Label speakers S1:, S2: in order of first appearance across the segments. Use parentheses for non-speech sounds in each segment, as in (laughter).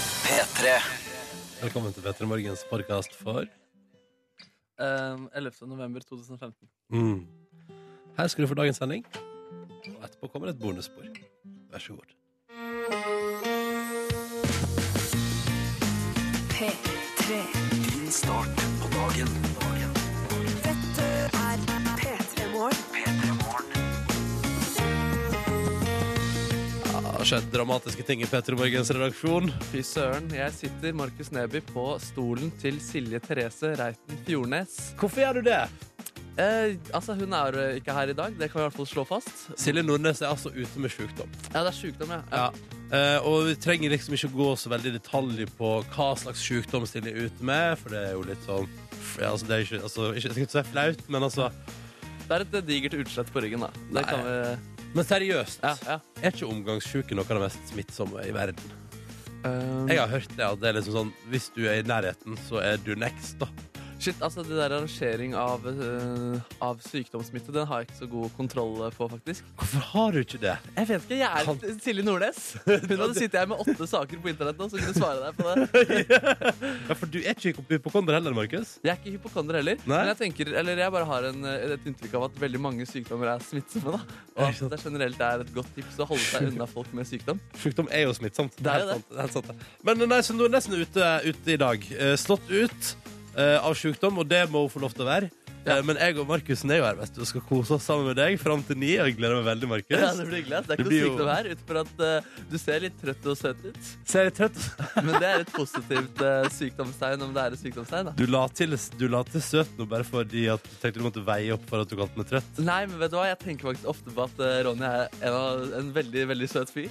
S1: P3.
S2: Velkommen til Petter Morgens podkast for
S3: Um, 11. november 2015.
S2: mm. Her skal du få dagens sending, og etterpå kommer et bonusspor. Vær så god.
S4: P3.
S1: Din start på dagen. dagen.
S4: Dette er P3 Morgen.
S1: P3 Morgen.
S2: Ja, Det har skjedd dramatiske ting i Petter Morgens redaksjon.
S3: Fy søren, jeg sitter Markus Neby på stolen til Silje Therese Reiten Fjordnes.
S2: Hvorfor gjør du det?
S3: Eh, altså, hun er eh, ikke her i dag, det kan vi i hvert fall slå fast.
S2: Silje Nordnes er altså ute med sjukdom.
S3: Ja, det er sjukdom, ja.
S2: Ja. Eh, og vi trenger liksom ikke gå så veldig i detalj på hva slags sjukdom Silje er ute med, for det er jo litt sånn ja, altså, det er ikke, altså, ikke, Jeg skal ikke si flaut, men altså
S3: Det er et eh, digert utslett på ryggen, da. Det
S2: Nei.
S3: kan vi
S2: Men seriøst,
S3: Ja, ja.
S2: er ikke omgangssjuke noe av det mest smittsomme i verden?
S3: Um,
S2: Jeg har hørt det at det er liksom sånn Hvis du er i nærheten, så er du next, da.
S3: Shit, altså, det der arrangering av, eh, av sykdomssmitte, den har jeg ikke så god kontroll eh, på, faktisk.
S2: Hvorfor har du ikke det?
S3: Jeg vet ikke, jeg er
S2: Kan-
S3: Silje Nordnes. (laughs) Hun hadde sittet her med åtte saker på internett nå, så kunne svare deg på det.
S2: Ja, For du er ikke hypokonder heller, Markus.
S3: Jeg er ikke hypokonder heller,
S2: Nei?
S3: men jeg tenker, eller jeg bare har en, et inntrykk av at veldig mange sykdommer er smittsomme. da. Og
S2: Ikke
S3: at
S2: sant?
S3: det generelt er et godt tips å holde seg unna folk med sykdom.
S2: (laughs) Sjukdom er jo smittsomt.
S3: Det er jo
S2: helt sant, helt sant, det. Men eh, nei, så nå er nesten ute, ute i dag. Eh, Slått ut eh, av sjukdom, og det må hun få lov til å være.
S3: Ja.
S2: Eh, Men jeg og Markusen er jo her best og skal kose oss sammen med deg fram til ni. og Jeg gleder meg veldig, Markus.
S3: Ja, det blir hyggelig. ass. Det er
S2: Det
S3: ikke
S2: blir
S3: noe
S2: jo-
S3: sykdom her, utenfor at eh, du ser litt trøtt og søt ut.
S2: Ser jeg trøtt ut?
S3: Men det er et positivt eh, sykdomstegn, om det er et sykdomstegn. da.
S2: Du la til, du la til søt nå bare fordi at du tenkte du måtte veie opp for at du kalte meg trøtt.
S3: Nei, men vet du hva? Jeg tenker faktisk ofte på at eh, Ronny er en, av, en veldig veldig søt fyr.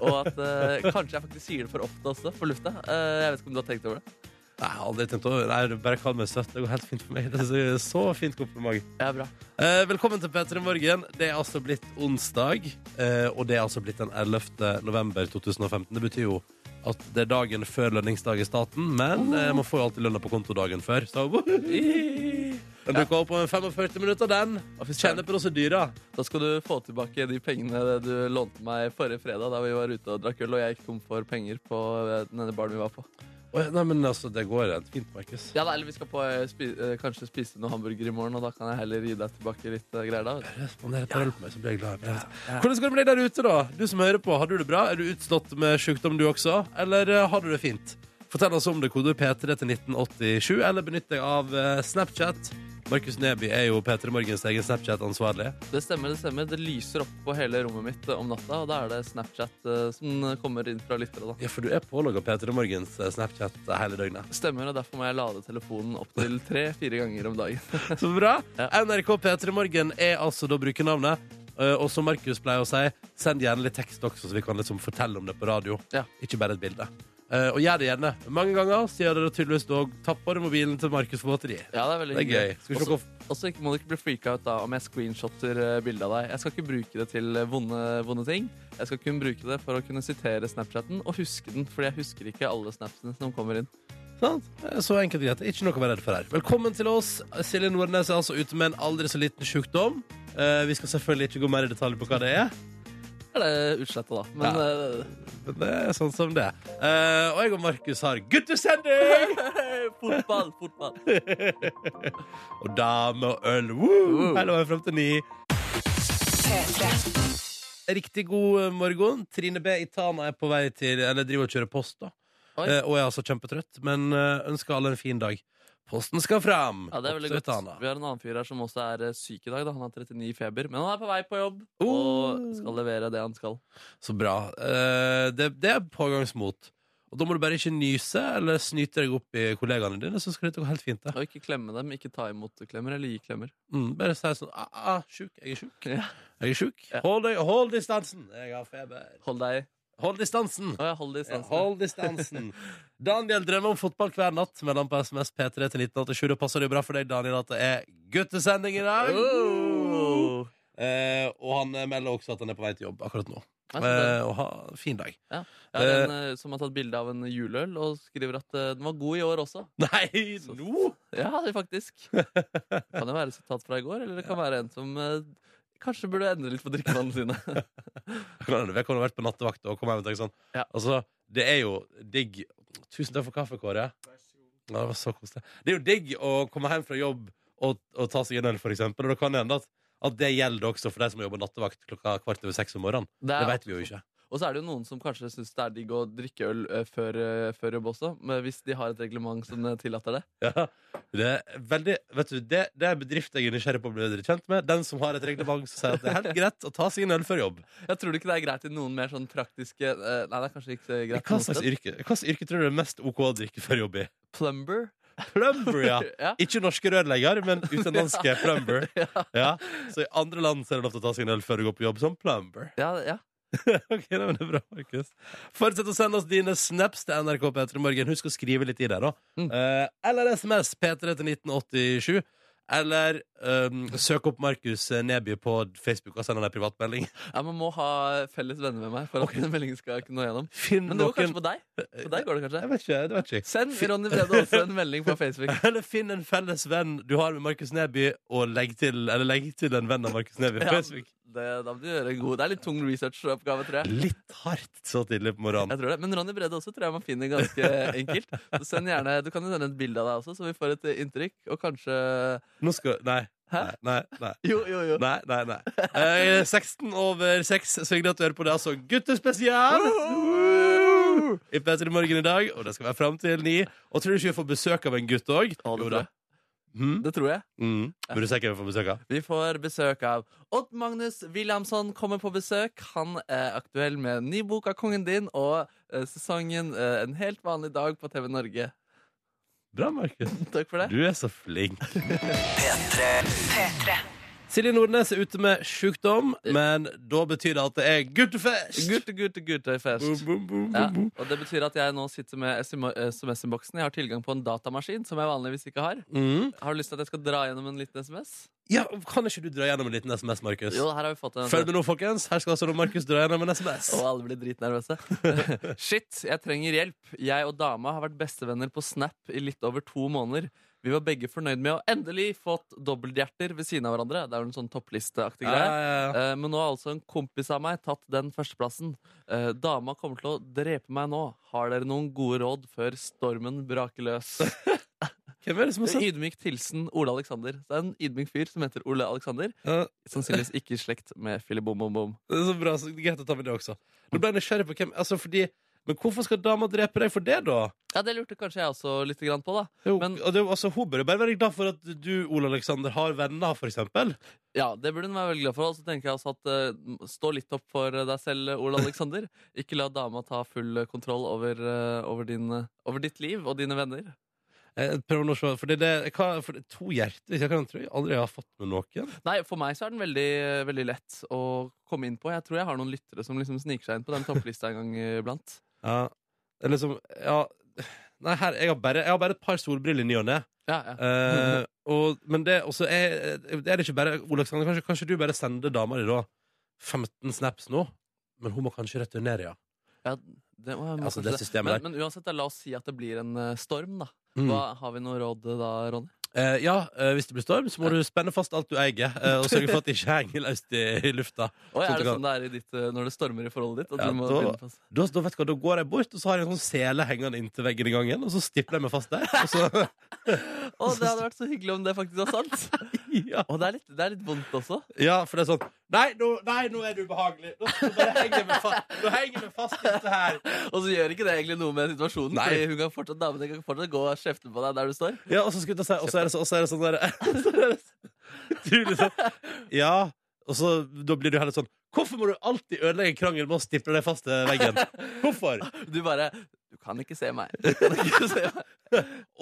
S3: Og at eh, kanskje jeg faktisk sier det for ofte også, for lufta. Eh, jeg vet ikke om du har tenkt over det?
S2: Nei, jeg har aldri tenkt over Nei, du bare kall meg søt. Det går helt fint for meg. Det er så- så fint kompliment.
S3: Ja, bra.
S2: Eh, velkommen til P3 Morgen. Det er altså blitt onsdag, eh, og det er altså blitt den 11. november 2015. Det betyr jo at det er dagen før lønningsdag i staten, men eh, man får jo alltid lønna på konto dagen før. Så (laughs)
S3: (laughs)
S2: den dukker opp om 45 minutter, den.
S3: Og fy søren.
S2: Kjenner prosedyra.
S3: Da skal du få tilbake de pengene du lånte meg forrige fredag da vi var ute og drakk øl, og jeg gikk tom for penger på eh, den ene baren vi var på.
S2: Å, ja, Nei, men altså, det går rent fint, Markus.
S3: Ja, da, eller vi skal på, eh, spi eh, kanskje spise noe hamburger i morgen, og da kan jeg heller gi deg tilbake litt eh, greier da.
S2: Responderer et par øl på meg, så blir jeg glad. Hvordan går det med deg der ute, da? Du som hører på, har du det bra? Er du utslått med sjukdom, du også? Eller eh, har du det fint? Fortell oss om det. Kode P3 til 1987, eller benytt deg av eh, Snapchat. Markus Neby er jo P3 Morgens egen Snapchat-ansvarlig.
S3: Det stemmer, det stemmer. Det lyser opp på hele rommet mitt eh, om natta, og da er det Snapchat eh, som kommer inn fra lyttere da.
S2: Ja, for du er pålogga P3 Morgens eh, Snapchat hele døgnet.
S3: Stemmer, og derfor må jeg lade telefonen opp til tre-fire ganger om dagen.
S2: Så bra.
S3: Ja.
S2: NRK P3 Morgen er altså da brukernavnet. Eh, Og som Markus pleier å si, send gjerne litt tekst også, så vi kan liksom fortelle om det på radio.
S3: Ja.
S2: Ikke bare et bilde. Eh, og gjør det gjerne. Mange ganger sier dere tydeligvis dog tapper mobilen til Markus for batteri.
S3: Ja, det er veldig
S2: Det er gøy.
S3: hyggelig.
S2: Skal vi se
S3: Også-
S2: hvor
S3: Og så må du ikke bli freaka ut da om jeg screenshotter eh, bildet av deg. Jeg skal ikke bruke det til eh, vonde, vonde ting. Jeg skal kun bruke det for å kunne sitere Snapchatten og huske den. Fordi jeg husker ikke alle snapsene som kommer inn.
S2: Sant? Eh, Så enkelt og greit. Ikke noe å være redd for her. Velkommen til oss. Silje Nordnes er altså ute med en aldri så liten sjukdom. Eh, vi skal selvfølgelig ikke gå mer i detalj på hva det er.
S3: Det er det utslettet, da. Men
S2: Men det er sånn som det er. Eh, og jeg og Markus har guttesending!
S3: eh, (laughs) fotball, fotball.
S2: Og dame og øl. Woo! Her var jeg frem til ni. Riktig god eh, morgen. Trine B. i Tana er på vei til Eller driver og kjører post, da.
S3: Oi.
S2: Eh, og er altså kjempetrøtt, men eh, ønsker alle en fin dag. Posten skal fram!
S3: Ja, det er
S2: Opp
S3: veldig
S2: til
S3: godt.
S2: Tana.
S3: Vi har en annen fyr her som også er eh, syk i dag. da Han har 39 i feber, men han er på vei på jobb.
S2: Oh.
S3: Og skal levere det han skal.
S2: Så bra. Eh, det, det er pågangsmot. Og da må du bare ikke nyse eller snyte deg opp i kollegaene dine, så skal dette gå helt fint. Det.
S3: Og ikke klemme dem. Ikke ta imot klemmer eller gi klemmer. (laughs)
S2: Mm, bare si sånn ah, ah, sjuk, jeg er sjuk.
S3: Ja.
S2: Jeg er sjuk.
S3: Ja.
S2: Hold, deg, hold distansen! Jeg har feber.
S3: Hold deg
S2: Hold distansen!
S3: Å ja, hold distansen.
S2: (laughs) Hold distansen. Daniel drømmer om fotball hver natt, melder han på SMS P3 til 1987. Det passer jo bra for deg, Daniel, at det er guttesending i dag.
S3: Oh.
S2: Eh, og han eh, melder også at han er på vei til jobb akkurat nå.
S3: Ja, så det-
S2: Eh, og ha en fin dag. (laughs)
S3: Jeg har en eh, som har tatt bilde av en juleøl og skriver at eh, den var god i år også.
S2: Nei,
S3: Så-
S2: nå!
S3: Ja, det
S2: (laughs)
S3: faktisk. Kan det være et sitat fra i går, eller det kan være en som eh, kanskje burde endre litt på drikkevanene
S2: (laughs)
S3: sine.
S2: Jeg kan ha vært på nattevakt og kom hjem og tenkte sånn
S3: Ja.
S2: Altså, det er jo digg Tusen takk for kaffe, Kåre. Ja, det var så koselig. Det er jo digg å komme hjem fra jobb og, og ta seg en øl, for eksempel. Og det kan hende at, at det gjelder også for de som jobber nattevakt klokka kvart over seks om morgenen.
S3: er-
S2: Det vet vi jo ikke.
S3: Og så er det jo noen som kanskje syns det er digg å drikke øl eh, før, eh, før jobb også, men hvis de har et reglement som eh, tillater det.
S2: Ja, det er veldig Vet du, det, det er bedrift jeg er nysgjerrig på å bli bedre kjent med. Den som har et reglement som sier at det er helt
S3: (laughs)
S2: greit å ta seg en øl før jobb.
S3: Jeg tror ikke det er greit i noen mer sånn praktiske eh, Nei, det er kanskje ikke så
S2: Hva
S3: greit. noen
S2: slags
S3: steder.
S2: yrke, hva slags yrke tror du er mest OK å drikke før jobb i?
S3: Plumber.
S2: Plumber,
S3: (laughs)
S2: ja!
S3: Ja.
S2: Ikke norske rørlegger, men
S3: (laughs)
S2: utenlandske plumber. Ja. Så i andre land så er det lov til å ta seg en øl før du går på jobb som plumber. (laughs)
S3: Ja, ja.
S2: Ok, nei, men det er bra, Markus. Fortsett å sende oss dine snaps til NRK P3 Morgen. Husk å skrive litt i der, da.
S3: Mm.
S2: Eh, eller SMS P3 til 1987. Eller ehm, søk opp Markus Neby på Facebook og send han en privatmelding. (laughs)
S3: ja, Man må ha felles venner med meg for at den (laughs) meldingen skal kunne nå gjennom.
S2: Finn
S3: Men det går
S2: noen
S3: kanskje på deg. På deg går det
S2: Jeg
S3: kanskje
S2: vet ikke. det vet ikke.
S3: Send Ronny Brede også en melding på
S2: (laughs)
S3: Facebook.
S2: Eller finn en felles venn du har med Markus Neby, og legg til, eller legg til en venn av Markus Neby på
S3: Ja,
S2: Facebook.
S3: det, da må du gjøre en god Det er litt tung researchoppgave, tror jeg.
S2: Litt hardt så tidlig på morgenen.
S3: Jeg tror det, Men Ronny Brede også tror jeg man finner ganske
S2: (laughs)
S3: enkelt. Så send gjerne, Du kan jo sende et bilde av deg også, så vi får et eh, inntrykk. Og kanskje
S2: Nå skal Nei. Nei,
S3: Hæ?
S2: nei. nei.
S3: Jo, jo, jo.
S2: Nei, nei, nei. Eh, 16 over 6, så hyggelig at du hører på det. Altså guttespesial i P3 Morgen i dag, og det skal være fram til 9. Og tror du ikke vi får besøk av en gutt òg?
S3: Ja, det, tror jeg.
S2: Mm.
S3: det tror jeg.
S2: Mm. Vil du si hvem vi får besøk av?
S3: Vi får besøk av Odd Magnus Williamson kommer på besøk. Han er aktuell med en ny bok av Kongen din og eh, sesongen eh, En helt vanlig dag på TV Norge.
S2: Bra, Markus.
S3: Takk for det.
S2: Du er så flink. Silje Nordnes er ute med sjukdom, men da betyr det at det er guttefest!
S3: Gutte, gutte,
S2: Boom,
S3: guttefest.
S2: boom, boom,
S3: Ja,
S2: boom, boom.
S3: og det betyr at jeg nå sitter med SMS-boksen. Jeg har tilgang på en datamaskin som jeg vanligvis ikke har.
S2: Mm.
S3: Har du lyst til at jeg skal dra gjennom en liten SMS?
S2: Ja, kan ikke du dra gjennom en liten SMS, Markus?
S3: Jo, her har vi fått en.
S2: Følg med nå, folkens. Her skal altså Markus dra gjennom en SMS.
S3: Og alle blir dritnervøse. (laughs) Shit, jeg trenger hjelp. Jeg og dama har vært bestevenner på Snap i litt over to måneder. Vi var begge fornøyd med å endelig fått dobbelthjerter ved siden av hverandre. Det er jo en sånn topplisteaktig
S2: Ja,
S3: greie.
S2: ja, ja.
S3: Eh, Men nå har altså en kompis av meg tatt den førsteplassen. Eh, Dama kommer til å drepe meg nå. Har dere noen gode råd før stormen braker løs?
S2: Hvem er det som har sett
S3: Ydmykt hilsen Ole Alexander. Så det er en ydmyk fyr som heter Ole Alexander.
S2: Ja,
S3: Sannsynligvis ikke i slekt med Philip Bom Bom Bom.
S2: Det er så bra, så det er greit å ta med det også. Nå ble jeg nysgjerrig på hvem altså fordi, Men hvorfor skal dama drepe deg for det, da?
S3: Ja, det lurte kanskje jeg også litt grann på, da.
S2: Jo,
S3: Men-
S2: og det, er jo- altså, Hun bør jo bare være glad for at du, Ole Aleksander, har venner, for eksempel.
S3: Ja, det burde hun være veldig glad for. Og så tenker jeg også at eh, Stå litt opp for eh, deg selv, Ole (laughs) Alexander. Ikke la dama ta full kontroll over, eh, over, din, eh, over ditt liv og dine venner.
S2: Jeg prøver nå Eh, å se, for det, det, hva, for det, To hjerter jeg kan tro jeg aldri har fått med noen.
S3: Nei, For meg så er den veldig, eh, veldig lett å komme inn på. Jeg tror jeg har noen lyttere som liksom sniker seg inn på den topplista en gang iblant.
S2: Ja, det er liksom, ja Nei, her, jeg har bare, jeg har bare et par solbriller i ny og ne.
S3: Ja, ja.
S2: Eh, og, men det også er, er det ikke bare Ole Aleksander, kanskje, kanskje du bare sender dama di da 15 snaps nå? Men hun må kanskje returnere, ja.
S3: ja det, må jeg- må
S2: Altså,
S3: kanskje
S2: det systemet der.
S3: men, men uansett, da, la oss si at det blir en eh, storm, da.
S2: Mm.
S3: Hva, har vi noe råd da, Ronny?
S2: Eh, ja, eh, hvis det blir storm, så må du spenne fast alt du eier, eh, og sørge for at det ikke henger løst i, i lufta.
S3: Oi,
S2: Sånn
S3: er
S2: at
S3: det
S2: du
S3: sånn det er i ditt, eh, når det stormer i forholdet ditt? At
S2: Ja,
S3: du må
S2: da-
S3: finne på-
S2: Da, da, vet du hva, da går jeg bort, og så har jeg en sånn sele hengende inntil veggen i gangen, og så stipler jeg meg fast der. Og så,
S3: Å, det hadde vært så hyggelig om det faktisk var sant! (laughs)
S2: ja.
S3: Og det er litt, det er litt vondt også.
S2: ja, for det er sånn Nei, nå, nei, nå er du ubehagelig. Nå, skal du bare henger jeg meg fast, nå henger jeg meg fast inntil her.
S3: Og så gjør ikke det egentlig noe med situasjonen.
S2: Nei.
S3: Fordi hun kan fortsatt, damene kan fortsatt gå og kjefte på deg der du står.
S2: Ja, og så, skulle jeg til å si, og så, er, det, så, og så er det sånn der (laughs) så er det så- Utrolig sånn. Ja. Og så da blir du heller sånn Hvorfor må du alltid ødelegge en krangel med å stiple deg fast til veggen? Hvorfor?
S3: Du bare Du kan ikke se (laughs) meg. Du kan ikke se meg.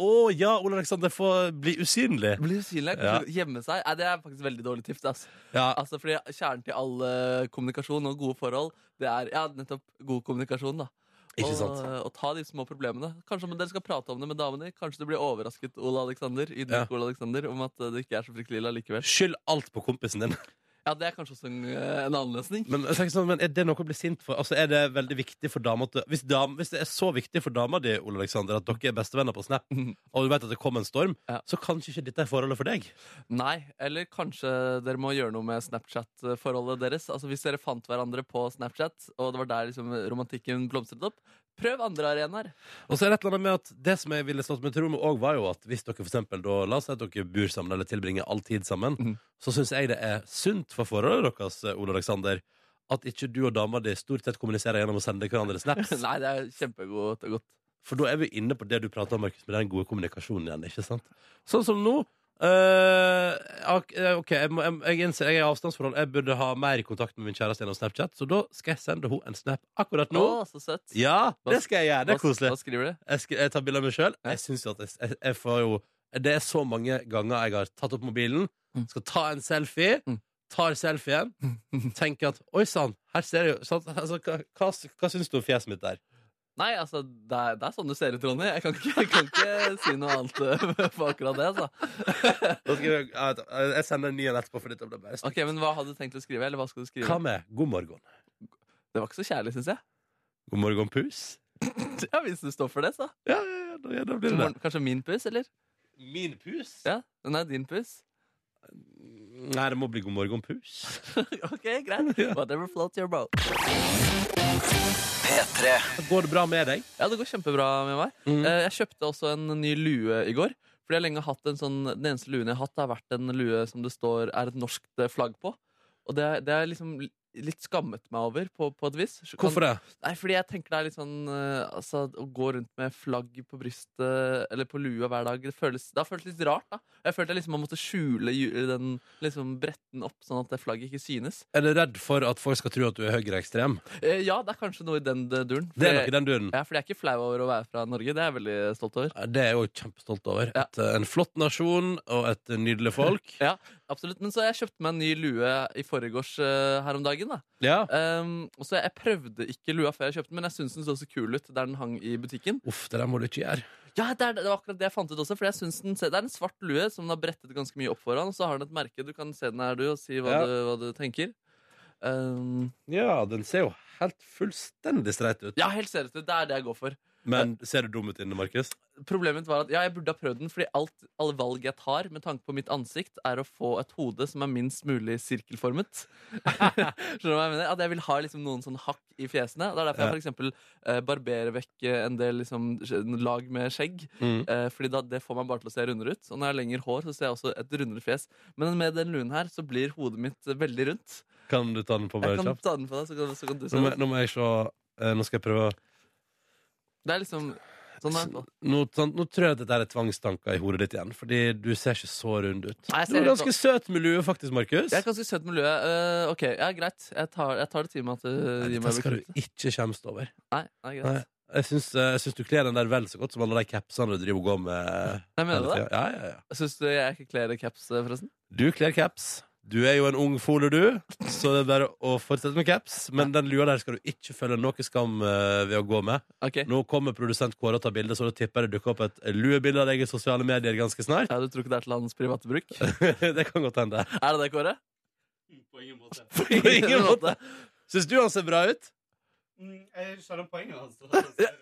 S2: Å ja, Ole Aleksander får bli usynlig.
S3: Bli usynlig.
S2: Ja.
S3: kanskje Gjemme seg. Nei, det er faktisk veldig dårlig tips. ass.
S2: Ja,
S3: Altså, fordi Kjernen til all eh, kommunikasjon og gode forhold, det er ja, nettopp god kommunikasjon. da
S2: ikke
S3: og,
S2: sant?
S3: og ta de små problemene. Kanskje om dere skal prate om det med damene. Kanskje du blir overrasket Ole Alexander, ydmyk
S2: Ja.
S3: Ole Alexander om at eh, det ikke er så fryktelig ille likevel.
S2: Skyld alt på kompisen din.
S3: Ja, Det er kanskje også en, eh, en annen løsning.
S2: Men, jeg tenker sånn, men er det noe å bli sint for? Altså, er det veldig viktig for dama til, hvis, dam, hvis det er så viktig for dama di, Ole Aleksander, at dere er bestevenner på Snap,
S3: Mhm.
S2: og du vet at det kom en storm,
S3: Ja.
S2: så kanskje ikke dette er forholdet for deg?
S3: Nei, eller kanskje dere må gjøre noe med Snapchat-forholdet deres. Altså Hvis dere fant hverandre på Snapchat, og det var der liksom romantikken blomstret opp, Prøv andre arenaer. (laughs)
S2: Og så er det et eller annet med at det som jeg ville slått meg til ro med òg, var jo at hvis dere for eksempel da, la oss si at dere bor sammen eller tilbringer all tid sammen,
S3: Mhm.
S2: så syns jeg det er sunt for forholdet deres, eh, Ole Aleksander, at ikke du og dama di stort sett kommuniserer gjennom å sende hverandre snaps.
S3: (laughs) Nei, det er kjempegodt og godt.
S2: For da er vi inne på det du prater om, Markus, med den gode kommunikasjonen igjen, ikke sant? Sånn som nå. eh, ak- eh, ok, jeg, må, jeg, jeg innser jeg er i avstandsforhold. Jeg burde ha mer kontakt med min kjæreste gjennom Snapchat, så da skal jeg sende henne en snap akkurat nå.
S3: Å, så søtt.
S2: Ja, det skal jeg gjøre. Det
S3: Hva-
S2: er koselig.
S3: Hva skriver du?
S2: Jeg, sk jeg tar bilde av meg sjøl.
S3: Ja.
S2: Jeg synes jo at jeg, jeg, jeg får jo Det er så mange ganger jeg har tatt opp mobilen,
S3: Mm.
S2: skal ta en selfie,
S3: Mm.
S2: tar selfien,
S3: (laughs)
S2: tenker at Oi sann, her ser jeg jo sant? altså, hva, hva, hva syns du om fjeset mitt der?
S3: Nei, altså, det er, det er sånn du ser ut, Ronny. Jeg kan ikke, jeg kan ikke si noe annet eh, på akkurat det. Altså.
S2: Da skriver jeg, jeg, jeg sender en ny en etterpå, for dette ble bare
S3: Ok, Men hva hadde du tenkt å skrive? Eller hva skal du skrive?
S2: Hva med god morgen?
S3: Det var ikke så kjærlig, syns jeg. (laughs)
S2: God morgen, pus?
S3: Ja, Hvis du står for det, så.
S2: Ja, ja, ja, da, ja, da blir det det.
S3: Morgen- Kanskje min pus, eller?
S2: Min pus?
S3: Ja, Den er din pus.
S2: Nei, det må bli god morgen, pus.
S3: (laughs) ok,
S2: (laughs)
S3: greit. Whatever floats your boat.
S1: P3
S2: Går det bra med deg?
S3: Ja, det går kjempebra med meg.
S2: Mm.
S3: Eh, Jeg kjøpte også en ny lue i går. Fordi jeg lenge har hatt en sånn, Den eneste luen jeg har hatt, har vært en lue som det står er et norsk eh, flagg på. Og det det har jeg liksom li- litt skammet meg over, på, på et vis. Kan-
S2: Hvorfor det?
S3: Nei, fordi jeg tenker det er litt sånn eh, altså, Å gå rundt med flagg på brystet Eller på lua hver dag Det, føles, det har føltes litt rart da Jeg følte jeg liksom man måtte skjule ju- den liksom, bretten opp Sånn at det flagget ikke synes
S2: Er du redd for at folk skal tro at du er høyreekstrem?
S3: Eh, Ja, det er kanskje noe i den eh, duren
S2: Det er nok
S3: Fordi-
S2: i den duren.
S3: Ja, fordi jeg er ikke flau over å være fra Norge Det er jeg veldig stolt over
S2: Ja, Det er jeg jo kjempestolt over.
S3: Ja.
S2: Et, eh, en flott nasjon og et nydelig folk.
S3: Ja, absolutt Men så jeg kjøpte meg en ny lue i forregårs eh, her om dagen da
S2: (laughs) ja.
S3: Ehm, Og så jeg prøvde ikke lua før jeg kjøpte den Men jeg synes den så så kul ut der den hang i butikken
S2: Uff, det der må du ikke gjøre.
S3: Ja, det, er, det var akkurat det jeg fant ut også. For jeg synes den, se- Det er en svart lue som den har brettet ganske mye opp foran. Og så har den et merke. Du kan se den her, du, og si hva,
S2: Ja.
S3: du, hva du tenker. Um,
S2: Ja, den ser jo helt fullstendig streit ut.
S3: ja, helt seriøst. Det er det jeg går for.
S2: Men ser du dum ut inne, Markus?
S3: Problemet mitt var at ja, jeg burde ha prøvd den, fordi alt, alle valg jeg tar med tanke på mitt ansikt, er å få et hode som er minst mulig sirkelformet. (laughs) Skjønner du hva jeg mener? At jeg vil ha liksom, noen sånn hakk i fjesene. Det er derfor
S2: Ja.
S3: jeg for eksempel eh, barberer vekk eh, en del liksom, skje- lag med skjegg.
S2: Mm.
S3: Eh, fordi da, det får meg bare til å se rundere ut. Og når jeg har lengre hår, så ser jeg også et rundere fjes. Men med den luen her, så blir hodet mitt eh, veldig rundt.
S2: Kan du ta den på
S3: Jeg
S2: meg
S3: kan
S2: kjapt?
S3: ta den på deg, så kan, så kan du se
S2: Nå må,
S3: den.
S2: nå må jeg se eh, Nå skal jeg prøve å-
S3: Det er liksom sånn her.
S2: nå, sånn, nå tror jeg at dette er tvangstanker i hodet ditt igjen, Fordi du ser ikke så rund ut.
S3: Nei,
S2: du
S3: jeg ser
S2: er
S3: helt
S2: ganske søt med lue, faktisk, Markus.
S3: Jeg er et ganske søt miljø. Eh, ok, ja, greit. Jeg tar, jeg tar det til meg at du gir
S2: Dette
S3: meg
S2: skal du
S3: bekreftelse.
S2: ikke kjemst over.
S3: Nei, nei, greit.
S2: Nei. Jeg syns, eh, jeg syns du kler den der vel så godt som alle de capsene du driver og går med.
S3: Nei, mener du
S2: hele
S3: det?
S2: tiden. Ja, ja, ja.
S3: Syns du jeg ikke kler i caps, eh, forresten?
S2: Du kler caps. Du er jo en ung fole, du, så det er bare å fortsette med caps. Men den lua der skal du ikke føle noe skam eh, ved å gå med.
S3: Ok.
S2: Nå kommer produsent Kåre og tar bilde, så da tipper jeg det dukker opp et luebilde av deg i sosiale medier ganske snart. (laughs)
S3: Ja, Du tror ikke det er til hans private bruk? Er
S2: det kan godt hende.
S3: det det, Kåre?
S5: På ingen måte.
S3: På
S2: ingen måte. Syns du han ser bra ut?
S5: Mm, Jeg skjønner poenget hans. Altså.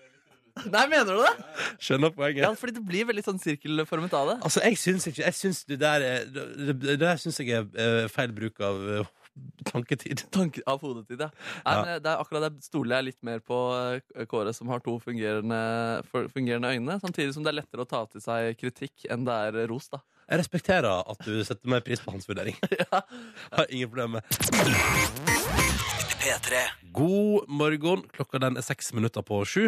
S3: Nei, mener du det?
S2: Skjønner
S3: Ja,
S2: poenget.
S3: fordi det blir veldig sånn sirkelformet av det.
S2: Altså, jeg syns ikke Jeg syns det der er- Det, det der syns jeg er eh, feil bruk av eh, tanketid.
S3: Tanke av hodetid, ja. Nei,
S2: Ja.
S3: men det er akkurat der stoler jeg litt mer på eh, Kåre, som har to fungerende, for- fungerende øyne. Samtidig som det er lettere å ta til seg kritikk enn det er ros, da.
S2: Jeg respekterer at du setter mer pris på hans vurdering.
S3: Ja.
S2: Har ingen problemer med
S1: P3
S2: God morgen. Klokka den er seks minutter på sju.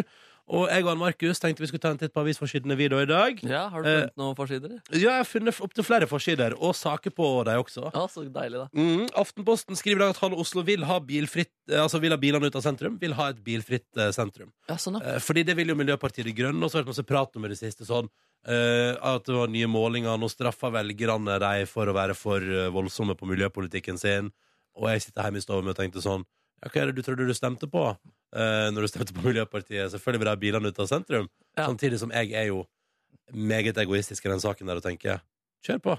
S2: Og jeg og Ann Markus tenkte vi skulle ta en titt på avisforsidene vi da i dag. Ja,
S3: Ja, Har du funnet noen forsider?
S2: jeg har funnet opptil flere forsider, og saker på dem også.
S3: Ja, så deilig, da.
S2: Mm, Aftenposten skriver i dag at halve Oslo vil ha bilfritt eh, Altså vil ha bilene ut av sentrum. Vil ha et bilfritt eh, sentrum.
S3: Ja, sånn, ja.
S2: Eh, fordi det vil jo Miljøpartiet De Grønne, og så har det vært masse prat om i det siste sånn eh, at det var nye målinger. Nå straffer velgerne de for å være for eh, voldsomme på miljøpolitikken sin. Og jeg sitter hjemme i stua mi og tenkte sånn ja, Hva er det du trodde du stemte på eh, når du stemte på Miljøpartiet? Selvfølgelig vil de ha bilene ut av sentrum.
S3: Ja.
S2: Samtidig som jeg er jo meget egoistisk i den saken der og tenker kjør på.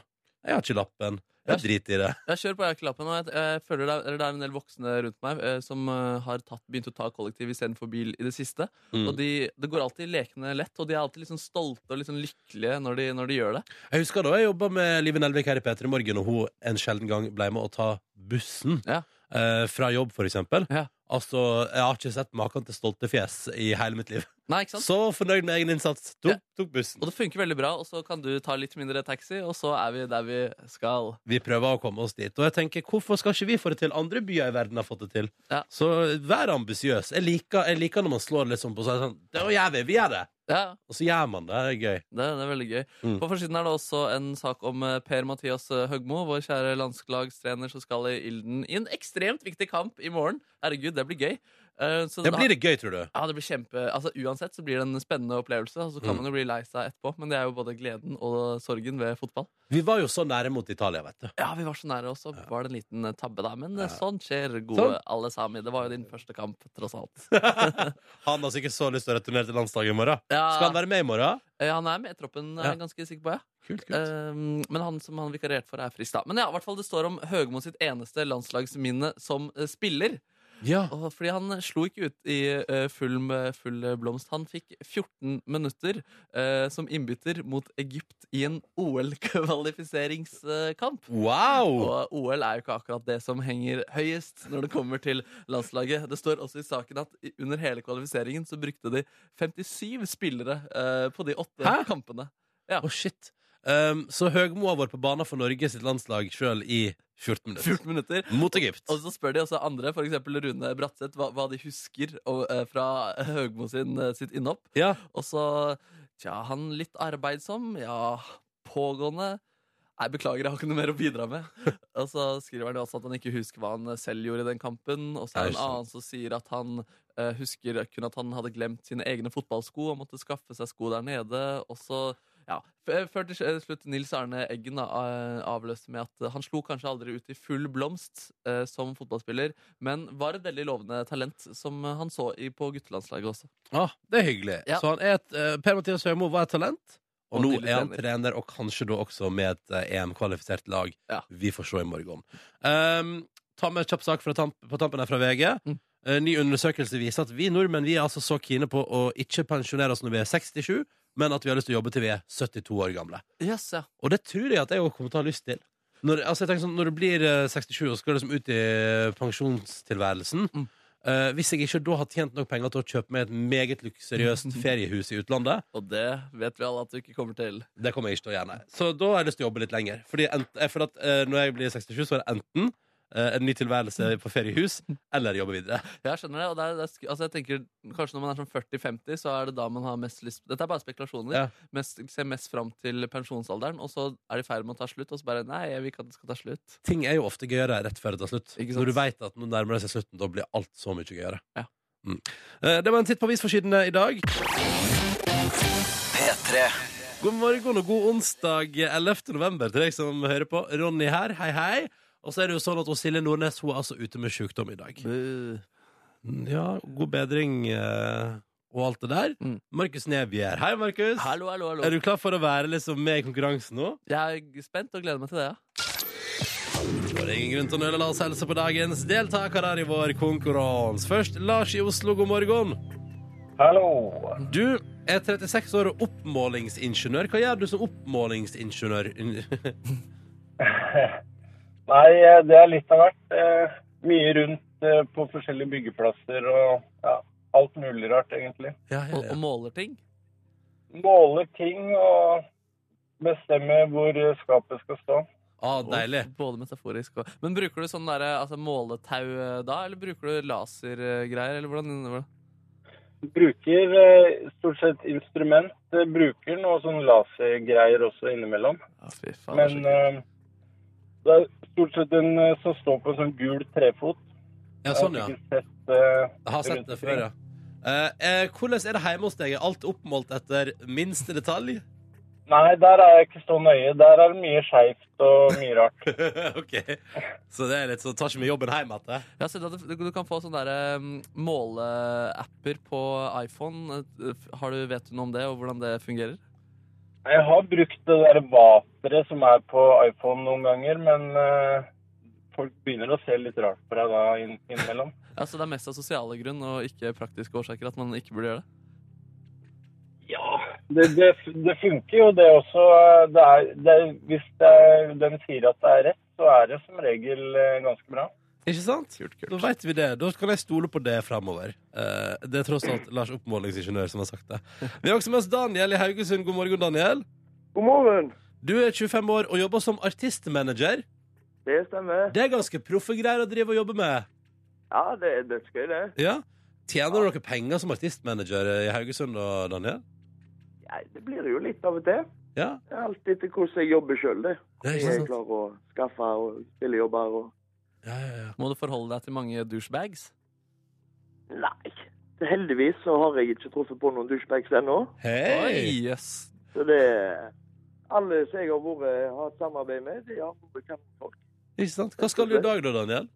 S2: Jeg har ikke lappen. Jeg driter i det.
S3: Jeg kjører på jakkelappen, og jeg, jeg føler det er, eller det er en del voksne rundt meg eh, som eh, har tatt, begynt å ta kollektiv istedenfor bil i det siste.
S2: Mm.
S3: Og de, Det går alltid lekende lett, og de er alltid litt sånn stolte og litt sånn lykkelige når de, når de gjør det.
S2: Jeg husker da jeg jobba med Live Nelvik her i P3 Morgen, og hun en sjelden gang ble med å ta bussen
S3: Ja.
S2: eh, fra jobb, for eksempel.
S3: Ja.
S2: Altså, jeg har ikke sett maken til stolte fjes i hele mitt liv.
S3: Nei, ikke sant?
S2: Så fornøyd med egen innsats.
S3: Sånn. Ja.
S2: Tok, tok bussen.
S3: Og det funker veldig bra, og så kan du ta litt mindre taxi, og så er vi der vi skal.
S2: Vi prøver å komme oss dit. Og jeg tenker, hvorfor skal ikke vi få det til? Andre byer i verden har fått det til.
S3: Ja.
S2: Så vær ambisiøs. Jeg, liker- jeg liker når man slår litt sånn på seg. Sånn, det gjør vi, vi gjør det!
S3: Ja,
S2: Og så gjør man det. Det er gøy.
S3: Det, det er veldig gøy.
S2: Mm.
S3: På forsiden er det også en sak om eh, Per-Mathias eh, Høgmo, vår kjære landslagstrener som skal i ilden i en ekstremt viktig kamp i morgen. Herregud, det blir gøy. Eh, så
S2: Det
S3: da-
S2: blir det gøy, tror du?
S3: Ja, det blir kjempe... Altså, uansett så blir det en spennende opplevelse, og så kan
S2: Mm.
S3: man jo bli lei seg etterpå, men det er jo både gleden og sorgen ved fotball.
S2: Vi var jo så nære mot Italia, vet du.
S3: Ja, vi var så nære, og så var det en liten eh, tabbe der, men eh, sånn skjer, gode
S2: Sånn.
S3: alle sami. Det var jo din første kamp, tross alt.
S2: Han har sikkert så lyst til å returnere til landslaget i morgen.
S3: Ja,
S2: Skal han være med i morgen?
S3: eh, han er med i troppen, er jeg ganske sikker på, ja.
S2: Kult,
S3: Um, men han som han vikarerte for, er frisk, da. Men ja, i hvert fall det står om Høgmo sitt eneste landslagsminne som eh, spiller.
S2: ja.
S3: Og fordi han slo ikke ut i eh, full, med- full blomst. Han fikk 14 minutter eh, som innbytter mot Egypt i en OL-kvalifiseringskamp.
S2: Wow!
S3: Og OL er jo ikke akkurat det som henger høyest når det kommer til landslaget. Det står også i saken at i- under hele kvalifiseringen så brukte de 57 spillere eh, på de åtte
S2: Hæ?
S3: kampene.
S2: Å, shit. Um, så Høgmo har vært på banen for Norge sitt landslag sjøl i 14 minutter.
S3: 14 minutter.
S2: Mot Egypt.
S3: Og så spør de også andre, f.eks. Rune Bratseth, hva, hva de husker og, eh, fra Høgmo sin, eh, sitt innhopp.
S2: Ja.
S3: Og så Tja, han litt arbeidsom. Ja, pågående. Nei, beklager, jeg har ikke noe mer å bidra med. (laughs) Og så skriver han jo også at han ikke husker hva han eh, selv gjorde i den kampen. Og så er
S2: Er
S3: det
S2: det
S3: en annen som sier at han eh, husker kun at han hadde glemt sine egne fotballsko og måtte skaffe seg sko der nede. Og så ja, f- eh, Før til slutt Nils Arne Eggen da, eh, avløste med at eh, han slo kanskje aldri ut i full blomst eh, som fotballspiller, men var et veldig lovende talent, som eh, han så i på guttelandslaget også.
S2: Ah, det er hyggelig.
S3: Ja.
S2: Så han er et, eh, Per Mathias Høgmo var et talent, og,
S3: Og
S2: nå
S3: nydelig
S2: er han
S3: trener.
S2: trener, og kanskje da også med et eh, EM-kvalifisert lag.
S3: Ja.
S2: Vi får se i morgen. Um, ta med en kjapp sak fra tamp på tampen her fra VG.
S3: Mm.
S2: Eh, ny undersøkelse viser at vi nordmenn vi er altså så kine på å ikke pensjonere oss når vi er 67, men at vi har lyst til å jobbe til vi er 72 år gamle.
S3: Yes, ja.
S2: Og det tror jeg at jeg også kommer til å ha lyst til. Når, altså jeg tenker sånn, når du blir eh, 67 og skal liksom ut i pensjonstilværelsen
S3: Mm.
S2: eh, Hvis jeg ikke da har tjent nok penger til å kjøpe meg et meget luksuriøst
S3: Mm.
S2: feriehus i utlandet,
S3: Og det vet vi alle at du ikke kommer til.
S2: det kommer jeg ikke til å gjøre. nei. Så da har jeg lyst til å jobbe litt lenger. Fordi ent, jeg føler at eh, når jeg blir 67, så er det enten eh, en ny tilværelse på feriehus eller jobbe videre.
S3: Jeg skjønner det, og det er, det er, sk- altså jeg tenker Kanskje når man er sånn 40-50, så er det da man har mest lyst Dette er bare spekulasjoner.
S2: Ja.
S3: Mest, ser mest fram til pensjonsalderen, og så er de i ferd med å ta slutt, og så bare Nei, jeg vil ikke at det skal ta slutt.
S2: Ting er jo ofte gøyere rett før det tar slutt.
S3: Ikke sant?
S2: Når du veit at nå nærmer det seg slutten, da blir alt så mye gøyere.
S3: Ja.
S2: Mm. Eh, Det var en titt på avisforsidene i dag.
S1: P3
S2: God morgen og god onsdag 11. november til deg som hører på. Ronny her, hei hei. Og så er det jo sånn at hun Silje Nordnes hun er altså ute med sykdom i dag. Ja, god bedring eh, og alt det der.
S3: Mm.
S2: Markus Neby her. Hei, Markus.
S3: Hallo, hallo, hallo.
S2: Er du klar for å være liksom med i konkurransen nå?
S3: Jeg er spent og gleder meg til det. ja.
S2: Da er det ingen grunn til å nøle. La oss helse på dagens deltakere her i vår konkurranse. Først Lars i Oslo, god morgen.
S6: Hallo.
S2: Du er 36 år og oppmålingsingeniør. Hva gjør du som oppmålingsingeniør? (laughs)
S6: Nei, eh, det er litt av hvert. eh, Mye rundt eh, på forskjellige byggeplasser og ja, alt mulig rart, egentlig.
S2: ja,
S3: Og, og måler ting.
S6: Måle ting og bestemme hvor eh, skapet skal stå.
S2: Ah, deilig.
S3: Og Både metaforisk og Men bruker du sånn derre altså, måletau eh, da, eller bruker du lasergreier, eller hvordan? hvordan?
S6: Bruker eh, stort sett instrument. eh, Bruker noe sånn lasergreier også innimellom.
S3: Ja, fy faen. det er så
S6: Men
S3: kult.
S6: eh, det er stort sett en eh, som står på en sånn gul trefot.
S2: Ja, sånn, ja.
S6: Jeg har sikkert sett eh,
S2: Jeg har sett det
S6: rundt
S2: før, ja. Eh, eh, hvordan er det hjemme hos deg? Er alt oppmålt etter minste (laughs) detalj?
S6: Nei, der er jeg ikke så nøye. Der er det mye skeivt og mye rart.
S2: ok. Så det er litt sånn, tar ikke med jobben hjem igjen?
S3: Jeg har sett at du, du kan få sånne der, um, måleapper på iPhone. Eh, Har du, vet du noe om det, og hvordan det fungerer?
S6: Jeg har brukt det der vaperet som er på iPhone noen ganger, men eh, folk begynner å se litt rart på deg da inn, innimellom.
S3: Ja, så Altså, Det er mest av sosiale grunn og ikke praktiske årsaker at man ikke burde gjøre det.
S6: Ja, (laughs) det, det, det funker jo det også. Det er, det, hvis det er, den sier at det er rett, så er det som regel eh, ganske bra.
S2: Ikke sant?
S3: Kult,
S2: Da
S3: kult.
S2: vet vi det. Da kan jeg stole på det fremover. Eh, det er tross alt Lars oppmålingsingeniør som har sagt det. Vi har også med oss Daniel i Haugesund. God morgen, Daniel.
S7: God morgen.
S2: Du er 25 år og jobber som artistmanager.
S7: Det stemmer.
S2: Det er ganske proffe greier å drive og jobbe med.
S7: Ja, det er dødsgøy, det.
S2: Ja. Tjener dere penger som artistmanager i Haugesund og Daniel?
S7: Nei, det blir det jo litt av og til.
S2: Ja.
S7: Det er Alt etter hvordan jeg jobber sjøl, det.
S2: Det er
S7: Jeg
S2: ikke
S7: er
S2: sant?
S7: klar å skaffe og stille jobber og
S2: Ja, ja, ja.
S3: Må du forholde deg til mange douchebags?
S7: Nei. Heldigvis så har jeg ikke truffet på noen douchebags ennå.
S2: Hei!
S3: Oi, jøss.
S7: Så det Alle som jeg har vært, har et samarbeid med, de har vært kampfolk.
S2: Ikke sant? Hva skal du i dag da, Daniel?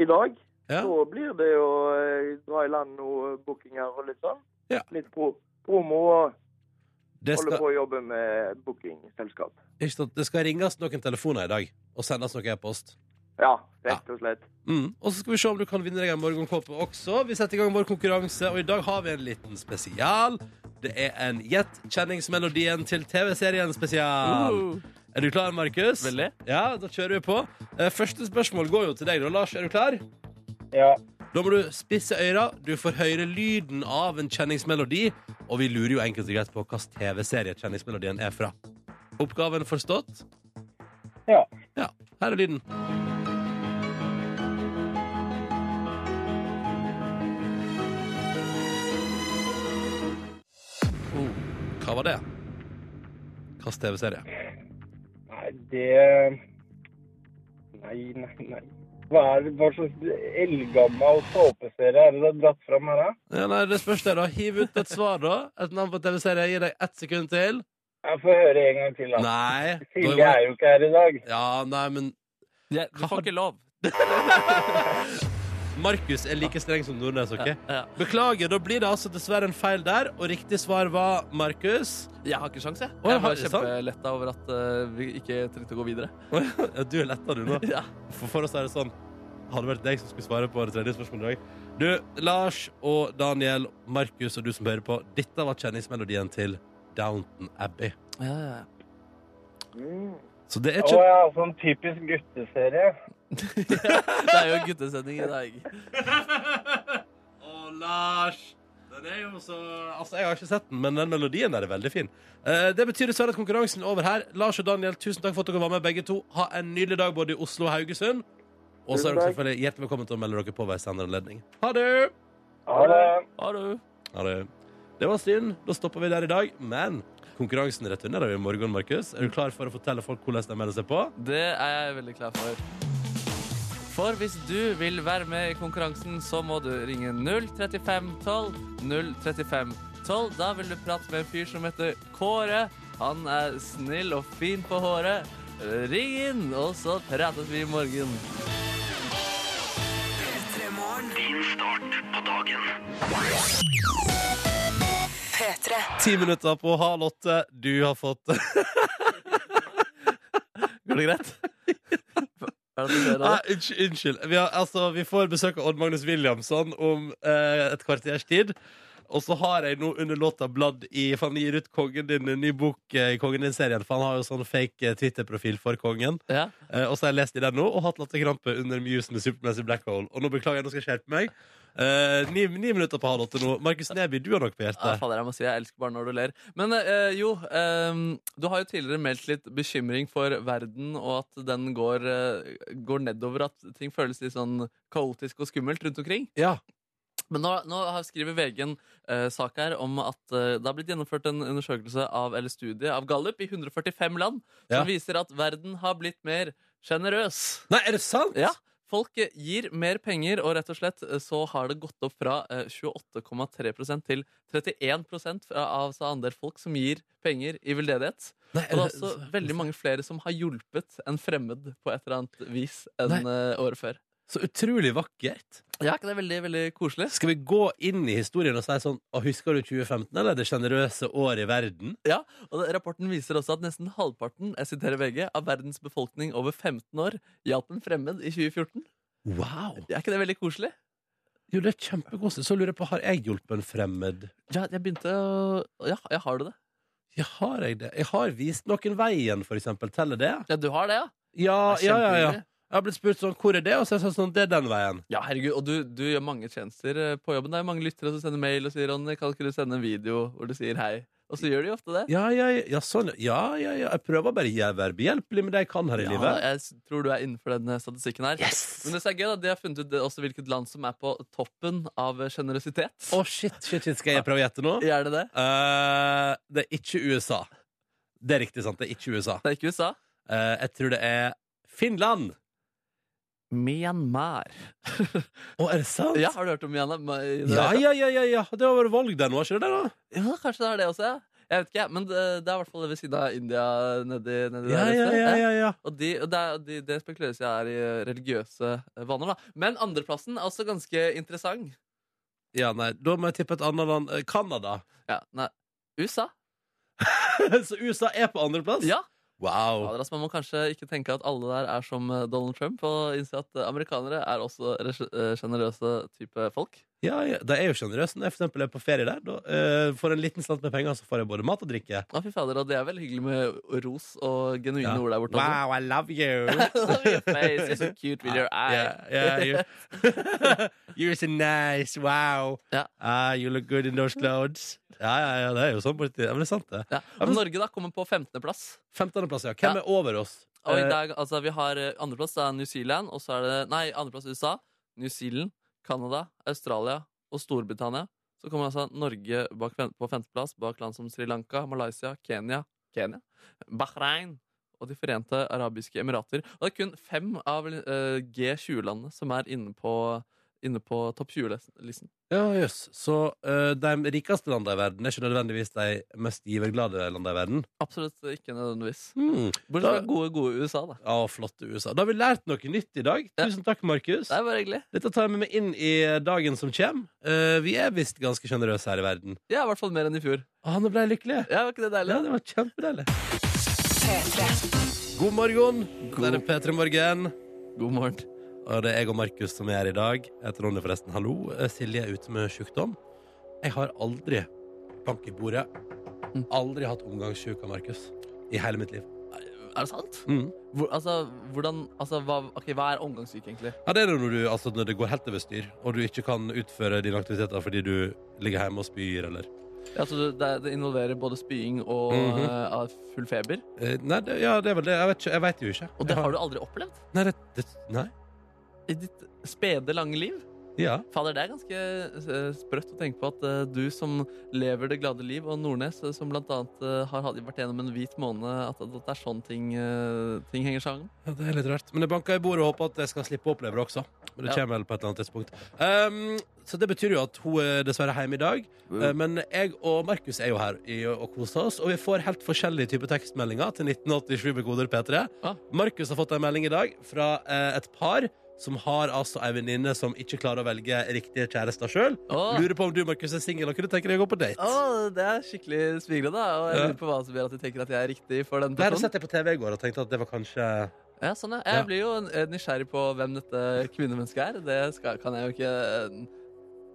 S7: I dag
S2: Ja.
S7: så blir det å eh, dra i land noen bookinger og litt sånn.
S2: Ja.
S7: Litt pro promo og
S2: Det
S7: holde
S2: skal,
S7: på å jobbe med bookingselskap.
S2: ikke sant? det skal ringes noen telefoner i dag og sendes noe e-post.
S7: Ja, rett og slett.
S2: Mm. Og så skal vi se om du kan vinne deg en morgenkåpe også. Vi setter i gang vår konkurranse, og i dag har vi en liten spesial. Det er en gjettkjenningsmelodien til TV-serien spesial.
S3: Uh,
S2: Er du klar, Markus?
S3: Veldig.
S2: Ja, da kjører vi på. Eh, Første spørsmål går jo til deg, da. Lars, er du klar?
S6: Ja.
S2: Da må du spisse øra. Du får høre lyden av en kjenningsmelodi, og vi lurer jo enkelt og greit på hvilken TV-serie kjenningsmelodien er fra. Oppgaven forstått?
S6: Ja.
S2: Ja. Her er lyden. Oh, hva var det? Hvilken TV-serie?
S6: Nei, det Nei, nei, nei. Hva, er, hva slags eldgammel såpeserie er det du har dratt fram her, da?
S2: Ja, nei, det spørs det, da. Hiv ut et svar, da. Et navn på TV-serie. Gi deg ett sekund til.
S6: Jeg får høre en gang til, da.
S2: Nei. da
S6: Silje
S2: var-
S6: er jo ikke her i dag.
S2: Ja, nei, men
S3: jeg- du får ikke lov.
S2: Markus er like streng som Nordnes, OK?
S3: Ja.
S2: Beklager, da blir det altså dessverre en feil der, og riktig svar var Markus.
S3: Jeg har ikke sjans, jeg.
S2: Å, har
S3: Jeg var
S2: du sant?
S3: kjempeletta over at eh, vi ikke trengte å gå videre.
S2: Ja, du er letta, du nå.
S3: (laughs) Ja.
S2: For, for oss er det sånn Hadde det vært deg som skulle svare på det tredje spørsmålet i dag. Du, Lars og Daniel, Markus og du som hører på, dette var kjenningsmelodien til Downton Abbey.
S3: Ja, ja, ja.
S2: Så det er
S6: Å
S2: ikke
S6: ja, sånn typisk gutteserie.
S3: Det er jo guttesending i dag.
S2: Å, Lars! Den er jo så Altså, jeg har ikke sett den, men den melodien der er veldig fin. Eh, det betyr dessverre at konkurransen er over her. Lars og Daniel, tusen takk for at dere var med, begge to. Ha en nydelig dag både i Oslo og Haugesund. Og så er
S7: Tusen
S2: dere
S7: takk.
S2: selvfølgelig hjertelig velkommen til å melde dere på ved senere anledning. Ha det!
S6: Ha det.
S3: Har du?
S2: Ha det. Det var synd. Da stopper vi der i dag. Men konkurransen returnerer jo i morgen, Markus. Er du klar for å fortelle folk hvordan de melder seg på?
S3: Det er jeg veldig klar for. For hvis du vil være med i konkurransen, så må du ringe 03512 03512. Da vil du prate med en fyr som heter Kåre. Han er snill og fin på håret. Ring inn, og så prates vi i morgen.
S4: P3 Morgen.
S1: Din start på dagen.
S4: P3.
S2: Ti minutter på halv åtte. Du har fått (laughs)
S3: Går det greit? Hva er det som skjer da?
S2: Nei, unnskyld. unnskyld. Vi, har, altså, vi får besøk av Odd Magnus Williamson om eh, et kvarters tid. Og så har jeg nå under låta bladd i For han gir ut kongen din en ny bok eh, i Kongen din-serien. For han har jo sånn fake eh, Twitter-profil for kongen.
S3: Ja.
S2: Eh, og så har jeg lest i den nå og hatt latterkrampe under Muse med Supermassive Black Hole. Og nå beklager jeg, nå skal jeg skjerpe meg. Eh, ni, ni minutter på halv åtte nå. Markus Neby, du har nok på
S3: Ja,
S2: hjertet.
S3: fader, jeg må si jeg elsker bare når du ler. Men eh, jo, ehm, du har jo tidligere meldt litt bekymring for verden, og at den går, eh, går nedover. At ting føles litt sånn kaotisk og skummelt rundt omkring.
S2: Ja.
S3: Men nå, nå har- skriver VG en eh, sak her om at eh, det har blitt gjennomført en undersøkelse av, eller studie av Gallup i 145 land,
S2: Ja.
S3: som viser at verden har blitt mer sjenerøs.
S2: Nei, er det sant?
S3: Ja. Folk eh, gir mer penger, og rett og slett eh, så har det gått opp fra eh, 28,3 til 31 fra- av sa andel folk som gir penger i veldedighet.
S2: Nei,
S3: Og det er også veldig mange flere som har hjulpet en fremmed på et eller annet vis enn eh, året før.
S2: Så utrolig vakkert.
S3: Ja, ikke det er veldig, veldig koselig?
S2: Skal vi gå inn i historien og si sånn «Å, Husker du 2015, eller det sjenerøse året i verden?
S3: Og det- Rapporten viser også at nesten halvparten jeg siterer VG, av verdens befolkning over 15 år hjalp en fremmed i 2014.
S2: Wow!
S3: Er ikke det veldig koselig?
S2: Jo, det er kjempekoselig. Så lurer jeg på, har jeg hjulpet en fremmed?
S3: Ja, jeg begynte å Ja, jeg har du det?
S2: Ja, har jeg det? Jeg har vist noen veien, for eksempel. Teller det?
S3: Ja, du har det, ja?
S2: Ja, ja, ja. ja.
S3: Kjempehyggelig.
S2: Jeg har blitt spurt sånn, hvor er det? Og så har jeg sagt sånn, det er den veien.
S3: Ja, herregud, og du, du gjør mange tjenester eh, på jobben. Det er mange lyttere som sender mail og sier Ronny, kan ikke du sende en video hvor du sier hei? Og så gjør de jo ofte det.
S2: Ja, ja, ja, ja, sånn. ja, ja, ja. Jeg prøver bare å gjøre- være behjelpelig med det jeg kan her i
S3: Ja,
S2: livet.
S3: jeg s- tror du er innenfor den eh, statistikken her. Men det som er gøy, da, de har funnet ut det også hvilket land som er på toppen av eh, generøsitet.
S2: Å, shit, shit, shit, skal jeg prøve å gjette nå?
S3: Er det det?
S2: Eh, det er ikke USA. Det er riktig sant, det er ikke USA.
S3: Det er ikke USA.
S2: Eh, jeg tror det er Finland.
S3: Myanmar.
S2: Å, er det sant?
S3: Ja, har du hørt om Myanmar?
S2: Ja, ja, ja, ja, ja. Det var vel valg der nå, er ikke det det? da?
S3: Ja, kanskje det er det også, ja. Jeg vet ikke, jeg, men det, det er i hvert fall ved siden av India nedi, nedi
S2: Ja,
S3: der.
S2: ja,
S3: vet du.
S2: ja, ja, ja.
S3: Og de, og det, er- og de, det spekuleres jeg er i eh, religiøse eh, vaner, da. Men andreplassen er også ganske interessant.
S2: Ja, nei, da må jeg tippe et annet land. Eh, Canada. (laughs)
S3: Ja, nei, USA.
S2: Så USA er på andreplass?
S3: Ja.
S2: Wow.
S3: Fader, ass, man må kanskje ikke tenke at alle der er som eh, Donald Trump, og innse at eh, amerikanere er også res- eh, sjenerøse type folk.
S2: Ja, ja. De er jo sjenerøse. Når jeg for eksempel er på ferie der, da, eh, for en liten slant med penger, så får jeg både mat og drikke.
S3: Å, fy fader, og det er vel hyggelig med ros og genuine
S2: Ja.
S3: ord der borte. (laughs) også.
S2: Wow, I love you. (laughs)
S3: Love your face, you're so cute with your eye.
S2: Yeah, yeah, you, (laughs) you're so nice. Wow.
S3: Ja.
S2: Ah, you look good in those clothes. Ja, ja, ja, det er jo sånn. borti- Ja, men det er sant, det.
S3: Ja. Og Norge da kommer på 15. plass.
S2: 15. plass, ja. Hvem
S3: Ja.
S2: er over oss?
S3: Og i
S2: Eh,
S3: dag, altså, vi har eh, andreplass er New Zealand, og så er det Nei, andreplass er USA, New Zealand, Canada, Australia og Storbritannia. Så kommer altså Norge bak, fem- på femteplass, bak land som Sri Lanka, Malaysia, Kenya, Kenya Bahrain og De forente arabiske emirater. Og det er kun fem av eh, G20-landene som er inne på, inne på topp 20-listen.
S2: Ja, jøss. Så eh, de rikeste landene i verden er ikke nødvendigvis de mest giverglade landene i verden.
S3: Absolutt ikke nødvendigvis.
S2: Hmm.
S3: Bortsett fra gode, gode USA, da.
S2: Ja, flotte USA. Da har vi lært noe nytt i dag.
S3: Ja.
S2: Tusen takk, Markus.
S3: Det er bare hyggelig.
S2: Dette tar jeg med meg inn i dagen som kommer. Eh, vi er visst ganske sjenerøse her i verden.
S3: Ja, i hvert fall mer enn i fjor.
S2: Å, nå ble jeg lykkelig.
S3: Ja, var ikke det deilig?
S2: Ja, det var kjempedeilig. God morgen. Det er P3 Morgen.
S3: God morgen.
S2: Og det er jeg og Markus som er her i dag. Jeg heter Ronny, forresten. Hallo. Eh, Silje er ute med sykdom. Jeg har aldri bank i bordet.
S3: Mm.
S2: Aldri hatt omgangssjuk av Markus i hele mitt liv.
S3: Er det sant?
S2: Mm.
S3: Hvor, altså, hvordan, altså, hva, ok, hva er omgangssyke, egentlig?
S2: Ja, det er det når, du, altså, når det går helt over styr, og du ikke kan utføre dine aktiviteter fordi du ligger hjemme og spyr, eller
S3: Altså, det, det involverer både spying og
S2: Mhm.
S3: eh, av full feber.
S2: Eh, Nei, det, ja, det er vel det. Jeg vet, ikke, jeg vet jo ikke.
S3: Og det har du aldri opplevd
S2: Nei, det, det, nei.
S3: i ditt spede, lange liv.
S2: Ja.
S3: Fader, det er ganske eh, sprøtt å tenke på at eh, du som lever det glade liv, og Nordnes, eh, som blant annet eh, har hatt- vært gjennom en hvit måned, at, at det er sånn ting, eh, ting henger sammen.
S2: ja, det er litt rart. Men jeg banker i bordet og håper at jeg skal slippe å oppleve det også. Men det
S3: Ja.
S2: kommer vel på et eller annet tidspunkt. Ehm, så det betyr jo at hun er dessverre hjemme i dag.
S3: Mm.
S2: Eh, Men jeg og Markus er jo her i, og koser oss, og vi får helt forskjellige typer tekstmeldinger til 1987 med koder P3.
S3: Ah.
S2: Markus har fått en melding i dag fra eh, et par som har altså ei venninne som ikke klarer å velge riktige kjærester sjøl.
S3: Åh,
S2: Lurer på om du, Markus, er singel og kunne tenke deg å gå på date.
S3: åh, det er skikkelig smigrende, da. Og jeg
S2: Ja.
S3: lurer på hva som gjør at de tenker at jeg er riktig for den
S2: Det her
S3: personen.
S2: satt jeg på TV i går og tenkte at det var kanskje
S3: Ja, sånn ja.
S2: Ja.
S3: Jeg blir jo eh, nysgjerrig på hvem dette kvinnemennesket er. Det skal, kan jeg jo ikke eh,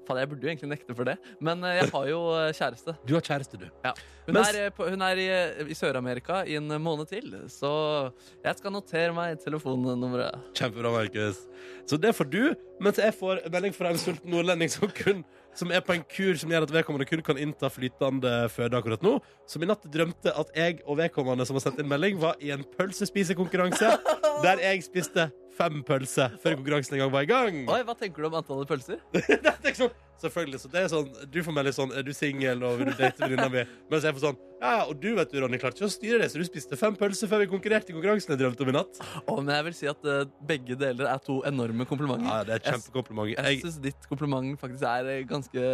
S3: Faen, jeg burde jo egentlig nekte for det, men eh, jeg har jo eh, kjæreste.
S2: Du har kjæreste, du.
S3: Hun
S2: Mens-
S3: er, eh, på- hun er i, i Sør-Amerika i en eh, måned til, så jeg skal notere meg telefonnummeret.
S2: Kjempebra, Markus. Så det får du, mens jeg får melding fra en sulten nordlending som, kun, som er på en kur som gjør at vedkommende kun kan innta flytende føde akkurat nå. Som i natt drømte at jeg og vedkommende som har sendt inn melding, var i en pølsespisekonkurranse der jeg spiste fem pølser før konkurransen engang var i gang.
S3: Oi, hva tenker du om antallet pølser?
S2: Det er ikke sånn, selvfølgelig. Så det er sånn, du får melding sånn Er du singel, og vil du date venninna mi? Mens jeg får sånn Ja, ja, og du vet du, Ronny, klarte ikke å styre det, så du spiste fem pølser før vi konkurrerte i konkurransen jeg drømte om i natt.
S3: Å, men jeg vil si at eh, begge deler er to enorme komplimenter.
S2: Ja, det er et kjempekompliment.
S3: Jeg
S2: Jeg,
S3: syns ditt kompliment faktisk er eh, ganske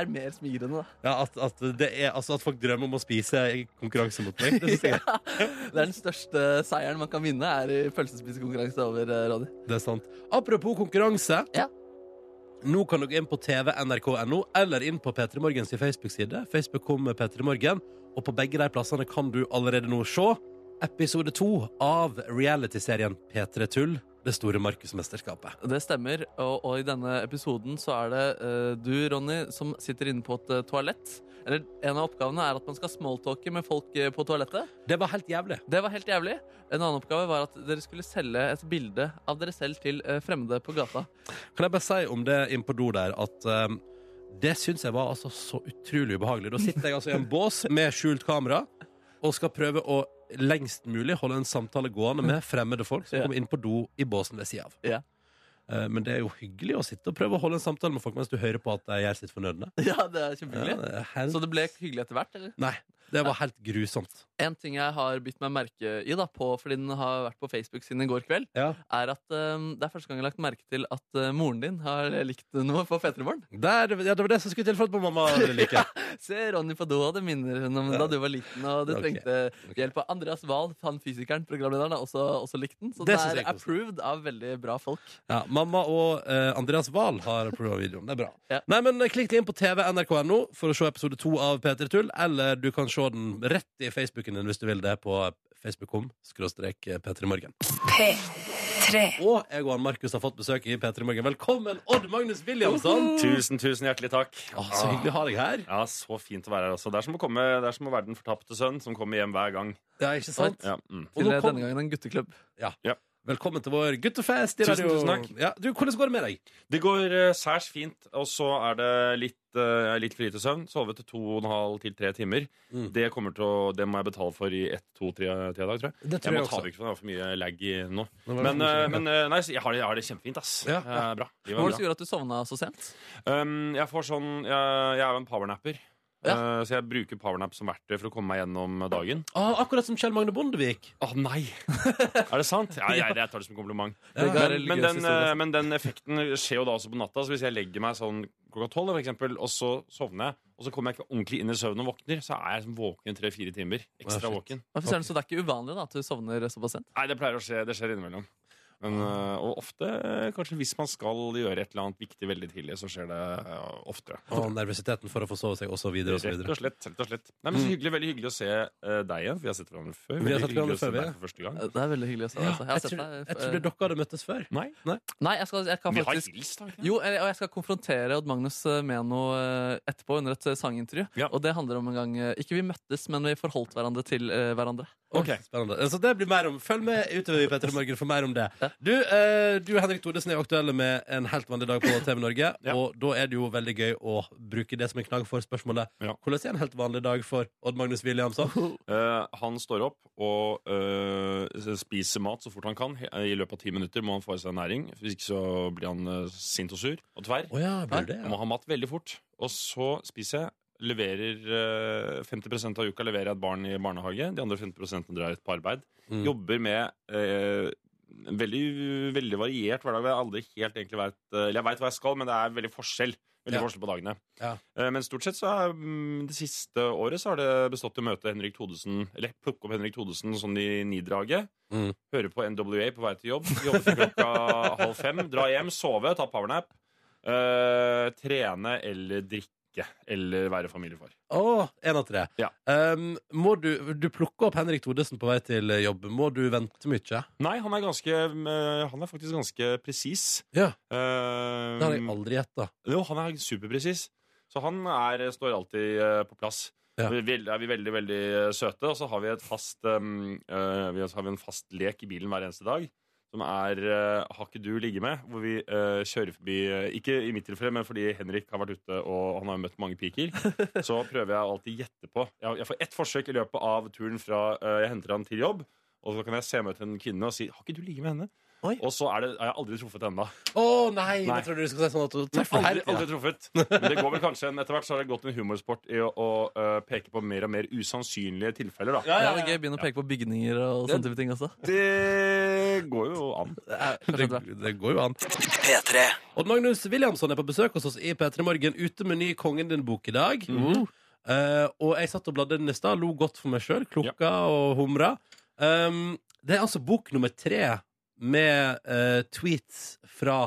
S3: Er mer smigrende, da.
S2: ja, at, at, det er, altså, at folk drømmer om å spise i konkurranse mot meg. Det, synes jeg,
S3: Det er den største seieren man kan vinne, er i pølsespisekonkurranse over eh, radio.
S2: det er sant. Apropos konkurranse.
S3: Ja.
S2: Nå kan dere inn på TV nrk.no eller inn på P3 Morgens i Facebook-side. Facebook kom med P3 Morgen, og på begge de plassene kan du allerede nå se episode to av realityserien P3 Tull, det store Markusmesterskapet.
S3: Det stemmer, og, og i denne episoden så er det eh, du, Ronny, som sitter inne på et eh, toalett. Eller en av oppgavene er at man skal smalltalke med folk eh, på toalettet.
S2: Det var helt jævlig.
S3: Det var helt jævlig. En annen oppgave var at dere skulle selge et bilde av dere selv til eh, fremmede på gata.
S2: Kan jeg bare si om det inn på do der at ehm, det syns jeg var altså så utrolig ubehagelig. Da sitter jeg altså i en bås med skjult kamera og skal prøve å lengst mulig holde en samtale gående med fremmede folk som
S3: Ja.
S2: kommer inn på do i båsen ved sida av.
S3: Ja.
S2: Eh, Men det er jo hyggelig å sitte og prøve å holde en samtale med folk mens du hører på at de gjør sitt fornødne.
S3: (laughs) Ja, det er kjempehyggelig.
S2: Ja, det er helt-
S3: Så det ble hyggelig etter hvert, eller?
S2: Nei, det var helt grusomt.
S3: En ting jeg har bitt meg merke i, da, på, fordi den har vært på Facebook siden i går kveld,
S2: Ja.
S3: er at eh, det er første gang jeg har lagt merke til at eh, moren din har likt noe på Fetremorgen.
S2: Der, ja, det var det som skulle til for at mamma ville like.
S3: Se Ronny på do, og det minner hun om da du var liten og du
S2: Ok,
S3: trengte hjelp av Andreas Wahl, han fysikeren, programlederen, har også, også likt den. Så
S2: Det
S3: det,
S2: synes jeg
S3: er
S2: er koselig.
S3: approved av veldig bra folk.
S2: Ja, mamma og eh, Andreas Wahl har prøvd videoen. Det er bra.
S3: Ja.
S2: Nei, men eh, Klikk deg inn på TV nrk.no for å se episode to av P3 Tull. Eller du kan se den rett i Facebooken din hvis du vil det, på facebook.com skråstrek P3 Morgen.
S4: P3.
S2: Og jeg og han Markus har fått besøk i P3 Morgen. Velkommen, Odd Magnus Williamson!
S8: Tusen, tusen hjertelig takk.
S2: Å, så hyggelig å ha deg her.
S8: Ja, så fint å være her også. Det er som å, komme, det er som å være den fortapte sønn som kommer hjem hver gang.
S2: Ja, ikke sant?
S8: Ja, mm.
S2: Og
S3: Til
S2: nå
S3: eh,
S2: kom-
S3: denne gangen en gutteklubb.
S2: Velkommen til vår guttefest i
S8: Tusen,
S2: radio.
S8: tusen takk.
S2: Ja, du, hvordan går det med deg?
S8: Det går eh, særs fint, og så er det litt, eh, litt for lite søvn. Sove til to og en halv til tre timer.
S2: Mm.
S8: Det, kommer til å, det må jeg betale for i ett, to, tre, tre dager, tror jeg.
S2: Det
S8: Jeg må ta vekk for det er for mye lag i nå.
S2: Nå var det
S8: Men,
S2: for mye
S8: eh,
S2: lag.
S8: men eh, nei, så jeg, har det, jeg har det kjempefint, ass.
S2: Ja,
S8: Eh,
S2: ja.
S8: Bra. Livet
S3: Hva var
S8: er bra.
S3: det som gjorde at du sovna så sent?
S8: Um, jeg får sånn Jeg, jeg er jo en powernapper.
S3: Ja.
S8: Eh, Så jeg bruker powernap som verktøy for å komme meg gjennom dagen.
S2: Å, Ah, akkurat som Kjell Magne Bondevik.
S8: Å nei! (laughs) er det sant? Ja, jeg, jeg tar det som kompliment.
S3: Det ga
S8: Men,
S3: religiøs
S8: men, den,
S3: historie.
S8: eh, men den effekten skjer jo da også på natta. Så hvis jeg legger meg sånn klokka tolv, for eksempel, og så sovner jeg, og så kommer jeg ikke ordentlig inn i søvnen og våkner, så er jeg sånn våken i tre-fire timer. Ekstra
S2: Ja, shit.
S8: våken.
S3: Å, fy søren, Så det er ikke uvanlig da, at du sovner såpass sent?
S8: Nei, det pleier å skje. Det skjer innimellom. Men, eh, og ofte, eh, kanskje hvis man skal gjøre et eller annet viktig veldig tidlig, så skjer det eh, oftere.
S2: Og nervøsiteten for å forsove seg, og så videre og så
S8: Rett
S2: videre. Mm.
S8: og slett. rett og slett Nei, men så hyggelig, Veldig hyggelig å se eh, deg igjen. Vi har sett hverandre før.
S2: Vi har
S8: Veldig
S2: sett
S8: hyggelig
S2: hverandre
S8: å se
S2: før,
S8: deg
S2: ja.
S8: for første gang.
S3: Det er veldig hyggelig å se deg. altså. Jeg har
S2: Jeg
S3: sett
S2: tror,
S3: deg.
S2: jeg tror dere hadde møttes før.
S8: Nei.
S3: Nei, jeg skal, jeg kan
S8: Vi har
S3: faktisk
S8: hilst, har vi ikke det?
S3: Jo, eh, og jeg skal konfrontere Odd Magnus eh, med noe eh, etterpå under et eh, sangintervju.
S8: Ja.
S3: Og det handler om en gang eh, Ikke vi møttes, men vi forholdt hverandre til eh, hverandre.
S2: Ok, spennende Så det blir mer om Følg med utover i Petter i Morgen for mer om det. Du, eh, du Henrik Thodesen er jo aktuelle med en helt vanlig dag på
S8: (laughs)
S2: TV Norge.
S8: Ja.
S2: Og da er det jo veldig gøy å bruke det som en knagg for spørsmålet
S8: Ja.
S2: Hvordan er en helt vanlig dag for Odd Magnus Williamson?
S8: Eh, han står opp og eh, spiser mat så fort han kan. He- I løpet av ti minutter må han få i seg næring. Hvis ikke så blir han eh, sint og sur og tverr.
S2: Å ja, blir det
S8: Han må ha mat veldig fort. Og så spiser jeg. Leverer eh, 50 av uka leverer jeg et barn i barnehage. De andre 50 drar jeg ut på arbeid.
S2: Mm.
S8: Jobber med eh, en veldig, veldig variert hverdag. Jeg, aldri helt egentlig vet, eller jeg vet hva jeg skal, men det er veldig forskjell. Veldig
S2: Ja.
S8: forskjell på dagene.
S2: Ja.
S8: Eh, Men stort sett så er mm, det siste året så har det bestått i å møte Henrik Thodesen, eller plukke opp Henrik Thodesen sånn i nidraget.
S2: Mm.
S8: Høre på NWA på vei til jobb. Jobbe til
S2: (laughs)
S8: klokka halv fem. Dra hjem, sove, ta powernap. eh, trene eller drikke. Eller være familiefar.
S2: Å, en av tre.
S8: Ja.
S2: Um, må du, du plukker opp Henrik Thodesen på vei til eh, jobb. Må du vente mye?
S8: Nei, han er, ganske, eh, han er faktisk ganske presis.
S2: Ja.
S8: Eh,
S2: Det har jeg aldri gjetta.
S8: Jo, han er superpresis. Så han er, står alltid eh, på plass.
S2: Ja.
S8: Vi er veld- er vi veldig veldig eh, søte, og så har vi, et fast, um, eh, vi har- så har vi en fast lek i bilen hver eneste dag. Som er eh, Har ikke du ligge med? Hvor vi eh, kjører forbi eh, Ikke i mitt tilfelle, men fordi Henrik har vært ute og han har møtt
S2: (laughs)
S8: mange piker. Så prøver jeg alltid gjette på. Jeg, jeg får ett forsøk i løpet av turen fra eh, jeg henter han til jobb. Og så kan jeg se meg til en kvinne og si 'Har ikke du ligget med henne?'
S2: Oi.
S8: Og så er det, er jeg aldri truffet ennå.
S2: Å nei!
S8: Nei.
S2: Jeg trodde du skulle si sånn at du treffer
S8: Aldri,
S2: hele
S8: aldri
S2: tida.
S8: truffet. Men det går vel kanskje en, etter hvert så har det gått en humorsport i å, å eh, peke på mer og mer usannsynlige tilfeller, da.
S3: Ja, det er gøy å begynne å peke på bygninger og sånne type ting også.
S8: Det går jo an.
S2: Det, det går jo an. Odd Magnus Williamson er på besøk hos oss i P3 Morgen ute med ny Kongen din-bok i dag. Eh, og jeg satt og bladde den i stad, lo godt for meg sjøl, klokka og humra. Um, det er altså bok nummer tre med eh, tweets fra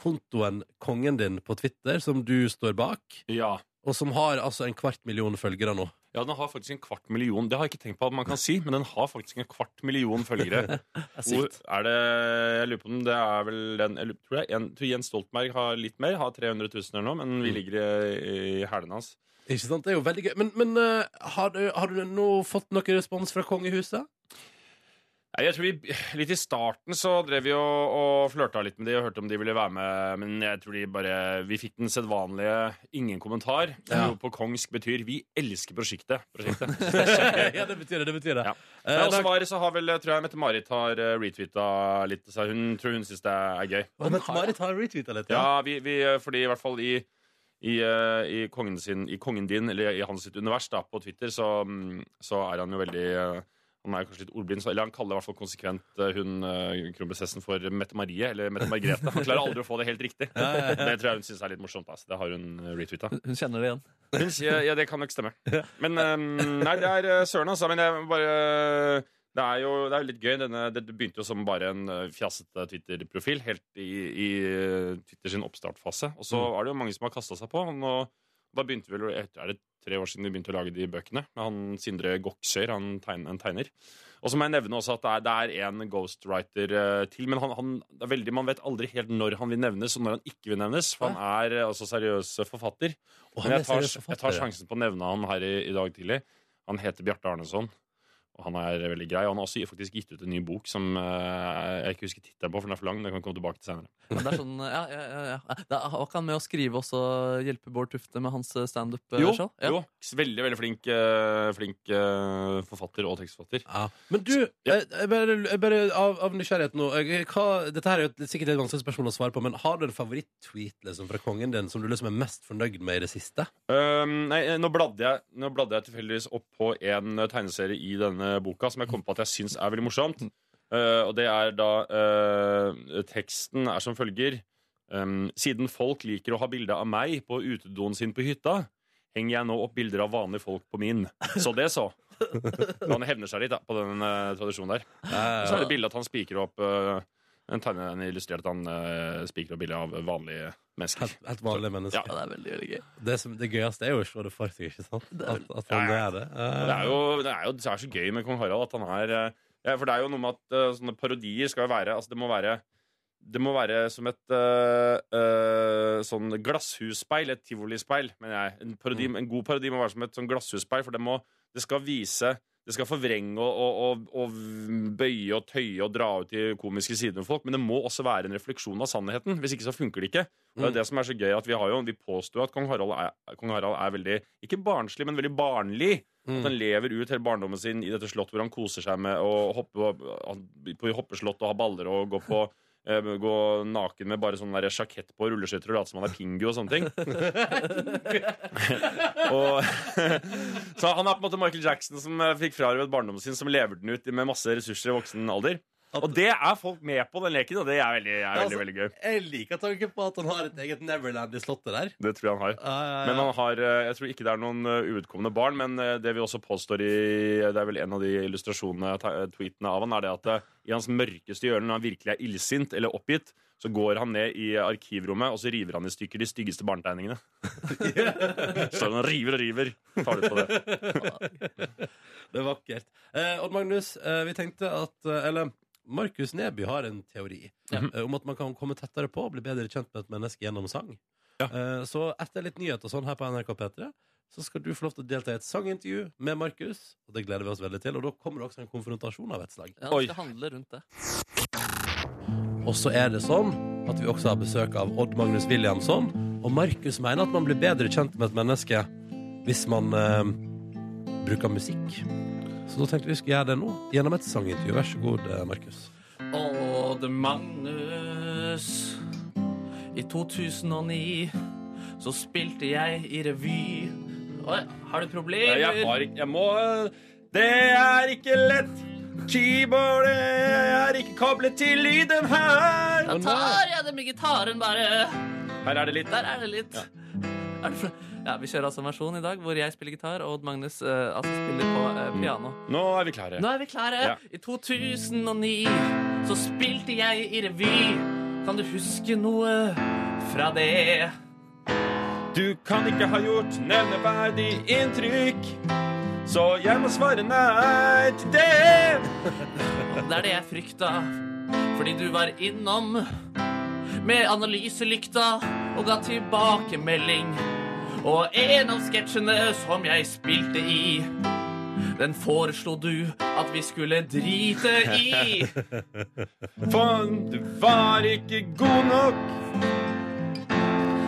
S2: kontoen Kongen din på Twitter, som du står bak,
S8: Ja.
S2: og som har altså en kvart million følgere nå.
S8: ja, den har faktisk en kvart million. Det har jeg ikke tenkt på at man kan si, men den har faktisk en kvart million følgere. Hvor er det Jeg lurer på om det er vel den jeg lurer, tror, jeg, en, tror Jens Stoltenberg har litt mer, har 300 000 eller noe, men vi ligger i, i hælene hans.
S2: Ikke sant? Det er jo veldig gøy. Men, men eh, har, du, har du nå fått noe respons fra kongehuset?
S8: Nei, Jeg tror vi, Litt i starten så drev vi og, og flørta litt med de og hørte om de ville være med, men jeg tror de bare Vi fikk den sedvanlige 'ingen kommentar', som
S2: Ja.
S8: jo på kongsk betyr 'vi elsker prosjektet'. prosjektet.
S2: ja, det betyr det. det betyr det.
S8: Ja.
S2: Eh,
S8: Men
S2: da-
S8: også var, så har vel, tror jeg Mette-Marit har eh, retweeta litt. Så hun tror hun syns det er gøy.
S2: Å, men Marit har retweetet litt.
S8: Ja, vi, vi, eh, fordi i hvert fall i i, eh, i, kongen sin, I kongen din, eller i hans sitt univers, da, på Twitter, så, mm, så er han jo veldig eh, Han er jo kanskje litt ordblind, så, eller han kaller i hvert fall konsekvent eh, hun eh, kronprinsessen for Mette-Marie, eller Mette-Margrethe. Han klarer aldri å få det helt riktig. Det tror jeg hun syns er litt morsomt. Altså. Det har hun retweeta.
S3: Hun kjenner det igjen.
S8: Hun sier Ja, det kan nok stemme. Men ehm, Nei, det er eh, søren, altså. Men jeg bare eh, Det er jo det er jo litt gøy. Denne, det begynte jo som bare en eh, fjasete Twitter-profil helt i, i eh, Twitter sin oppstartfase. Og så var det jo mange som har kasta seg på. Og nå, da begynte vel Er det tre år siden de begynte å lage de bøkene? Med han Sindre Goksøyr, han tegn, en tegner. Og så må jeg nevne også at det er, det er en ghostwriter eh, til. Men han, han, det er veldig, man vet aldri helt når han vil nevnes, og når han ikke vil nevnes. For han er eh, altså seriøs forfatter.
S2: Og han
S8: Men
S2: leser
S8: jeg tar,
S2: jo
S8: jeg tar
S2: forfattere.
S8: sjansen på å nevne han her i, i dag tidlig. Han heter Bjarte Arneson. Og han er veldig grei. Og han har også faktisk gitt ut en ny bok som eh, jeg ikke husker tittelen på, for den er for lang. men Det kan vi komme tilbake til senere.
S3: Men det er sånn, ja, ja, ja, ja. Da var ikke han med å skrive også hjelpe Bård Tufte med hans eh,
S8: Jo,
S3: standup-show? Ja.
S8: jo. Veldig, veldig flink, eh, flink eh, forfatter og tekstforfatter.
S2: Ja. Men du,
S8: Ja.
S2: jeg, jeg bare, jeg bare av, av nysgjerrighet nå eh, jeg, hva, Dette her er jo et- sikkert et vanskelig spørsmål å svare på, men har du en favoritt-tweet liksom, fra kongen din som du liksom er mest fornøyd med i det siste?
S8: Um, nei, nå bladde jeg, nå bladde jeg tilfeldigvis opp på en eh, tegneserie i denne boka som jeg kom på at jeg syns er veldig morsomt. Eh, og det er da eh, Teksten er som følger. Um, siden folk liker å ha bilde av meg på utedoen sin på hytta, henger jeg nå opp bilder av vanlige folk på min. Så det, så. Han hevner seg litt da, på den eh, tradisjonen der. Og så er det bildet at han spiker opp eh, En tegne en illustrerer at han eh, spiker opp bilde av vanlige mennesker.
S2: Helt, helt vanlige mennesker.
S3: Ja, det er veldig, veldig gøy.
S2: Det, som, det gøyeste er jo å se det for seg, ikke sant? At, at han
S8: Ja,
S2: er det. Eh,
S8: Det er jo, det er jo det er så gøy med kong Harald at han er eh, ja, For det er jo noe med at eh, sånne parodier skal jo være Altså, det må være det må være som et eh, eh, sånn glasshusspeil, et tivolispeil, mener jeg. En, parodi, en god parodi må være som et sånn glasshusspeil, for det, må, det skal vise Det skal forvrenge og, og, og, og bøye og tøye og dra ut de komiske sidene ved folk, men det må også være en refleksjon av sannheten. Hvis ikke så funker det ikke. Og det er det som er så gøy, at vi har jo Vi påstår at kong Harald er, kong Harald er veldig Ikke barnslig, men veldig barnlig. At
S2: mm.
S8: han lever ut hele barndommen sin i dette slottet hvor han koser seg med å hoppe han- på hoppeslott og ha baller og gå på eh, Gå naken med bare sånn der sjakett på og rulleskøyter og late som han er pingu og sånne ting. og, (laughs) så han er på en måte Michael Jackson som eh, fikk frarøvet barndommen sin, som lever den ut med masse ressurser i voksen alder. Og det er folk med på, den leken, og det er veldig, er veldig, veldig gøy.
S2: Jeg liker tanken på at han har et eget Neverland i slottet der. Eh,
S8: Det tror jeg han har. Men han har, eh, jeg tror ikke det er noen eh, uvedkommende barn, men eh, det vi også påstår i Det er vel en av de illustrasjonene, ta- eh, tweetene av han, er det at eh, i hans mørkeste hjørne, når han virkelig er illsint eller oppgitt, så går han ned i arkivrommet og så river han i stykker de styggeste barnetegningene. (laughs) så han og river og river. Tar ut på det.
S2: Det er vakkert. Eh, Odd Magnus, eh, vi tenkte at eh, Eller Markus Neby har en teori eh, om at man kan komme tettere på og bli bedre kjent med et menneske gjennom sang. Eh, så etter litt nyhet og sånn her på NRK P3, så skal du få lov til å delta i et sangintervju med Markus. Og det gleder vi oss veldig til. Og da kommer det også en konfrontasjon av et slag.
S3: Ja,
S8: Oi.
S3: det skal handle rundt det.
S2: Og så er det sånn at vi også har besøk av Odd Magnus Williamson. Og Markus mener at man blir bedre kjent med et menneske hvis man eh, bruker musikk. Så da tenkte vi skulle gjøre det nå, gjennom et sangintervju. Vær så god, eh, Markus.
S3: Odd Magnus. I 2009 så spilte jeg i revy. Oi, har du problemer?
S8: (laughs) Jeg har ikke Jeg må eh, Det er ikke lett. Keyboardet er ikke koblet til lyden her.
S3: Da tar jeg det med gitaren, bare.
S8: Her er det litt.
S3: Der er det litt. Er det for... Ja, Vi kjører altså en versjon i dag hvor jeg spiller gitar, og Odd Magnus eh, altså spiller på eh, piano.
S8: Nå er vi klare.
S3: Nå er vi klare.
S8: Ja.
S3: I 2009 så spilte jeg i revy. Kan du huske noe fra det?
S8: Du kan ikke ha gjort nevneverdig inntrykk, så jeg må svare nei til det.
S3: Det er det jeg frykta, fordi du var innom med analyselykta og ga tilbakemelding. Og en av sketsjene som jeg spilte i, den foreslo du at vi skulle drite
S8: (laughs)
S3: i.
S8: Faen, du var ikke god nok.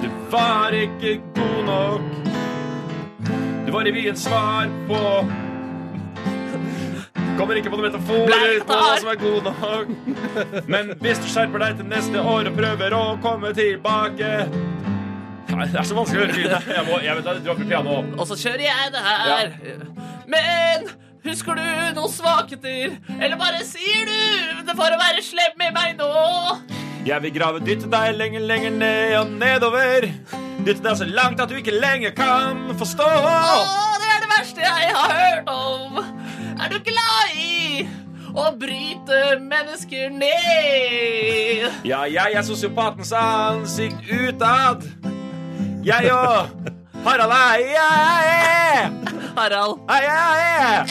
S8: Du var ikke god nok. Du var evig et svar på Kommer ikke på noen metaforer på hva som er god nok. Men hvis du skjerper deg til neste år og prøver å komme tilbake Nei, Det er så vanskelig å høre lyden. Jeg må, jeg vet, jeg dropper piano.
S3: Og så kjører jeg det her. Men husker du noen svakheter? Eller bare sier du det for å være slem med meg nå?
S8: Jeg vil grave dytte deg lenger, lenger ned og nedover. Dytte deg så langt at du ikke lenger kan forstå.
S3: Å, det er det verste jeg har hørt om. Er du glad i å bryte mennesker ned?
S8: Ja, jeg er sosiopatens ansikt utad. Jeg og Harald er jeg.
S3: Harald.
S8: Er jeg.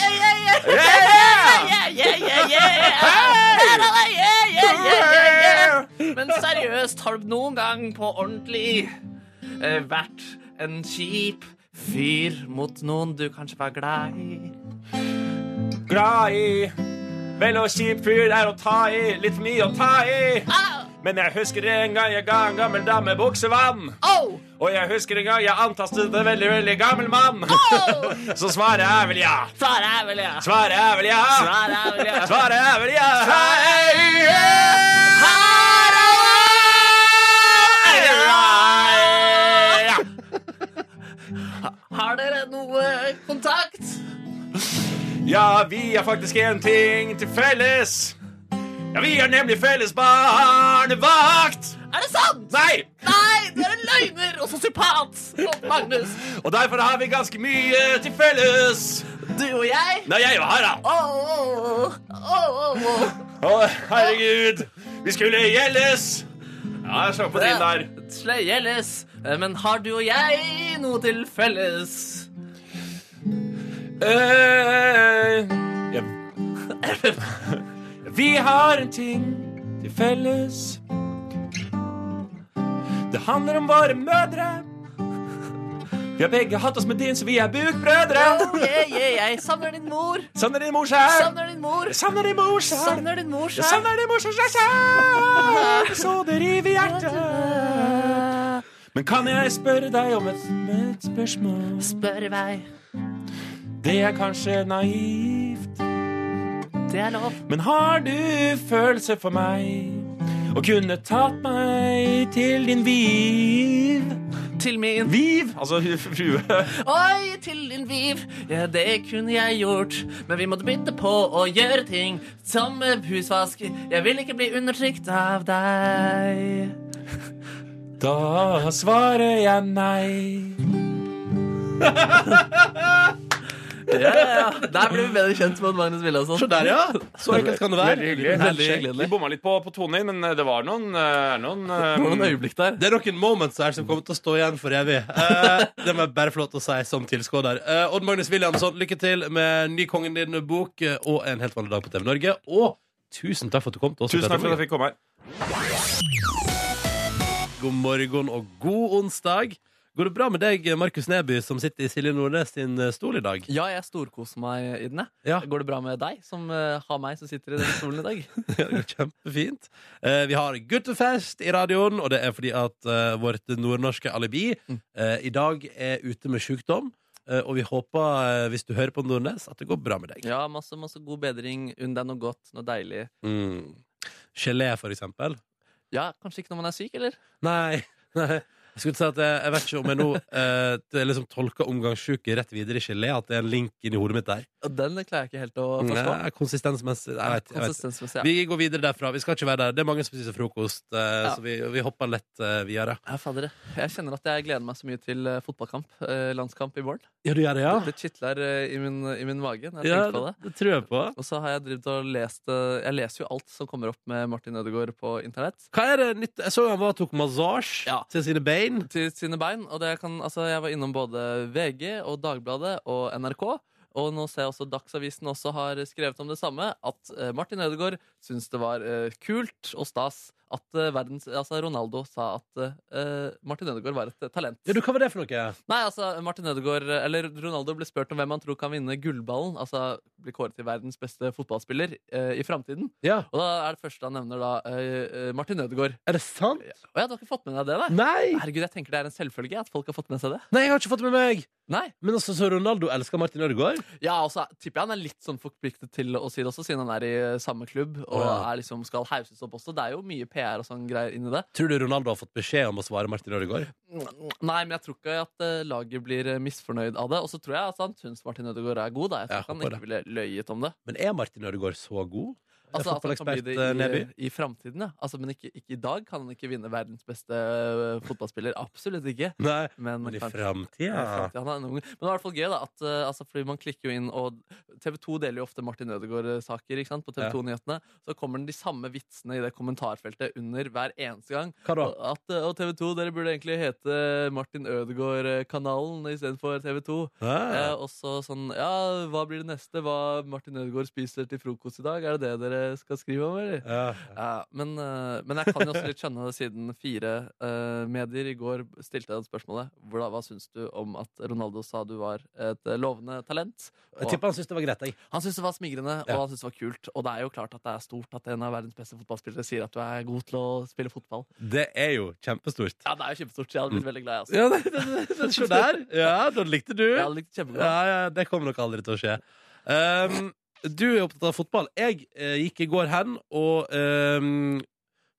S3: Yeah, yeah, yeah.
S8: Yeah!
S3: Yeah, yeah, yeah, yeah. Harald er yeah, yeah, yeah, yeah, yeah. Men seriøst, har du noen gang på ordentlig eh, vært en kjip fyr mot noen du kanskje var glad i?
S8: Glad i Vel og kjip fyr er å ta i. Litt for mye å ta i.
S3: Au!
S8: Men jeg husker en gang jeg ga en gammel dame buksevann.
S3: Au!
S8: Og jeg husker en gang jeg antastet en veldig, veldig gammel mann.
S3: Au!
S8: (laughs) Så svaret er vel ja.
S3: Svaret er vel ja.
S8: Svaret er vel ja.
S3: Svaret er vel ja.
S8: Svaret er vel ja.
S3: Har dere noe kontakt?
S8: Ja, vi har faktisk én ting til felles. Ja, vi har nemlig felles barnevakt.
S3: Er det sant?
S8: Nei!
S3: Nei, du er en løgner og sosiopat, Odd Magnus.
S8: Og derfor har vi ganske mye til felles.
S3: Du og jeg.
S8: Nei, jeg og Harald.
S3: Åh, åh, åh, åh, åh.
S8: Å, herregud. Vi skulle gjeldes. Ja, jeg slår på din der.
S3: Sløyelles. Men har du og jeg noe til felles?
S8: Eh, ja. (laughs) Vi har en ting til felles. Det handler om våre mødre. Vi har begge hatt oss med din, så vi er
S3: Oh,
S8: bukbrødre.
S3: yeah, yeah, jeg savner din mor.
S8: Savner din mor sjæl.
S3: Savner din mor.
S8: Jeg savner din mor sjæl.
S3: Savner din mor
S8: Jeg
S3: sjæl.
S8: savner din mor sjæl. Så det river i hjertet.
S3: (laughs)
S8: Men kan jeg spørre deg om et, et spørsmål?
S3: Spør i vei.
S8: Det er kanskje naivt.
S3: Det er lov.
S8: Men har du følelse for meg? Og kunne tatt meg til din viv
S3: Til min
S8: Viv? Altså frue.
S3: Oi, til din viv. Ja, det kunne jeg gjort. Men vi måtte bytte på å gjøre ting som husvask. Jeg vil ikke bli undertrykt av deg.
S8: Da svarer jeg nei.
S3: Der ble vi bedre kjent med Magnus Wilhelmsen.
S2: Se der, ja! Så enkelt kan det være.
S8: Veldig hyggelig.
S3: Veldig hyggelig.
S8: Vi bomma litt på, på tonen din, men det var noen, eh, noen, eh,
S3: Noen øyeblikk der.
S2: Det er noen moments her som kommer til å stå igjen for evig. Eh, det må jeg bare få lov til å si som tilskuer. Eh, Odd Magnus Williamson, lykke til med ny Kongen din-bok eh, og en helt vanlig dag på TV Norge. Og tusen takk for at du kom til oss.
S8: Tusen takk for at jeg fikk komme her.
S2: God morgen og god onsdag. Går det bra med deg, Markus Neby, som sitter i Silje Nordnes sin eh, stol i dag?
S3: Ja, jeg storkoser meg i den. jeg.
S2: Ja.
S3: Går det bra med deg, som eh, har meg som sitter i den stolen i dag?
S2: Det går Kjempefint. Eh, vi har guttefest i radioen, og det er fordi at eh, vårt nordnorske alibi eh, i dag er ute med sykdom. eh, og vi håper, eh, hvis du hører på Nordnes, at det går bra med deg.
S3: (laughs) Ja, masse, masse god bedring. Unn deg noe godt, noe deilig.
S2: Mm. Gelé, for eksempel.
S3: Ja, kanskje ikke når man er syk, eller?
S2: Nei. (laughs) nei. Jeg skulle si at jeg, jeg vet ikke om jeg nå eh, det er liksom tolker omgangssyke rett videre i gelé. At det er en link inni hodet mitt der.
S3: Og Den klarer jeg ikke helt å forstå.
S2: Nei, Konsistensmessig. Jeg vet, jeg vet.
S3: Konsistensmessig. Ja.
S2: Vi går videre derfra. Vi skal ikke være der. Det er mange som spiser frokost, eh,
S3: Ja.
S2: så vi, vi hopper lett eh, videre.
S3: Ja, fader, jeg kjenner at jeg gleder meg så mye til eh, fotballkamp, eh, landskamp i morgen.
S2: Ja, du gjør det,
S3: Det kitler eh, i min, i min mage når jeg
S2: Ja,
S3: tenker på
S2: det,
S3: det.
S2: det tror jeg på.
S3: Og så har jeg drevet og lest eh, Jeg leser jo alt som kommer opp med Martin Ødegaard på internett.
S2: Hva er det nytt? Jeg så han var og tok massasje
S3: Ja.
S2: til sine bein.
S3: til sine bein. Og det kan, altså, jeg var innom både VG og Dagbladet og NRK. Og nå ser jeg også Dagsavisen også har skrevet om det samme, at eh, Martin Ødegaard syns det var eh, kult og stas at eh, verdens, altså Ronaldo sa at eh, Martin Ødegaard var et eh, talent.
S2: Ja, du, hva var det for noe?
S3: Nei, altså, Martin Ødegaard, eller Ronaldo ble spurt om hvem han tror kan vinne gullballen, altså bli kåret til verdens beste fotballspiller eh, i framtiden.
S2: Ja,
S3: Og da er det første han nevner, da eh, eh, Martin Ødegaard.
S2: Er det sant?
S3: Å ja, du har ikke fått med deg det, da?
S2: Nei!
S3: Herregud, jeg tenker det er en selvfølge at folk har fått med seg det.
S2: Nei, jeg har ikke fått det med meg!
S3: Nei.
S2: Men altså, så Ronaldo elsker Martin Ødegaard?
S3: Ja, og så tipper jeg han er litt sånn forpliktet til å si det også, siden han er i eh, samme klubb og
S2: Å, ja.
S3: er liksom skal hauses opp også. Det er jo mye PR og sånn greier inni det.
S2: Tror du Ronaldo har fått beskjed om å svare Martin Ødegaard?
S3: Nei, men jeg tror ikke at eh, laget blir eh, misfornøyd av det. Og så tror jeg altså, han syns Martin Ødegaard er god, da. Jeg tror
S2: Jeg
S3: ikke han
S2: håper
S3: ikke ville løyet om det.
S2: Men er Martin Ødegaard så god? Er
S3: Altså, at han kan bli
S2: fotballekspert
S3: det
S2: eh, Neby?
S3: i, i framtiden, ja. Altså, men ikke, ikke i dag kan han ikke vinne verdens beste eh, fotballspiller. Absolutt ikke.
S2: Nei,
S3: Men,
S2: men i
S3: kanskje-
S2: framtida
S3: i fremtiden, han er en ung. Men det var i hvert fall gøy, da. At, eh, altså, fordi man klikker jo inn, og TV 2 deler jo ofte Martin Ødegaard-saker ikke sant, på TV 2-nyhetene. Så kommer de samme vitsene i det kommentarfeltet under hver eneste gang.
S2: Hva da?
S3: Og, at, eh, og TV 2, dere burde egentlig hete Martin Ødegaard-kanalen istedenfor TV 2. Eh,
S2: Ah,
S3: og så sånn Ja, hva blir det neste? Hva Martin Ødegaard spiser til frokost i dag? Er det det dere skal skrive om, eller?
S2: ja.
S3: Ja, men, eh, men jeg kan jo også litt skjønne det, siden fire eh, medier i går stilte deg spørsmålet. Hva, hva syns du om at Ronaldo sa du var et eh, lovende talent?
S2: Jeg tipper han syntes det var greit. Jeg.
S3: Han syntes det var smigrende,
S2: Ja.
S3: og han syntes det var kult. Og det er jo klart at det er stort at en av verdens beste fotballspillere sier at du er god til å spille fotball.
S2: Det er jo kjempestort.
S3: Ja, det er jo kjempestort. så Jeg hadde blitt veldig glad, jeg, altså.
S2: Mm. Ja, det, det, det, det, se der. (laughs) Ja, da likte du.
S3: Jeg hadde likt det kjempegodt.
S2: Ja, ja, det kommer nok aldri til å skje. Um, du er opptatt av fotball. Jeg eh, gikk i går hen og um,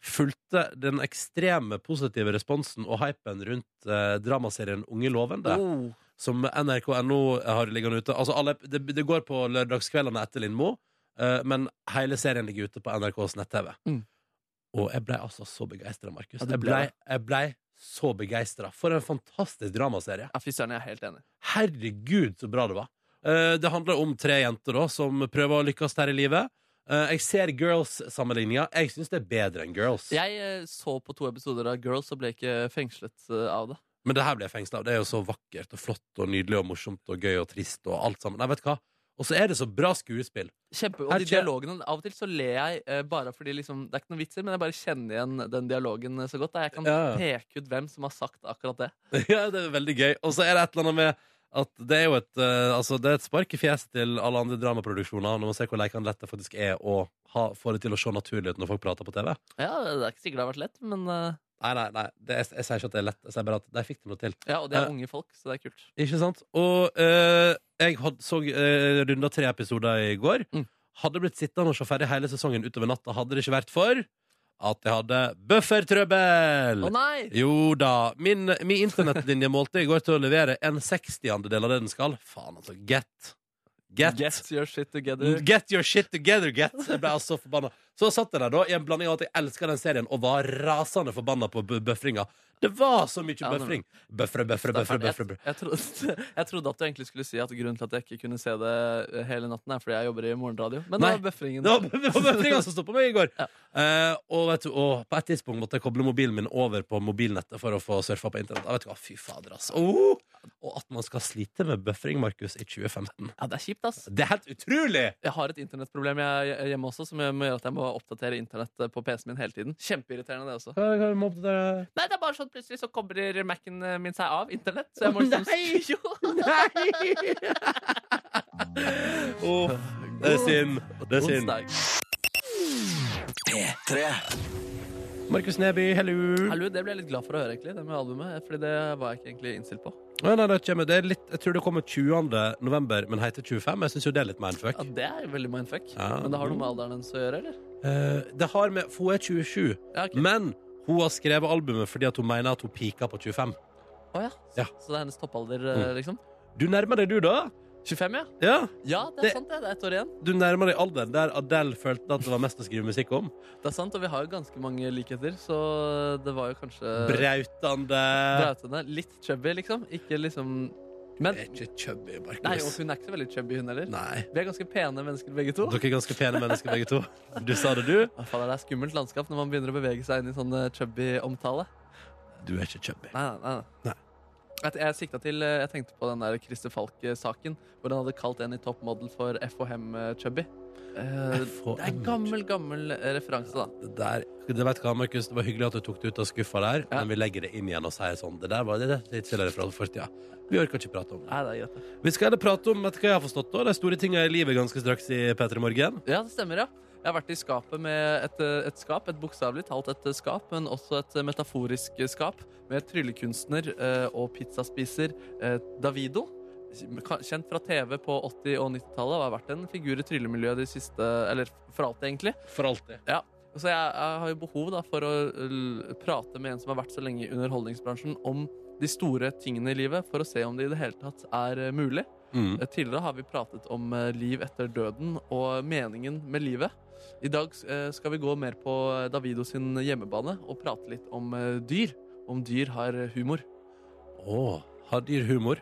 S2: fulgte den ekstreme positive responsen og hypen rundt eh, dramaserien Unge lovende,
S3: Oh,
S2: som nrk.no har liggende ute. Altså, alle, det, det går på lørdagskveldene etter Lindmo, eh, men hele serien ligger ute på NRKs nett-TV.
S3: Mm.
S2: Og jeg blei altså så begeistra, Markus.
S3: Ja, du
S2: jeg
S3: ble
S2: blei
S3: det.
S2: jeg ble så begeistra. For en fantastisk dramaserie.
S3: ja, fy søren, jeg er helt enig.
S2: Herregud, så bra det var. Eh, det handler om tre jenter da som prøver å lykkes der i livet. Eh, jeg ser Girls-sammenligninga. Jeg syns det er bedre enn Girls.
S3: Jeg eh, så på to episoder av Girls og ble ikke fengslet eh, av det.
S2: Men det her ble jeg fengsla av. Det er jo så vakkert og flott og nydelig og morsomt og gøy og trist og alt sammen. Nei, vet du hva? Og så er det så bra skuespill. (laughs)
S3: Kjempe, og
S2: Her
S3: de
S2: skjer-
S3: dialogene, Av og til så ler jeg eh, bare fordi liksom, det er ikke noen vitser, men jeg bare kjenner igjen den dialogen eh, så godt. Da. Jeg kan
S2: Ja.
S3: peke ut hvem som har sagt akkurat det.
S2: ja, det er veldig gøy. Og så er det et eller annet med at det er jo et, eh, altså det er et spark i fjeset til alle andre dramaproduksjoner når man ser hvor leikende lett det faktisk er å ha, få det til å se naturlig ut når folk prater på TV.
S3: Ja, Det er ikke sikkert det har vært lett, men eh,
S2: Nei, nei, nei. Det, jeg, jeg sier ikke at det er lett. Jeg sier bare at de fikk det noe til.
S3: ja, og de er
S2: Eh.
S3: unge folk, så det er kult.
S2: Ikke sant? Og eh, jeg had, så uh, runda tre episoder i går.
S3: Mm.
S2: Hadde blitt sittende og se ferdig hele sesongen utover natta, hadde det ikke vært for at jeg hadde buffertrøbbel!
S3: Å nei!
S2: Jo da. Min, min internettlinje målte i går til å levere en 60-andel av det den skal. Faen, altså. Get. Get.
S3: Mm, Get your shit together.
S2: Get your shit together, get! Jeg ble altså så forbanna. Så satt jeg der da i en blanding av at jeg elska den serien og var rasende forbanna på bu- bøfringa. Det var så mye
S3: Ja, det-
S2: bøfring! Bøfre, bøfre, bøfre,
S3: Staffan,
S2: bøfre. bøfre.
S3: jeg, jeg, trodde, (laughs) jeg trodde at du egentlig skulle si at grunnen til at jeg ikke kunne se det eh, hele natten, er fordi jeg jobber i morgenradio. Men det
S2: Nei.
S3: var bøfringen.
S2: Det var, det var bøfringa som sto på meg i går.
S3: Ja.
S2: Eh, og, vet du, og på et tidspunkt måtte jeg koble mobilen min over på mobilnettet for å få surfa på internett. Jeg vet ikke hva, fy fader, altså. Oh! Og at man skal slite med bøfring, Markus, i 2015.
S3: Ja, det er kjipt, ass.
S2: Det er helt utrolig!
S3: Jeg har et internettproblem jeg- jeg- hjemme også, som jeg må gjøre at jeg må oppdatere internett eh, på PC-en min hele tiden. Kjempeirriterende, det også. Nei, det er bare sånn plutselig så kobler Mac-en eh, min seg av internett. Så jeg må liksom (laughs) Nei!
S2: Uff, det er synd. Det er synd. Markus Neby, hello.
S3: Hallo, det ble jeg litt glad for å høre, egentlig, det med albumet. Fordi det var jeg ikke egentlig innstilt på.
S2: Nei, nei, det kommer, det er litt, jeg tror det kommer 20. november, men heter 25. Jeg syns jo det er litt mindfuck.
S3: Ja, Det er veldig mindfuck.
S2: Ja.
S3: Men det har noe med alderen hennes å gjøre, eller?
S2: Eh, det har med For hun er 27,
S3: Ja, ok.
S2: men hun har skrevet albumet fordi at hun mener at hun pika på 25.
S3: Å, ja.
S2: Ja. Mm.
S3: Så det er hennes toppalder, eh, liksom?
S2: Du nærmer deg, du, da.
S3: 25, ja?
S2: Ja,
S3: Ja, det er
S2: Det-
S3: sant, det. Det er ett år igjen.
S2: Du nærmer deg alderen der Adele følte at det var mest å skrive musikk om.
S3: Det er sant, Og vi har jo ganske mange likheter, så det var jo kanskje
S2: Brautende
S3: Brautende. Litt chubby, liksom. Ikke liksom Men
S2: Jeg er ikke chubby,
S3: Nei, og
S2: Markus.
S3: hun er ikke så veldig chubby, hun heller.
S2: Nei.
S3: Vi er ganske pene mennesker, begge to.
S2: Dere er ganske pene mennesker, begge to. Du sa det, du.
S3: Å, fader, det er skummelt landskap når man begynner å bevege seg inn i sånn eh, chubby omtale.
S2: Du er ikke chubby.
S3: Nei, nei, nei. Jeg, jeg sikta til eh, Jeg tenkte på den der Christer Falk-saken, hvor han hadde kalt en i Top Model for FHM-chubby.
S2: FHM.
S3: eh, Det er gammel, gammel eh, referanse, da.
S2: Det der, du vet hva, Markus, det var hyggelig at du tok det ut av skuffa der,
S3: Ja.
S2: men vi legger det inn igjen og sier sånn. Det der var det, det er litt tidligere fra fortida. Vi orker ikke prate om det.
S3: Nei, det er greit. det.
S2: Vi skal heller prate om vet du hva jeg har forstått da, de store tinga i livet ganske straks i P3 Morgen.
S3: Ja, det stemmer, ja. Jeg har vært i skapet med et, eh, et skap, et bokstavelig talt et eh, skap, men også et eh, metaforisk eh, skap, med tryllekunstner eh, og pizzaspiser eh, Davido. Ka- Kjent fra TV på 80- og 90-tallet og har vært en figur i tryllemiljøet de siste Eller for alltid, egentlig.
S2: For alltid.
S3: Så jeg, jeg har jo behov da, for å l- prate med en som har vært så lenge i underholdningsbransjen, om de store tingene i livet, for å se om det i det hele tatt er eh, mulig.
S2: Mm.
S3: Eh, Tidligere har vi pratet om eh, liv etter døden og meningen med livet. I dag eh, skal vi gå mer på eh, Davido sin hjemmebane og prate litt om eh, dyr. Om dyr har eh, humor.
S2: Å, har dyr humor?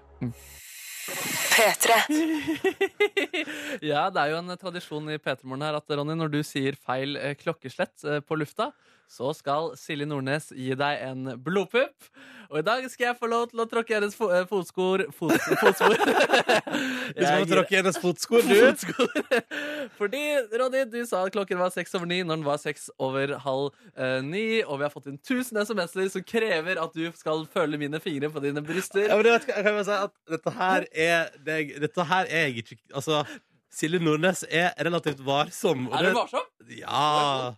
S4: P3.
S3: (laughs) ja, det er jo en eh, tradisjon i P3morgen her at Ronny, når du sier feil eh, klokkeslett eh, på lufta, så skal Silje Nordnes gi deg en blodpupp. Og i dag skal jeg få lov til å tråkke hennes fo eh, fotskor fot Fotspor. (laughs)
S2: Hvis man
S3: Jeg-
S2: tråkker i hennes fotsko, du.
S3: Fotskor. (laughs) Fordi, Ronny, du sa at klokken var seks over ni når den var seks over halv eh, ni. Og vi har fått inn 1000 SMS-er som krever at du skal føle mine fingre på dine bryster.
S2: Ja, men det vet, du hva, jeg kan bare si at dette her er det, jeg- Dette her er jeg ikke Altså, Silje Nordnes er relativt varsom. og
S3: Er
S2: det-
S3: du varsom?
S2: Ja.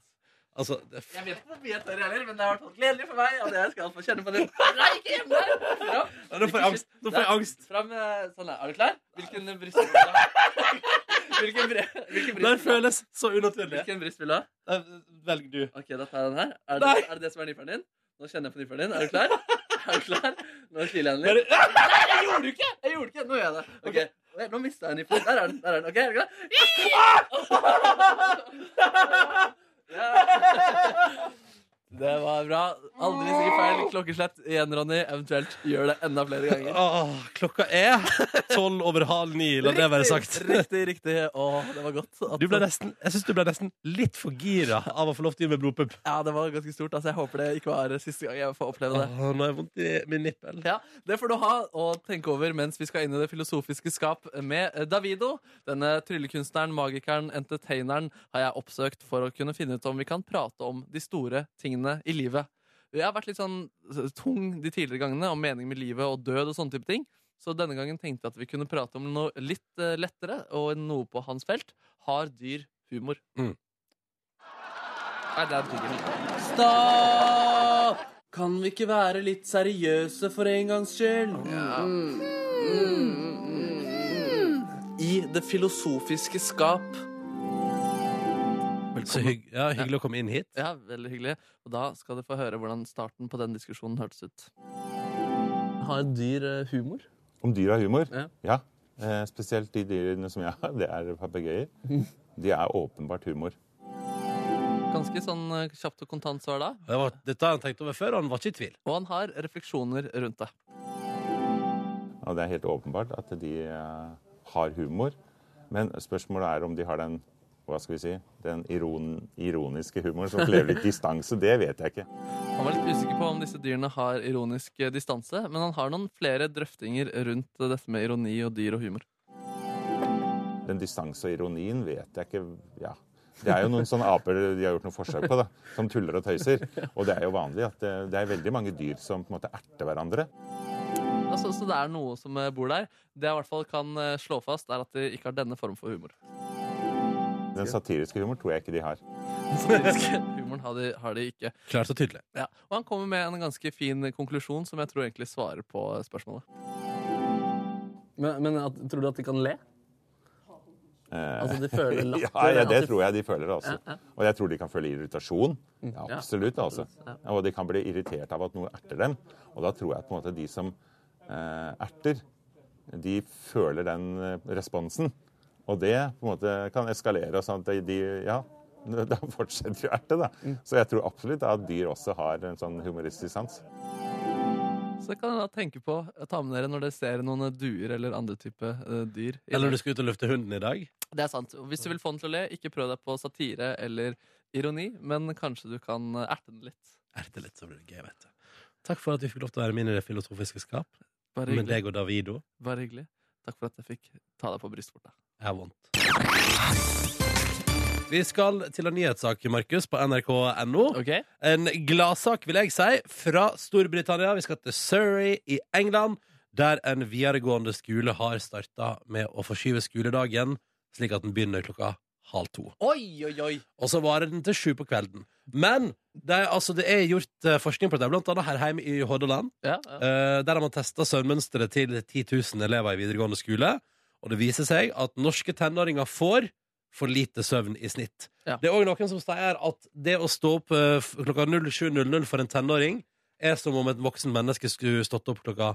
S2: Altså, det,
S3: Jeg vet ikke hvor mye jeg tør heller, men det har vært gledelig for meg at jeg skal få kjenne på det. Nei, ikke hjemme! Ja.
S2: Ja, nå får jeg angst. Nå får jeg angst.
S3: Fram, eh, sånn der. Er du klar? Hvilken bryst vil du (laughs) ha? Hvilken, bre hvilken
S2: det
S3: bryst vil du ha?
S2: føles så unaturlig.
S3: Hvilken bryst vil du ha?
S2: Eh, Velg du.
S3: Ok, da tar jeg den her. Er det,
S2: Nei.
S3: er det det som er nipperen din? Nå kjenner jeg på nipperen din. Er du (laughs) klar? Er du klar? Nå kiler jeg den
S2: Bare-
S3: litt. Nei, jeg gjorde det ikke! Jeg gjorde det ikke. Nå gjør jeg det. Ok, Oi, Nå mista jeg nipperen. Der er den. der er den. Ok, er du klar? Ja. (laughs) Det var bra. Aldri si feil klokkeslett igjen, Ronny. Eventuelt gjør det enda flere ganger.
S2: Åh, klokka er tolv over halv ni, la det være sagt.
S3: Riktig, riktig. Åh, det var godt. at-
S2: (laughs) Du ble nesten, jeg syns du ble nesten litt for gira av å få lov til å gi meg blodpupp.
S3: Ja, det var ganske stort. Altså, jeg håper det ikke var siste gang jeg får oppleve det.
S2: Åh, Nå har jeg vondt i min nippel.
S3: Ja, Det får du ha og tenke over mens vi skal inn i det filosofiske skap med eh, Davido. Denne tryllekunstneren, magikeren, entertaineren har jeg oppsøkt for å kunne finne ut om vi kan prate om de store tingene i livet. Jeg har vært litt sånn tung de tidligere gangene om mening med livet og død og sånne type ting. Så denne gangen tenkte jeg at vi kunne prate om noe litt eh, lettere og noe på hans felt. Har dyr humor?
S2: Mm.
S3: Nei, det er digg. Stopp! Kan vi ikke være litt seriøse for en gangs skyld? I det filosofiske skap.
S2: Så hygg, ja, hyggelig å komme inn hit.
S3: Ja, veldig hyggelig. Og da skal du få høre hvordan starten på den diskusjonen hørtes ut. Har dyr eh, humor?
S9: Om dyr har humor?
S3: Ja.
S9: (laughs) Eh, spesielt de dyrene som jeg har, det er papegøyer. De er åpenbart humor.
S3: Ganske sånn eh, kjapt og kontant svar da.
S2: Det var, dette har han tenkt over før, og han var ikke i tvil.
S3: Og han har refleksjoner rundt det.
S9: Og det er helt åpenbart at de eh, har humor. Men spørsmålet er om de har den hva skal vi si, den iron, ironiske humoren som krever
S10: (laughs)
S9: litt distanse. Det vet jeg ikke.
S3: Han var litt usikker på om disse dyrene har ironisk eh, distanse, men han har noen flere drøftinger rundt eh, dette med ironi og dyr og humor.
S9: Den distanse og ironien vet jeg ikke ja. Det er jo noen sånne aper de har gjort noen forsøk på, da, som tuller og tøyser. Og det er jo vanlig at det, det er veldig mange dyr som på en måte erter hverandre.
S3: Altså, så det er noe som eh, bor der. Det jeg i hvert fall kan eh, slå fast, er at de ikke har denne form for humor. (laughs)
S9: Den satiriske humor tror jeg ikke de har.
S3: Humoren har de, har de ikke.
S2: Klart og tydelig.
S3: Ja. Og han kommer med en ganske fin konklusjon som jeg tror egentlig svarer på eh, spørsmålet. Men, tror du at de kan le?
S9: Eh,
S3: Altså, de
S9: (laughs)
S3: føler altså,
S9: Ja, ja, det tror jeg de føler også. Og jeg tror de kan føle irritasjon. Ja,
S3: Mm. Ja.
S9: absolutt, altså. Og de kan bli irritert av at noe erter dem. Og da tror jeg på en måte de som eh, erter, de føler den eh, responsen. Og det på en måte kan eskalere sånn at de Ja, (laughs) da fortsetter jo å erte, da.
S3: Mm.
S9: Så jeg tror absolutt at dyr også har en sånn humoristisk sans.
S3: Så det kan dere da tenke på eh, ta med dere når dere ser noen eh, duer eller andre type eh, dyr. i
S2: Eller
S3: det.
S2: du skal ut og lufte hunden i dag.
S3: Det er sant. Og Hvis du vil få den til å le, ikke prøv deg på satire eller ironi, men kanskje du kan eh, erte den litt.
S2: Erte litt, så blir det gøy, vet du. Takk for at vi fikk lov til å være med inn i det filosofiske skap.
S3: Bare
S2: med
S3: hyggelig.
S2: deg og Davido.
S3: Bare hyggelig. Takk for at jeg fikk ta deg på brystvorta.
S2: Jeg har vondt. Vi skal til en nyhetssak, Markus, på nrk.no.
S3: Ok?
S2: En gladsak, vil jeg si, fra Storbritannia. Vi skal til Surrey i England, der en videregående skole har starta med å forskyve skoledagen, slik at den begynner klokka halv to.
S3: Oi, oi, oi!
S2: Og så varer den til sju på kvelden. Men det er, altså, det er gjort eh, forskning på det, blant annet her hjemme i Hordaland.
S3: Ja, ja.
S2: Eh, der har man testa søvnmønsteret til 10 000 elever i videregående skole. Og det viser seg at norske tenåringer får for lite søvn i snitt.
S3: Ja.
S2: Det er òg noen som sier at det å stå opp eh, f- klokka 07.00 for en tenåring er som om et voksen menneske skulle stått opp klokka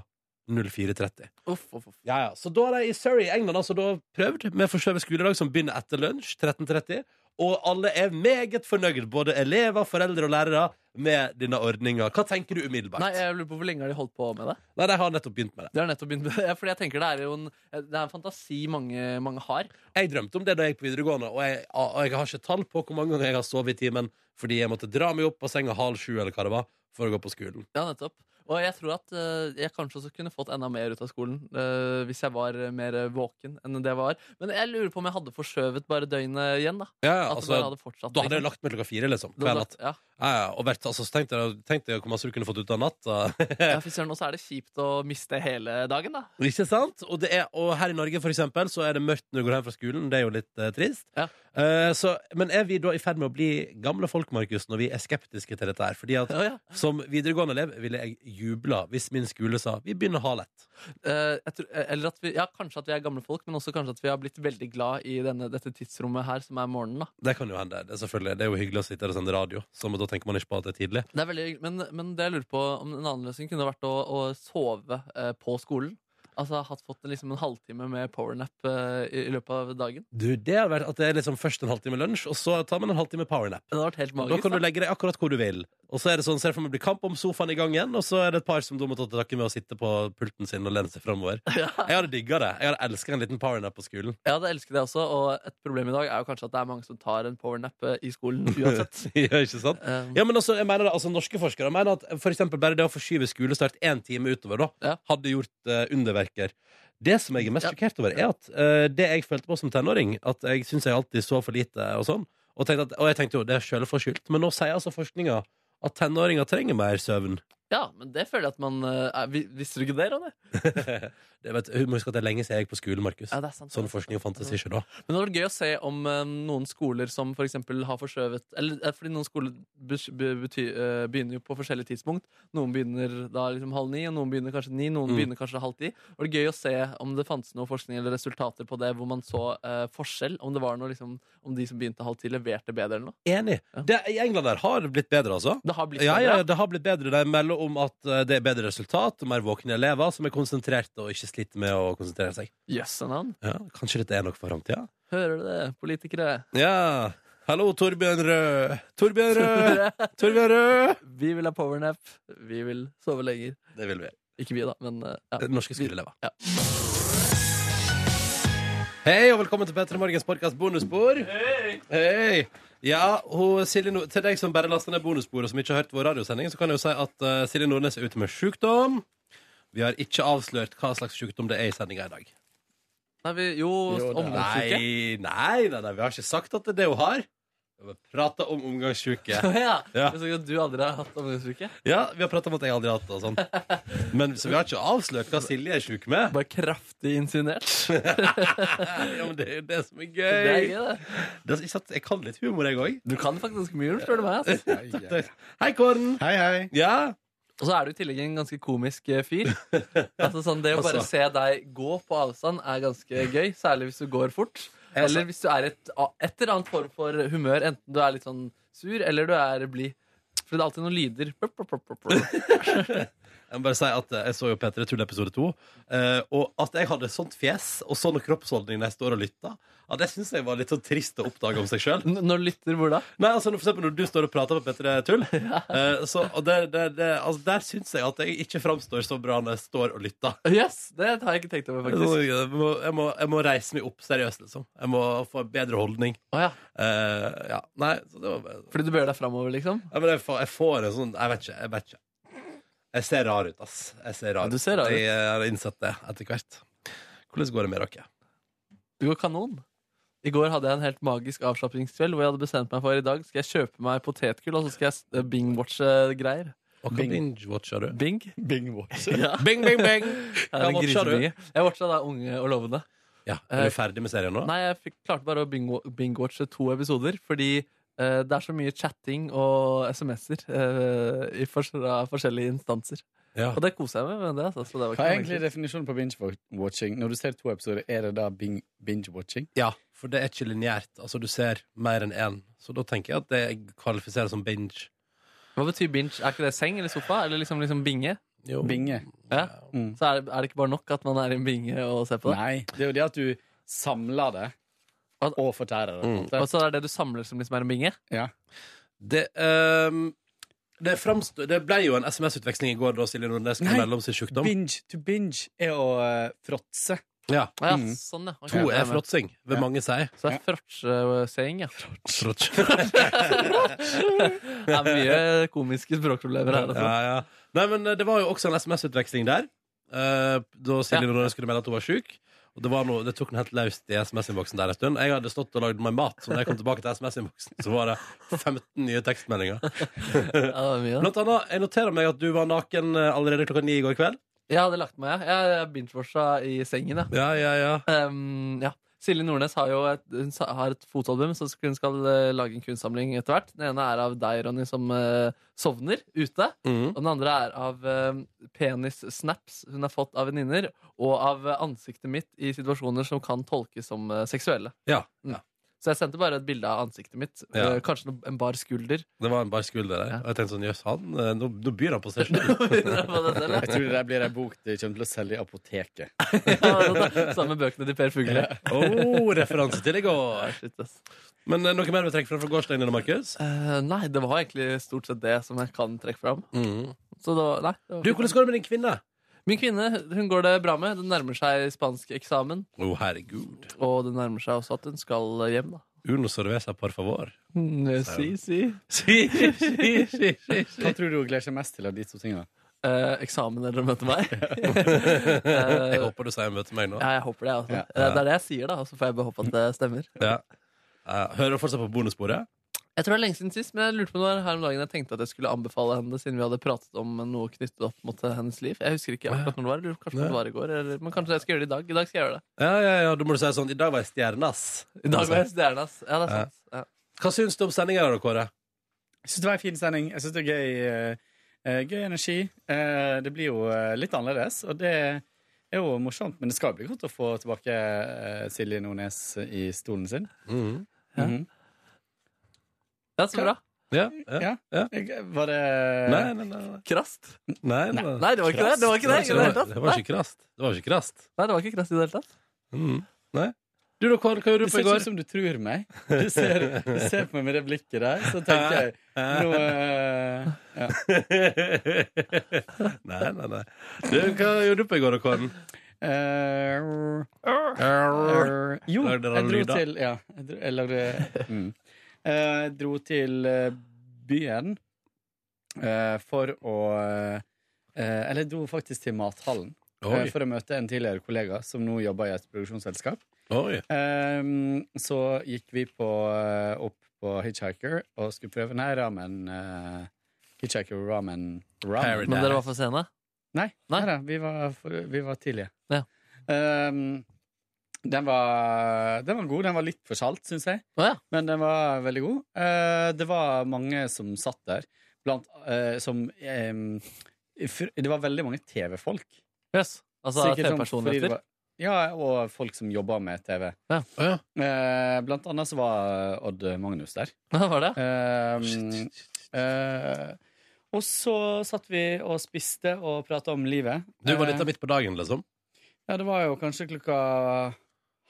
S2: 04.30.
S3: Uff, uff, uff.
S2: Ja, ja. Så da har de i Surrey, England, altså da prøvd med forskjøvet skoledag som begynner etter lunsj, 13.30. Og alle er meget fornøyd, både elever, foreldre og lærere, med denne ordninga. Hva tenker du umiddelbart?
S3: Nei, jeg lurer på Hvor lenge har de holdt på med det?
S2: Nei, de har nettopp begynt med det.
S3: Det er nettopp begynt (laughs) ja, Fordi jeg tenker Det er jo en, det er en fantasi mange, mange har.
S2: Jeg drømte om det da jeg gikk på videregående, og jeg, og jeg har ikke tall på hvor mange ganger jeg har sovet i timen fordi jeg måtte dra meg opp av senga halv sju eller hva det var, for å gå på skolen.
S3: Ja, nettopp. Og jeg tror at eh, jeg kanskje også kunne fått enda mer ut av skolen eh, hvis jeg var eh, mer eh, våken enn det jeg var. Men jeg lurer på om jeg hadde forskjøvet bare døgnet igjen. Da
S2: Ja,
S3: At det
S2: altså,
S3: bare hadde fortsatt
S2: da hadde jeg
S3: liksom.
S2: lagt meg klokka fire, liksom.
S3: Da
S2: Hver
S3: hadde-
S2: natt.
S3: ja.
S2: Ja, ja, og vært, altså, så tenkte jeg, tenkte jeg hvor masse du kunne fått ut av natta.
S3: ja, fy søren, Og så er det kjipt å miste hele dagen, da.
S2: Ikke sant? Og, det er, og her i Norge for eksempel, så er det mørkt når du går hjem fra skolen. Det er jo litt eh, trist.
S3: Ja.
S2: Eh, så, men er vi da i ferd med å bli gamle folk, Markus, når vi er skeptiske til dette her? Fordi at
S3: Ja, ja.
S2: som videregående elev ville jeg jubla hvis min skole sa vi begynner halv ett.
S3: Eh, jeg tror, eller at vi, ja, Kanskje at vi er gamle folk, men også kanskje at vi har blitt veldig glad i denne, dette tidsrommet her, som er morgenen. da
S2: Det kan jo hende. Det er, selvfølgelig. det er jo hyggelig å sitte her og sende radio, så men da tenker man ikke på at det er tidlig.
S3: Det er veldig, men, men det jeg lurer på om en annen løsning kunne vært å, å sove eh, på skolen. Altså hatt fått liksom en halvtime med powernap eh, i, i løpet av dagen.
S2: Du, det har vært at det er liksom først en halvtime lunsj, og så tar man en halvtime powernap.
S3: Det hadde vært helt
S2: Da
S3: magisk.
S2: kan du
S3: da.
S2: legge deg akkurat hvor du vil. Og så er det sånn, ser jeg for meg blir kamp om sofaen i gangen, og så er det et par som da må ta til takke med å sitte på pulten sin og lene seg framover. Jeg hadde digga det. Jeg hadde elska en liten powernap på skolen. (laughs)
S3: Jeg hadde elsket det også, og et problem i dag er jo kanskje at det er mange som tar en powernap eh, i skolen (laughs) uansett.
S2: ja, ikke sant?
S3: Um,
S2: Ja, men altså, jeg mener det, altså Norske forskere mener at for eksempel bare det å forskyve skolestart én time utover, da,
S3: Ja.
S2: hadde gjort eh, underverker. Det som jeg er mest
S3: Ja.
S2: sjokkert over, er at eh, det jeg følte på som tenåring, at jeg syns jeg alltid så for lite og sånn, og, tenkte at, og jeg tenkte jo det er sjølforskyldt, men nå sier altså forskninga at tenåringer trenger mer søvn.
S3: ja, men det føler jeg at man eh, er, vi- Visste du ikke det, Ronny?
S2: (laughs) Det vet, hun må huske at det er lenge siden jeg gikk på skole, Markus.
S3: Ja, det er sant.
S2: Sånn forskning fantes ikke da.
S3: Men det hadde vært gøy å se om eh, noen skoler som for eksempel har forskjøvet Eller eh, fordi noen skoler bes- be- bety, eh, begynner jo på forskjellige tidspunkt. Noen begynner da liksom halv ni, og noen begynner kanskje ni, noen
S2: Mm.
S3: begynner kanskje halv ti. Det hadde vært gøy å se om det fantes noe forskning eller resultater på det hvor man så eh, forskjell. Om det var noe liksom Om de som begynte halv ti, leverte bedre eller noe.
S2: Enig.
S3: Ja.
S2: Det, I England der har det blitt bedre, altså.
S3: Det har blitt
S2: Ja,
S3: bedre.
S2: ja, det har blitt bedre. De melder om at eh, det er bedre resultat og mer våkne elever som er konsentrerte og ikke sliter med å konsentrere seg.
S3: Jøss, en annen.
S2: Ja, Kanskje dette er noe for framtida?
S3: Hører du det, politikere?
S2: Ja. Hallo, Torbjørn Rød. Torbjørn Rød! Torbjørn Rød!
S3: vi vil ha powernap. Vi vil sove lenger.
S2: Det vil vi.
S3: Ikke vi, da, men eh, ja.
S2: Norske skoleelever.
S3: Ja.
S2: Hei, og velkommen til Petter Morgens podkast bonusbord. Hei. Ja, hun, Silje Nord til deg som bare laster ned bonusbord og som ikke har hørt vår radiosending, så kan jeg jo si at eh, Silje Nordnes er ute med sykdom. Vi har ikke avslørt hva slags sykdom det er i sendinga i dag.
S3: Nei, vi, jo, omgangssyke.
S2: Nei, nei, nei, nei, vi har ikke sagt at det er det hun har. Vi har prata om
S3: (laughs)
S2: omgangssjuke.
S3: ja.
S2: Ja.
S3: Jeg så ikke at du aldri har hatt omgangsuke.
S2: Ja, vi har prata om at jeg aldri har hatt det og sånn. Men så vi har ikke avslørt hva Silje er sjuk med.
S3: Bare kraftig insinuert.
S2: Ja, men det er jo det som er
S3: Det er
S2: gøy.
S3: gøy, det.
S2: Det er, ikke sant? jeg kan litt humor, jeg òg.
S3: Du kan faktisk mye, spør du meg. ass.
S2: Hei, Kåren.
S9: Hei, hei.
S2: Ja.
S3: Og så er du i tillegg en ganske komisk eh, fyr. Altså sånn, Det å bare
S2: Altså.
S3: se deg gå på avstand er ganske gøy, særlig hvis du går fort. Eller hvis du er i et, a- et eller annet form for humør, enten du er litt sånn sur eller du er blid. For det er alltid noen lyder. Plup, plup, plup, plup, plup.
S2: Jeg må bare si at eh, jeg så jo P3 Tull episode 2, eh, og at jeg hadde sånt fjes og sånn kroppsholdning når jeg står og lytter, ja, det syns jeg var litt sånn trist å oppdage om seg sjøl.
S3: N- Når du lytter, hvor da?
S2: Nei, altså for eksempel når du står og prater på P3 Tull eh, så, og der, der, der, altså, der syns jeg at jeg ikke framstår så bra når jeg står og lytter.
S3: Yes, Det har jeg ikke tenkt over,
S2: Så,
S3: faktisk.
S2: Jeg må, jeg, må, jeg må reise meg opp seriøst, liksom. Jeg må få en bedre holdning.
S3: Å ja.
S2: Eh, ja, nei, så det var bare...
S3: Fordi du bøyer deg framover, liksom?
S2: Nei, men jeg, får, jeg får en sånn Jeg vet ikke. Jeg vet ikke. Jeg ser rar ut, ass. Jeg ser rar
S3: Ja,
S2: ut.
S3: du ser rar ut.
S2: Jeg eh, har innsett det etter hvert. Hvordan går det med dere?
S3: Det går kanon. I går hadde jeg en helt magisk avslappingskveld hvor jeg hadde bestemt meg for i dag skal jeg kjøpe meg potetgull og så skal jeg s- bing-watche greier.
S2: Og hva
S3: Bing.
S2: binge-watcher du?
S3: Bing? Bing-watche? (laughs) Ja.
S2: Bing, bing, bing!
S3: Jeg,
S2: Hva watcha du?
S3: watcha jeg watcha da Unge og lovende.
S2: Ja, Er du ferdig med serien nå?
S3: Eh, Nei, jeg fikk, klarte bare å bingo- bingo-watche to episoder fordi eh, det er så mye chatting og SMS-er eh, i fors- fra forskjellige instanser.
S2: Ja.
S3: Og det koser jeg meg med. det, altså, så det var
S10: Hva
S3: ikke
S10: er
S3: noe
S10: egentlig
S3: negativt.
S10: definisjonen på binge-watching? Når du ser to episoder, er det da bing- binge-watching?
S2: ja, for det er ikke lineært. Altså, du ser mer enn én. Så da tenker jeg at det kvalifiserer som binge.
S3: Hva betyr binge? Er ikke det seng eller sofa? Eller liksom, liksom binge?
S2: Jo.
S10: Binge?
S3: Ja.
S10: Mm.
S3: Så er, det- er det ikke bare nok at man er i en binge og ser på det?
S10: Nei, det er jo det at du samler det og fortærer det. på en måte.
S3: Og så er det det du samler som liksom er en binge?
S2: Det, ehm, det, framstå- det ble jo en SMS-utveksling i går da Silje Nordnes kom
S10: Nei.
S2: mellom sin sykdom.
S10: Binge to binge er å eh, fråtse.
S2: Ja,
S3: Ja,
S10: Mm.
S3: sånn, ja. Ok,
S2: To
S3: det
S2: er
S3: med.
S2: fråtsing, vil
S10: Ja.
S2: mange si.
S3: Så det er fråtseseng, ja.
S2: Fråtsing.
S3: Det er mye komiske språkproblemer her. Altså.
S2: Ja, ja. Nei, men eh, det var jo også en SMS-utveksling der. eh, da Silje Nordnes skulle melde at hun var syk. Og det, var noe, det tok den helt løst i SMS-innboksen der en stund. Jeg hadde stått og lagd meg mat, så når jeg kom tilbake til SMS-innboksen, så var det 15 nye tekstmeldinger.
S3: Ja, det er mye.
S2: Blant annet, jeg noterer meg at du var naken eh, allerede klokka ni i går kveld.
S3: Jeg hadde lagt meg, ja. Jeg jeg binge-watcha i sengen, ja.
S2: Ja, ja, ja.
S3: Ehm, ja. Silje Nordnes har jo et, hun sa- har et fotoalbum, så hun skal eh, lage en kunstsamling etter hvert. Den ene er av deg, Ronny, som eh, sovner ute.
S2: Mhm.
S3: Og den andre er av eh, penis-snaps hun har fått av venninner, og av eh, ansiktet mitt i situasjoner som kan tolkes som eh, seksuelle.
S2: Ja,
S3: Mm.
S2: ja.
S3: Så jeg sendte bare et bilde av ansiktet mitt.
S2: Ja.
S3: eh, Kanskje noe, en bar (laughs) skulder.
S2: Det var en bar skulder der.
S3: Ja.
S2: Og jeg tenkte sånn, jøss, han eh, Nå, nå byr han på seg sjøl.
S3: På det selv, ja.
S10: Jeg tror det der blir ei bok de kommer til å selge i apoteket.
S3: (laughs) Ja, Samme bøkene til Per Fugle.
S2: Oh, referanse til i går.
S3: (laughs) Shit, ass.
S2: Men eh, noe mer vi trekker fra fra gårsdagen din, Markus?
S3: Eh, nei, det var egentlig stort sett det som jeg kan trekke fram. Så det var, nei, det var
S2: Du, hvordan går det med din kvinne?
S3: Min kvinne hun går det bra med. Den nærmer seg spansk eksamen.
S2: Å, herregud.
S3: Og det nærmer seg også at hun skal hjem, da.
S2: Uno cerveza, por favor.
S3: Mm, eh, si, si. (laughs)
S2: Si, si, si, si, si.
S10: Hva tror du hun gleder seg mest til av de to tingene?
S3: Eh, eksamen eller å møte meg.
S2: Jeg
S3: Eh,
S2: håper du sier møte meg nå.
S3: ja, jeg håper det. Altså.
S10: Ja.
S3: Eh, Det er det jeg sier, da. Og så får jeg bare håpe at det stemmer.
S2: Ja. Eh, Hører du fortsatt på bonussporet?
S3: Jeg tror det er lenge siden sist, men jeg lurte på noe her om dagen jeg tenkte at jeg skulle anbefale henne det, siden vi hadde pratet om noe knyttet opp mot hennes liv. Jeg husker ikke akkurat når det var. Jeg lurer kanskje på om det var i går, eller, men kanskje jeg skal gjøre det i dag. I dag skal jeg gjøre det.
S2: Ja, ja, ja, da må du si sånn I dag var jeg stjerne, ass. Altså,
S3: I dag var jeg stjerne, ass. Ja, det er sant. Ja.
S2: Hva syns du om sendinga, da, Kåre?
S10: Jeg syns det var en fin sending. Jeg synes det er gøy, eh, gøy energi. Eh, det blir jo eh, litt annerledes, og det er jo morsomt. Men det skal jo bli godt å få tilbake eh, Silje Nordnes i stolen sin.
S2: Mm.
S3: Ja.
S10: Mhm.
S3: ja, så bra.
S2: Ja, ja.
S10: Ja.
S2: Ja.
S10: Jeg- Var det
S2: Nei, nei, nei. nei.
S3: Krast.
S2: Nei, nei.
S3: Nei, det var ikke det. Det var
S2: Det
S3: ikke det, i det, hele
S2: var-
S3: tatt.
S2: det var ikke krast. Det var ikke krast.
S3: Nei, det var ikke krast i det hele tatt.
S2: Mhm. Nei. Du da, Kåre, hva gjorde
S10: Det
S2: du på
S10: ser
S2: i
S10: ikke ut
S2: går?
S10: som du tror meg. Du ser, du ser på meg med det blikket der, så tenker
S2: (laughs)
S10: jeg nå eh, ja.
S2: (laughs) nei, nei, nei. Du, hva gjorde du på i går, da, Kåren?
S10: Eh, Eh, jo,
S2: Lagde
S10: jeg
S2: dere noen
S10: dro
S2: lyder?
S10: til Ja, jeg dro, jeg lagde
S2: (laughs)
S10: mm. Eh, Jeg dro til eh, byen eh, for å eh, Eller jeg dro faktisk til mathallen eh,
S2: Oi.
S10: for å møte en tidligere kollega som nå jobber i et produksjonsselskap.
S2: Oi.
S10: Eh, så gikk vi på, eh, opp på Hitchhiker og skulle prøve Nei, ramen eh, Hitchhiker ramen, ramen.
S2: Paradise.
S3: Men dere var for sene.
S10: Nei,
S3: Nei?
S10: neida, vi, var, for- vi var tidlige.
S3: Ja.
S10: Ehm, den, var, den var god. Den var litt for salt, syns jeg.
S3: Å ja.
S10: Men den var veldig god. Eh, det var mange som satt der, blant eh, som ehm, fr- Det var veldig mange TV-folk.
S3: Yes. Altså
S10: Sikkert sånn fordi det
S3: TV-personligheter.
S10: var- Ja, og folk som jobber med TV.
S3: Ja.
S2: Å,
S10: Eh, blant annet så var Odd Magnus der.
S3: (laughs) Ja, var det?
S10: Ehm, eh, og så satt vi og spiste og prata om livet.
S2: Du var
S10: Eh,
S2: litt av midt på dagen, liksom?
S10: Ja, det var jo kanskje klokka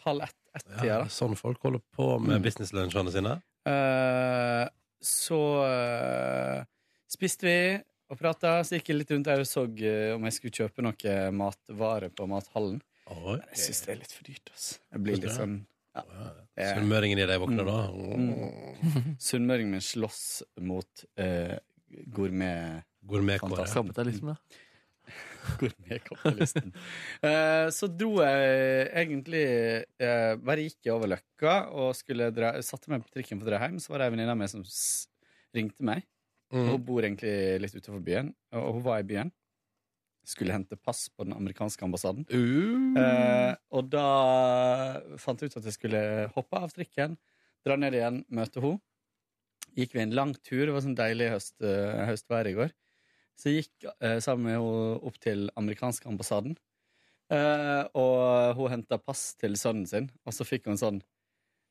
S10: halv ett, ett tida,
S2: Ja,
S10: da.
S2: sånn folk holder på med
S10: Mm.
S2: businesslunsjene sine.
S10: Eh, så eh, spiste vi og prata, så gikk jeg litt rundt der og så eh, om jeg skulle kjøpe noe matvare på mathallen.
S2: Oi.
S10: Jeg syns det er litt for dyrt, altså. Jeg blir litt sånn det er-
S2: Sunnmøringen i deg våkner da. Mm.
S10: eh, (laughs) Sunnmøringen min slåss mot uh, gourmetbuffeen
S2: Gourmetkåre.
S3: Kapitalisme.
S10: Gourmetkapitalismen. Eh, så dro jeg egentlig eh, Bare gikk jeg over Løkka og skulle dra, satte meg på trikken for å dra hjem. Så var det ei venninne av meg som s ringte meg.
S2: Mm.
S10: Hun bor egentlig litt utenfor byen, og hun var i byen. Skulle hente pass på den amerikanske ambassaden. Eh, og da fant jeg ut at jeg skulle hoppe av trikken, dra ned igjen, møte henne. Gikk vi en lang tur. Det var sånn deilig høst, eh, høstvær i går. Så jeg gikk eh, sammen med henne opp til amerikanske ambassaden. Eh, og hun henta pass til sønnen sin, og så fikk hun sånn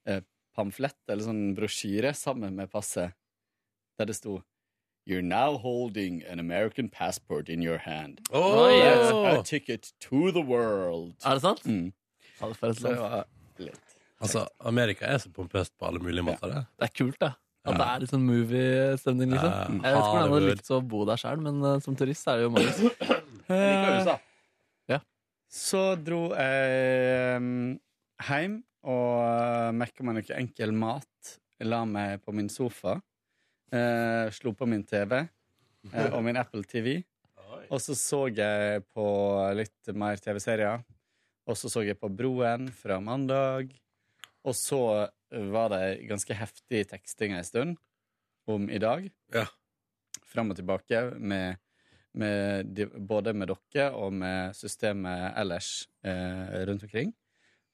S10: eh, pamflett eller sånn brosjyre sammen med passet, der det sto You're now holding an American passport in your hand.
S2: Åh!
S3: Oh.
S10: That's a ticket to the world.
S3: Er det sant?
S10: Mm.
S3: Ja, Ah. det, sånn. er et
S10: Så det
S3: land.
S10: var litt
S2: Altså, Amerika er så pompøst på alle mulige måter. det.
S3: det er kult, det. At det er litt sånn movie-stemning, liksom.
S2: Ja,
S3: Jeg vet ikke hvordan jeg hadde
S2: Hollywood.
S3: likt å bo der sjøl, men eh, som turist er det jo mange. Ja.
S10: Så dro jeg um, hjem og mekka meg noe enkel mat. La meg på min sofa. eh, slo på min TV eh, og min Apple TV. Og så så jeg på litt mer TV-serier. Og så så jeg på Broen fra mandag. Og så var det ganske heftig teksting en stund om i dag.
S2: Ja.
S10: Fram og tilbake med, med de, både med dere og med systemet ellers eh, rundt omkring.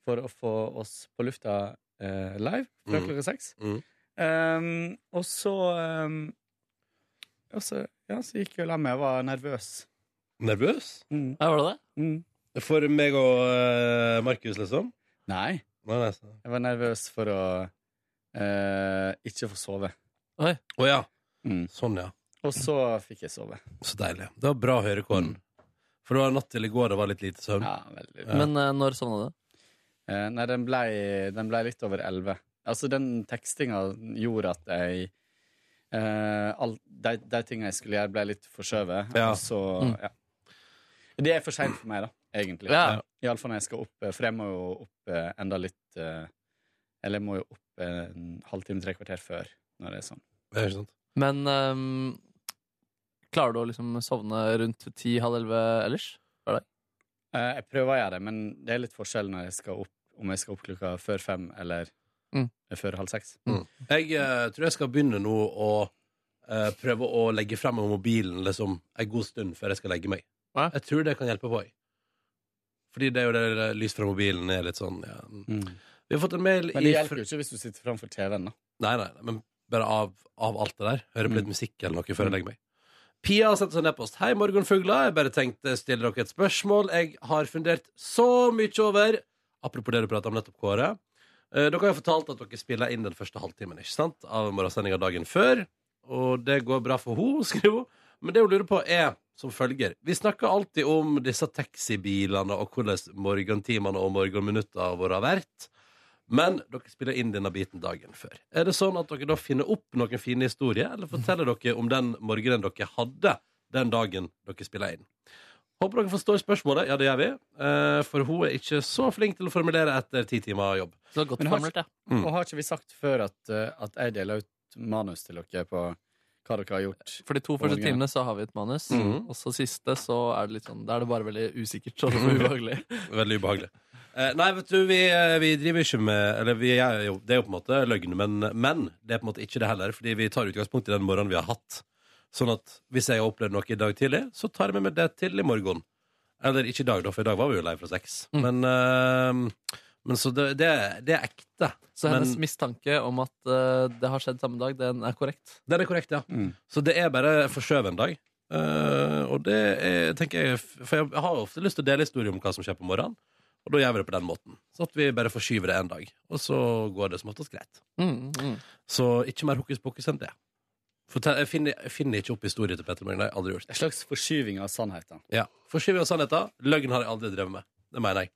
S10: For å få oss på lufta eh, live fra
S2: Mm.
S10: klokka seks.
S2: Mm.
S10: Um, og så um, og så, ja, så gikk jeg og la meg. Jeg var nervøs.
S2: Nervøs?
S10: Mm.
S3: Ja, var det det?
S10: Mm.
S2: For meg og eh, Markus, liksom?
S10: Nei,
S2: Nei, nei. så-
S10: jeg var nervøs for å eh, ikke få sove.
S2: Å ja.
S10: Mm.
S2: Sånn, ja.
S10: Og så fikk jeg sove.
S2: Så deilig. Det var bra å høre kåren. For det var natt til i går det var litt lite søvn.
S10: Ja, veldig
S2: Mm. Ja.
S3: Men eh, når sovna du?
S10: Eh, nei, den ble, den ble litt over 11. Altså, den tekstinga gjorde at jeg eh, all, de, de tinga jeg skulle gjøre, ble litt forskjøvet.
S2: Ja.
S10: og Så,
S3: Mm.
S10: ja. Det er for seint for meg, da, egentlig.
S3: Ja.
S10: Iallfall når jeg skal opp, eh, for jeg må jo opp eh, enda litt eh, Eller jeg må jo opp eh, en halvtime, tre kvarter før, når det er sånn.
S2: Det er ikke sant.
S3: Men ehm, klarer du å liksom sovne rundt ti, halv elleve ellers?
S10: Eh, jeg prøver å gjøre det, men det er litt forskjell når jeg skal opp, om jeg skal opp klokka før fem eller
S3: Mm.
S10: før halv seks.
S2: Jeg eh, tror jeg skal begynne nå å eh, prøve å legge frem mobilen liksom, en god stund før jeg skal legge meg.
S3: Ja.
S2: Jeg tror det kan hjelpe på. Jeg. Fordi det er jo det, det lys fra mobilen er litt sånn ja. Vi har fått en mail
S10: Men det
S2: ifra-
S10: hjelper jo ikke hvis du sitter framfor TV-en, da.
S2: Nei, nei, nei, men bare av, av alt det der. Høre på
S10: Mm.
S2: litt musikk eller noe før jeg legger meg. Pia har sendt oss en e-post. Hei, morgenfugler. Jeg bare tenkte stille dere et spørsmål. Jeg har fundert så mye over Apropos det du prata om nettopp, Kåre. Eh, Dere har jo fortalt at dere spiller inn den første halvtimen ikke sant? av morgensendinga dagen før. Og det går bra for henne, (laughs) skriver hun. Men det hun lurer på, er som følger. Vi snakker alltid om disse taxibilene og hvordan morgentimene og morgenminuttene våre har vært. Men dere spiller inn denne biten dagen før. Er det sånn at dere da finner opp noen fine historier, eller forteller dere om den morgenen dere hadde den dagen dere spiller inn? Håper dere forstår spørsmålet. Ja, det gjør vi. Eh, For hun er ikke så flink til å formulere etter ti timer jobb.
S3: Så det var godt
S10: Men har-
S3: formulert, ja.
S2: Mm.
S10: Og har ikke vi sagt før at, eh, at jeg deler ut manus til dere på hva dere har gjort?
S3: For de to første
S10: Morgen.
S3: timene så har vi et manus,
S2: Mhm.
S3: og så siste så er det litt sånn Da er det bare veldig usikkert
S2: (laughs)
S3: og ubehagelig.
S2: Veldig ubehagelig. Eh, Nei, vet du, vi, eh, vi driver ikke med Eller vi er jo, det er jo på en måte løgn, men, men det er på en måte ikke det heller, fordi vi tar utgangspunkt i den morgenen vi har hatt. Sånn at hvis jeg har opplevd noe i dag tidlig, så tar jeg med meg det til i morgen. Eller ikke i dag, da, for i dag var vi jo lei fra sex.
S3: Mm.
S2: Men, eh, men så det, det, det er ekte.
S3: Så hennes
S2: men
S3: mistanke om at eh, det har skjedd samme dag, den er korrekt.
S2: den er korrekt, ja.
S10: Mm.
S2: Så det er bare forskjøvet en dag. Eh, og det er, tenker jeg For jeg har jo ofte lyst til å dele historier om hva som skjer på morgenen. Og da gjør vi det på den måten. Så at vi bare forskyver det en dag. Og så går det som oftest greit.
S3: Mm, mm.
S2: Så ikke mer hokus pokus enn det. Fortell, jeg, finner, jeg finner ikke opp historier til Petter Morgen. Det har jeg aldri gjort.
S10: En slags forskyving av sannheten.
S2: Ja. Forskyver av sannheten. Løgn har jeg aldri drevet med. Det mener jeg.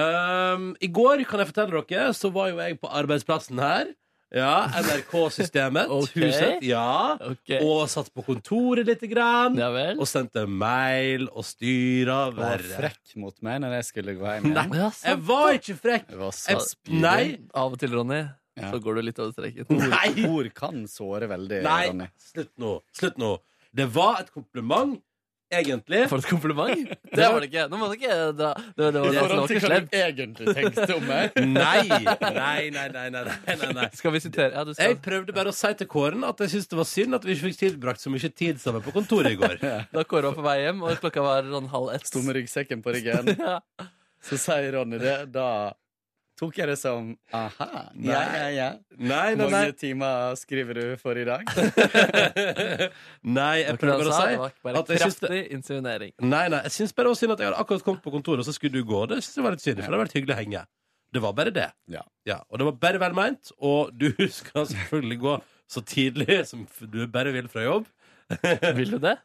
S2: Ehm, I går, kan jeg fortelle dere, så var jo jeg på arbeidsplassen her. Ja, NRK-systemet.
S3: Ok.
S2: Huset. Ja.
S3: Ok.
S2: Og satt på kontoret lite grann.
S3: Ja vel.
S2: Og sendte mail og styra
S10: Du var
S2: verre.
S10: frekk mot meg når jeg skulle gå hjem. igjen.
S3: Ja,
S2: Jeg
S3: sant.
S2: var ikke frekk!
S10: Jeg var så
S2: Jeg,
S10: spydig.
S2: nei!
S3: Av og til, Ronny,
S10: Ja.
S3: så går du litt over streken.
S10: Ord,
S2: Nei!
S10: ord kan såre veldig,
S2: Nei!
S10: Ronny.
S2: Slutt nå. Slutt nå. Det var et kompliment, egentlig.
S3: For et kompliment? Det var det ikke. Nå må du ikke dra Det, det var det som var ikke slemt.
S2: Nei, nei, nei, nei, nei, nei, nei.
S3: Skal vi sitere? Ja, du skal.
S2: Jeg prøvde bare å si til Kåren at jeg syntes det var synd at vi ikke fikk tilbrakt så mye tid sammen på kontoret i
S10: (laughs)
S2: går.
S3: Da Kåre var på vei hjem, og klokka var sånn halv ett.
S10: Sto med ryggsekken på
S3: (laughs)
S10: ryggen.
S3: Ja.
S10: Så sier Ronny det. Da tok jeg det som aha. Ja, ja, ja.
S2: Nei, nei,
S10: Hvor
S2: nei.
S10: mange timer skriver du for i dag?
S2: Nei, jeg
S3: Det var ikke det
S2: prøvde
S3: han
S2: bare
S3: sa, det
S2: å
S3: var
S2: si
S3: bare
S2: at jeg syns det
S3: kraftig insinuering.
S2: Nei, nei, jeg syns bare det var synd at jeg hadde akkurat kommet på kontoret, og så skulle du gå. Det synes jeg var litt synd, for det hadde vært hyggelig å henge. Det var bare det.
S10: Ja.
S2: Og det var bare vel meint, og du (laughs) skal selvfølgelig gå så tidlig som f- du bare vil fra jobb.
S3: (laughs) Vil du det?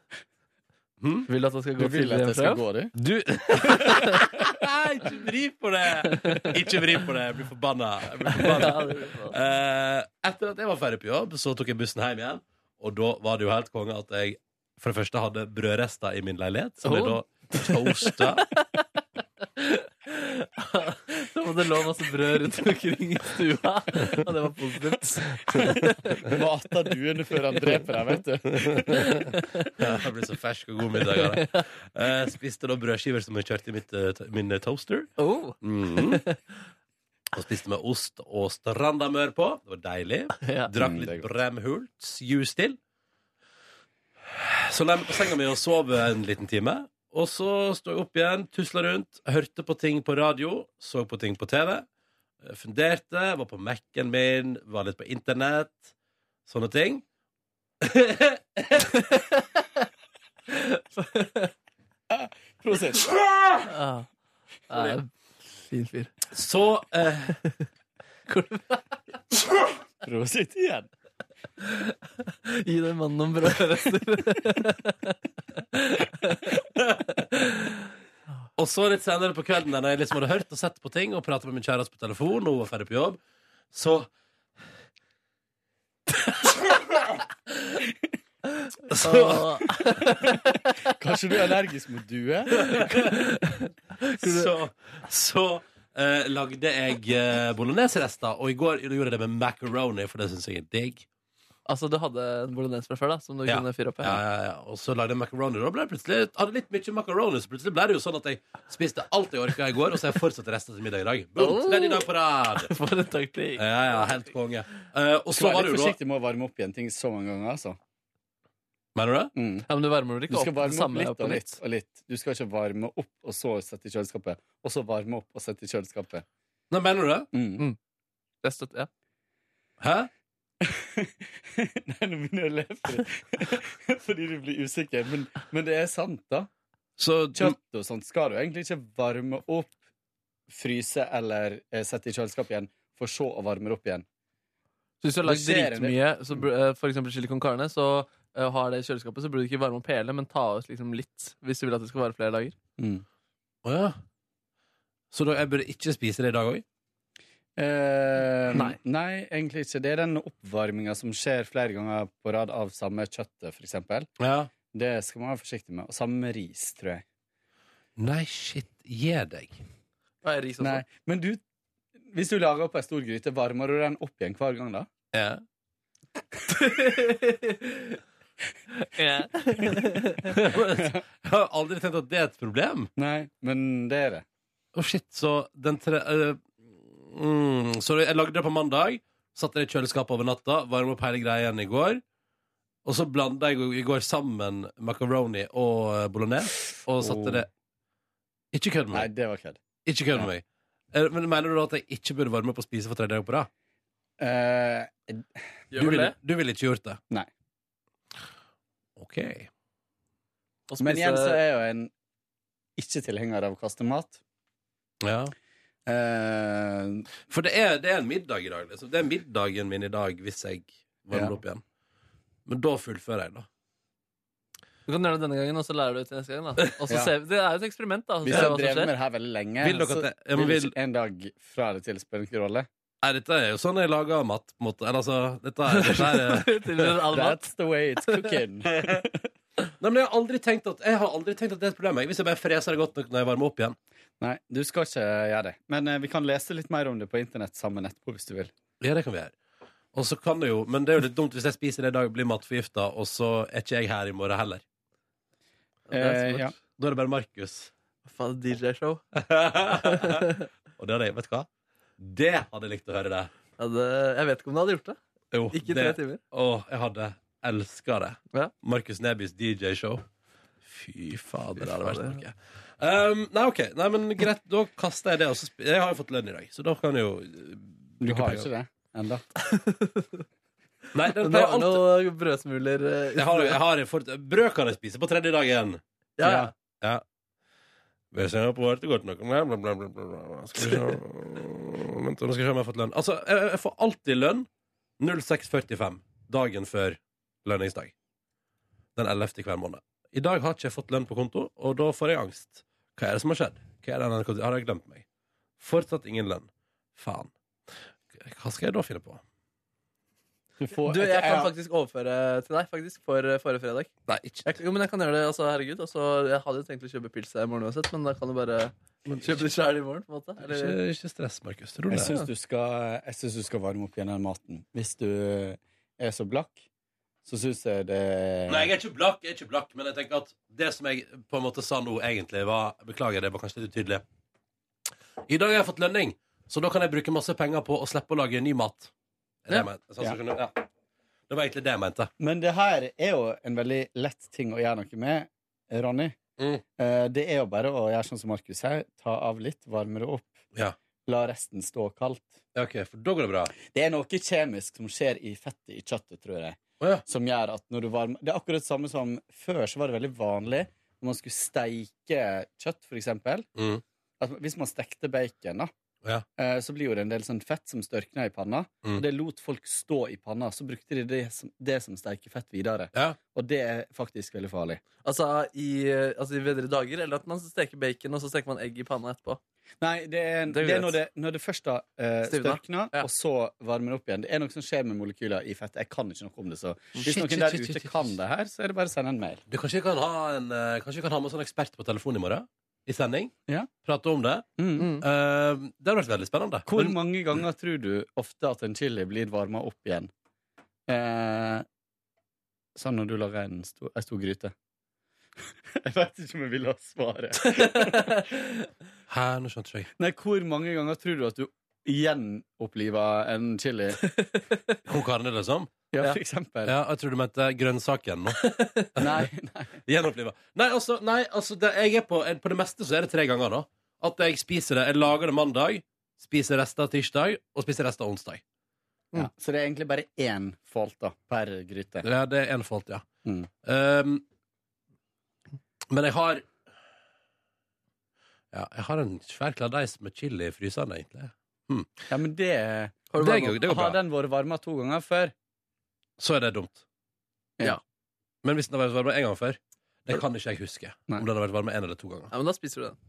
S2: Hm?
S3: Vil du at han skal
S10: Du
S3: gå
S10: vil
S3: tidlig
S10: at
S3: hjem
S10: jeg
S3: fra
S10: skal
S3: jobb?
S10: gå, du?
S2: Du Nei, ikke vri på det! Ikke vri på det. Jeg blir forbanna. Jeg blir forbanna.
S3: (laughs) Ja, det vil jeg.
S2: Eh, etter at jeg var ferdig på jobb, så tok jeg bussen hjem igjen. Og da var det jo helt konge at jeg for det første hadde brødrester i min leilighet, som jeg da
S3: Oh.
S2: toasta.
S3: Så må det lå masse brød rundt omkring i stua, og det var positivt.
S10: Du må atta duene før han dreper deg, vet du.
S2: (laughs) Det blir så fersk og god middag av
S10: (laughs)
S2: det. Eh, spiste da brødskiver som jeg kjørte i mitt, eh, to- min eh, toaster.
S3: Oh,
S10: Mhm.
S2: (laughs) Og spiste med ost og strandamør på. Det var deilig.
S3: ja.
S2: Drakk
S10: Mm, det
S2: litt
S10: er godt.
S2: Bremhults juice til. Så la jeg meg på senga mi og sov en liten time. Og så sto jeg opp igjen, tusla rundt, hørte på ting på radio, så på ting på TV. eh, Funderte, var på Mac-en min, var litt på internett. Sånne ting.
S10: Prosess.
S3: Ah. Ja, fin fyr.
S2: Så eh,
S10: Prosess igjen.
S3: Gi den mannen noen brødrester.
S2: Og så litt senere på kvelden, da jeg liksom hadde hørt og sett på ting og pratet med min kjæreste på telefon, og hun var ferdig på jobb, så (laughs) Så
S3: (laughs) Og
S10: Kanskje du er allergisk mot due? (laughs)
S2: så, så eh, lagde jeg eh, bolognesrester, og i går gjorde jeg det med macaroni, for det syns jeg er digg.
S3: Altså, du hadde en bolognese fra før, da, som du
S2: Ja.
S3: kunne fyre opp i?
S2: Ja, ja, ja. Og så lagde jeg macaroni, og da ble det plutselig hadde litt mye macaroni, så plutselig ble det jo sånn at jeg spiste alt jeg orka i går, og så har jeg fortsatt rester til middag i dag. Boom, tredje dag på rad!
S3: For en taktikk.
S2: Ja, ja, helt konge. Eh, og
S10: Du
S2: så
S10: er
S2: var det
S10: Oh. litt
S2: jo da
S10: forsiktig med å varme opp igjen ting så mange ganger, altså.
S2: Mener du det?
S10: Mm.
S3: Ja, men du varmer vel
S10: Du
S3: ikke
S10: skal
S3: opp det
S10: varme opp
S3: samme
S10: litt
S3: på
S10: og litt
S3: nytt?
S10: og litt. Du skal ikke varme opp og så sette i kjøleskapet, og så varme opp og sette i kjøleskapet.
S2: Nei, mener du det?
S10: Mm. (laughs)
S3: Jeg støtter, ja.
S2: Hæ?
S10: Nei, nå begynner jeg å le fordi- (laughs) fordi du blir usikker. Men, men det er sant, da.
S2: Så
S10: Kjøtt og sånt skal du egentlig ikke varme opp, fryse eller eh, sette i kjøleskapet igjen, for så å varme det opp igjen.
S3: Så hvis du har lagd
S10: Det skjer en del.
S3: dritmye, så bur- eh, for eksempel chili con carne, så eh, har det i kjøleskapet, så burde du ikke varme opp hele, men ta ut liksom litt, hvis du vil at det skal vare flere dager.
S2: Å ja. Så da, jeg burde ikke spise det i dag òg?
S10: Eh,
S3: Nei.
S10: nei, egentlig ikke. Det er den oppvarminga som skjer flere ganger på rad av samme kjøttet, for eksempel.
S2: Ja.
S10: Det skal man være forsiktig med. Og samme med ris, tror jeg.
S2: Nei, shit. Gi deg.
S3: Og ris også.
S10: Nei, men du hvis du lager opp ei stor gryte, varmer du den opp igjen hver gang, da?
S2: Ja.
S3: (laughs) Ja.
S2: (laughs) Jeg har aldri tenkt at det er et problem.
S10: Nei, men det er det.
S2: Å, shit, så den tre... eh, mm, så jeg lagde det på mandag, satte det i kjøleskapet over natta, varmet opp hele greia igjen i går. Og så blanda jeg i går sammen macaroni og eh, bolognese, og satte
S10: Åh.
S2: det Ikke kødd med
S10: Nei,
S2: meg.
S10: det var kødd.
S2: Ikke kødd med meg. Eh, Men mener du da at jeg ikke burde varme opp og spise for tredje dag på rad?
S10: Eh,
S2: Du ville du ville ikke gjort det?
S10: Nei.
S2: OK.
S3: Og
S10: men igjen så
S3: spise
S10: er jeg jo en ikke-tilhenger av å kaste mat.
S2: Ja.
S10: Eh,
S2: For det er, det er en middag i dag. Liksom. Det er middagen min i dag hvis jeg varmer
S10: Ja.
S2: opp igjen. Men da fullfører jeg, da.
S3: Du kan gjøre det denne gangen, og så lærer du det til neste gang. da. Og så
S10: Ja.
S3: ser vi, Det er jo et eksperiment, da. så
S10: hvis
S3: ser vi
S10: jeg
S3: hva
S10: har
S3: som
S10: drevet
S3: skjer.
S10: med det her veldig lenge,
S2: Vil dere
S10: så
S2: at jeg, ja, men
S10: vil
S2: vil,
S10: ikke en dag fra det til spille noen rolle.
S2: Nei, dette er jo sånn jeg lager mat, på en måte. Eller altså dette er, dette
S10: (laughs)
S2: er,
S3: (laughs) Til all mat.
S10: That's the way it's (laughs) cooking.
S2: Nei, men jeg har aldri tenkt at Jeg har aldri tenkt at det er et problem. Jeg. Hvis jeg bare freser det godt nok når jeg varmer opp igjen.
S10: Nei, du skal ikke gjøre det. Men eh, vi kan lese litt mer om det på internett sammen etterpå, hvis du vil.
S2: Ja, det kan vi gjøre. Og så kan det jo, Men det er jo litt dumt hvis jeg spiser det i dag og blir matforgifta, og så er ikke jeg her i morgen heller.
S3: Eh, ja.
S2: Da er det bare Markus.
S10: (laughs)
S3: Hva faen, (laughs) DJ-show?
S2: og det hadde jeg, vet du hva? Det hadde jeg likt å høre det.
S3: jeg vet ikke om du hadde gjort det.
S2: Jo,
S3: Ikke i tre
S2: det-
S3: timer.
S2: Å, jeg hadde elska det.
S3: Ja.
S2: Markus Nebys DJ-show. Fy fader, det hadde vært noe. Um, nei, ok, nei, men greit, da kaster jeg det. Og så sp- jeg har jo fått lønn i dag, så da kan jeg jo eh,
S10: Du
S2: bruke
S10: har jo
S2: penger.
S10: ikke det ennå.
S2: Nei, den
S3: Men du
S2: pleier
S3: har
S2: alltid-
S3: noen brødsmuler eh,
S2: Jeg har, jeg har fort, brød kan jeg spise på tredje dagen.
S3: Ja, ja.
S2: Ja. Hvis jeg har på vært godt nok bla, bla, bla, bla, bla, bla. Skal vi se Vent, nå skal jeg se om jeg har fått lønn. Altså, jeg, jeg får alltid lønn 06.45 dagen før lønningsdag. Den 11. i hver måned. I dag har ikke jeg fått lønn på konto, og da får jeg angst. Hva er det som har skjedd? Hva er det NRK Har jeg glemt meg? Fortsatt ingen lønn. Faen. Hva skal jeg da finne på?
S10: Du får
S3: Du, jeg
S10: et-
S3: kan faktisk overføre til deg faktisk for eh, forrige fredag.
S2: Nei, ikke
S3: Jeg, jo, men jeg kan gjøre det, altså, herregud. Altså, jeg hadde jo tenkt å kjøpe pils i morgen uansett, men da kan du bare kjøpe det sjæl i morgen. på en måte Eller,
S2: Ikke, ikke stress, Markus. Ro
S10: Jeg
S2: ned.
S10: syns du skal, jeg synes du skal varme opp igjen den maten. Hvis du er så blakk, så syns jeg det
S2: Nei, jeg er ikke blakk, jeg er ikke blakk men jeg tenker at det som jeg på en måte sa nå, egentlig var Beklager, det var kanskje litt utydelig. I dag har jeg fått lønning, så da kan jeg bruke masse penger på å slippe å lage ny mat. Er det jeg mener? Sånn,
S10: Ja.
S2: så skjønner du? ja. Det var egentlig det jeg mente.
S10: Men det her er jo en veldig lett ting å gjøre noe med, Ronny.
S2: Mm.
S10: Eh, Det er jo bare å gjøre sånn som Markus her. Ta av litt, varme det opp.
S2: Ja.
S10: La resten stå kaldt.
S2: Ja, OK, for da går det bra.
S10: Det er noe kjemisk som skjer i fettet i kjøttet, tror jeg.
S2: Å ja.
S10: Som gjør at når du varmer Det er akkurat det samme som før, så var det veldig vanlig når man skulle steike kjøtt, for eksempel.
S2: Mm.
S10: At hvis man stekte bacon, da,
S2: Ja.
S10: eh, så blir jo det en del sånn fett som størkner i panna.
S2: Mm.
S10: Og det lot folk stå i panna. Så brukte de det som, det som steikefett videre.
S2: Ja.
S10: Og det er faktisk veldig farlig.
S3: altså, i, eh, altså i bedre dager, eller at man steker bacon, og så steker man egg i panna (laughs) etterpå.
S10: Nei, det er,
S3: Det
S10: det
S3: er
S10: er,
S3: greit.
S10: når, det, når det først da eh,
S3: Stivner.
S10: størkner,
S3: Ja.
S10: og så varmer det opp igjen. Det er noe som skjer med molekyler i fett. Jeg kan ikke noe om det, så hvis
S2: Shit,
S10: noen
S2: shit,
S10: der
S2: shit, shit,
S10: ute
S2: shit.
S10: kan det her, så er det bare å sende en mail.
S2: Du, kanskje vi kan ha en eh, Kanskje vi kan ha med en sånn ekspert på telefon i morgen? I sending?
S10: Ja.
S2: Prate om det? Eh, det hadde vært veldig spennende.
S10: Hvor
S2: Men-
S10: mange ganger tror du ofte at en chili blir varma opp igjen? Eh, sånn når du lager en stor, en stor gryte. (laughs) jeg vet ikke om jeg vil ha svaret.
S3: (laughs)
S2: Hæ, nå skjønte ikke jeg.
S10: Nei, hvor mange ganger tror du at du gjenoppliver en chili?
S2: Hun Karne, liksom?
S10: Ja,
S3: Ja.
S10: for eksempel.
S2: Ja, jeg tror du mente grønnsaken nå.
S10: Nei, nei.
S2: Gjenoppliva. Nei, altså, nei, altså det, jeg er på, på det meste så er det tre ganger, da. At jeg spiser det. Jeg lager det mandag, spiser rester tirsdag, og spiser rester onsdag.
S10: Ja. Så det er egentlig bare én fault da, per gryte.
S2: Ja, det er en fault, ja.
S10: Mm.
S2: Um, men jeg har Ja, jeg har en svær kladeis med chili i fryseren, egentlig.
S10: Ja, men det,
S2: du Det varmet- går- det går bra.
S10: Har den vært varma to ganger før?
S2: Så er det dumt.
S10: Ja.
S2: Men hvis den har vært varme en gang før Det kan ikke jeg huske.
S10: Nei.
S2: Om den har vært varme en eller to ganger.
S3: Ja, men da spiser du den.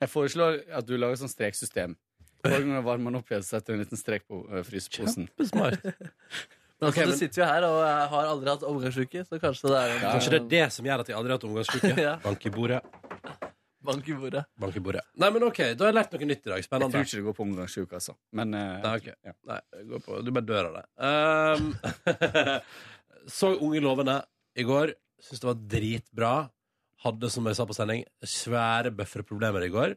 S10: Jeg foreslår at du lager sånn streksystem. Hver gang du varmer den opp igjen, så setter du en liten strek på ø, fryseposen.
S2: Smart.
S3: Men altså,
S2: Ok, men-
S3: Du sitter jo her og jeg har aldri hatt omgangsuke, så kanskje det er en eh,
S2: Kanskje det er det som gjør at jeg aldri har hatt omgangsuke.
S3: Ja.
S2: Bank i bordet.
S3: bank i bordet.
S2: Bank i bordet. Nei, men OK, da har jeg lært noe nytt i dag.
S10: Jeg
S2: Spennende.
S10: tror ikke det går på omgangssjuk, altså. Men ø,
S2: Nei, ok.
S10: ja.
S2: Nei, gå på. Du bare dør av det. Um, (laughs) så Unge lovende i går. Syns det var dritbra. Hadde, som jeg sa på sending, svære bøfferproblemer i går.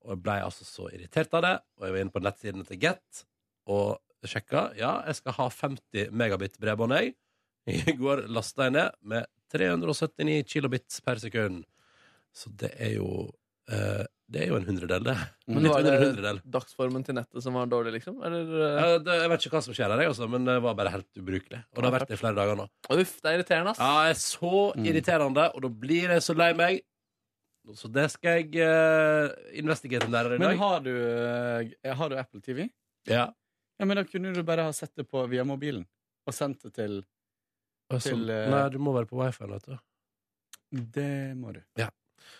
S2: Og jeg blei altså så irritert av det. Og jeg var inne på nettsidene til Get og sjekka. Ja, jeg skal ha 50 megabit bredbånd, jeg. I går lasta jeg ned med 379 kilobits per sekund. Så det er jo eh, Det er jo en hundredel, det.
S10: Men
S2: Litt
S3: var
S2: under en
S3: det-
S2: hundredel.
S3: Dagsformen til nettet som var dårlig, liksom? Eller, eh,
S2: Ja, det, jeg vet ikke hva som skjer der, jeg også, men det var bare helt ubrukelig. Og det har vært det i flere dager nå.
S3: eh, Uff, det er irriterende, ass.
S2: Ja, jeg er så
S10: Mm.
S2: irriterende, og da blir jeg så lei meg. Så det skal jeg uh, investigere en lærer i
S10: Men
S2: dag.
S10: har du, ø, har du Apple TV?
S2: Ja.
S10: Ja, men Da kunne du bare ha sett det på via mobilen. Og sendt det til
S2: Og så-
S10: til, eh,
S2: Altså, Nei, du må være på wifi, vet du.
S10: Det må du.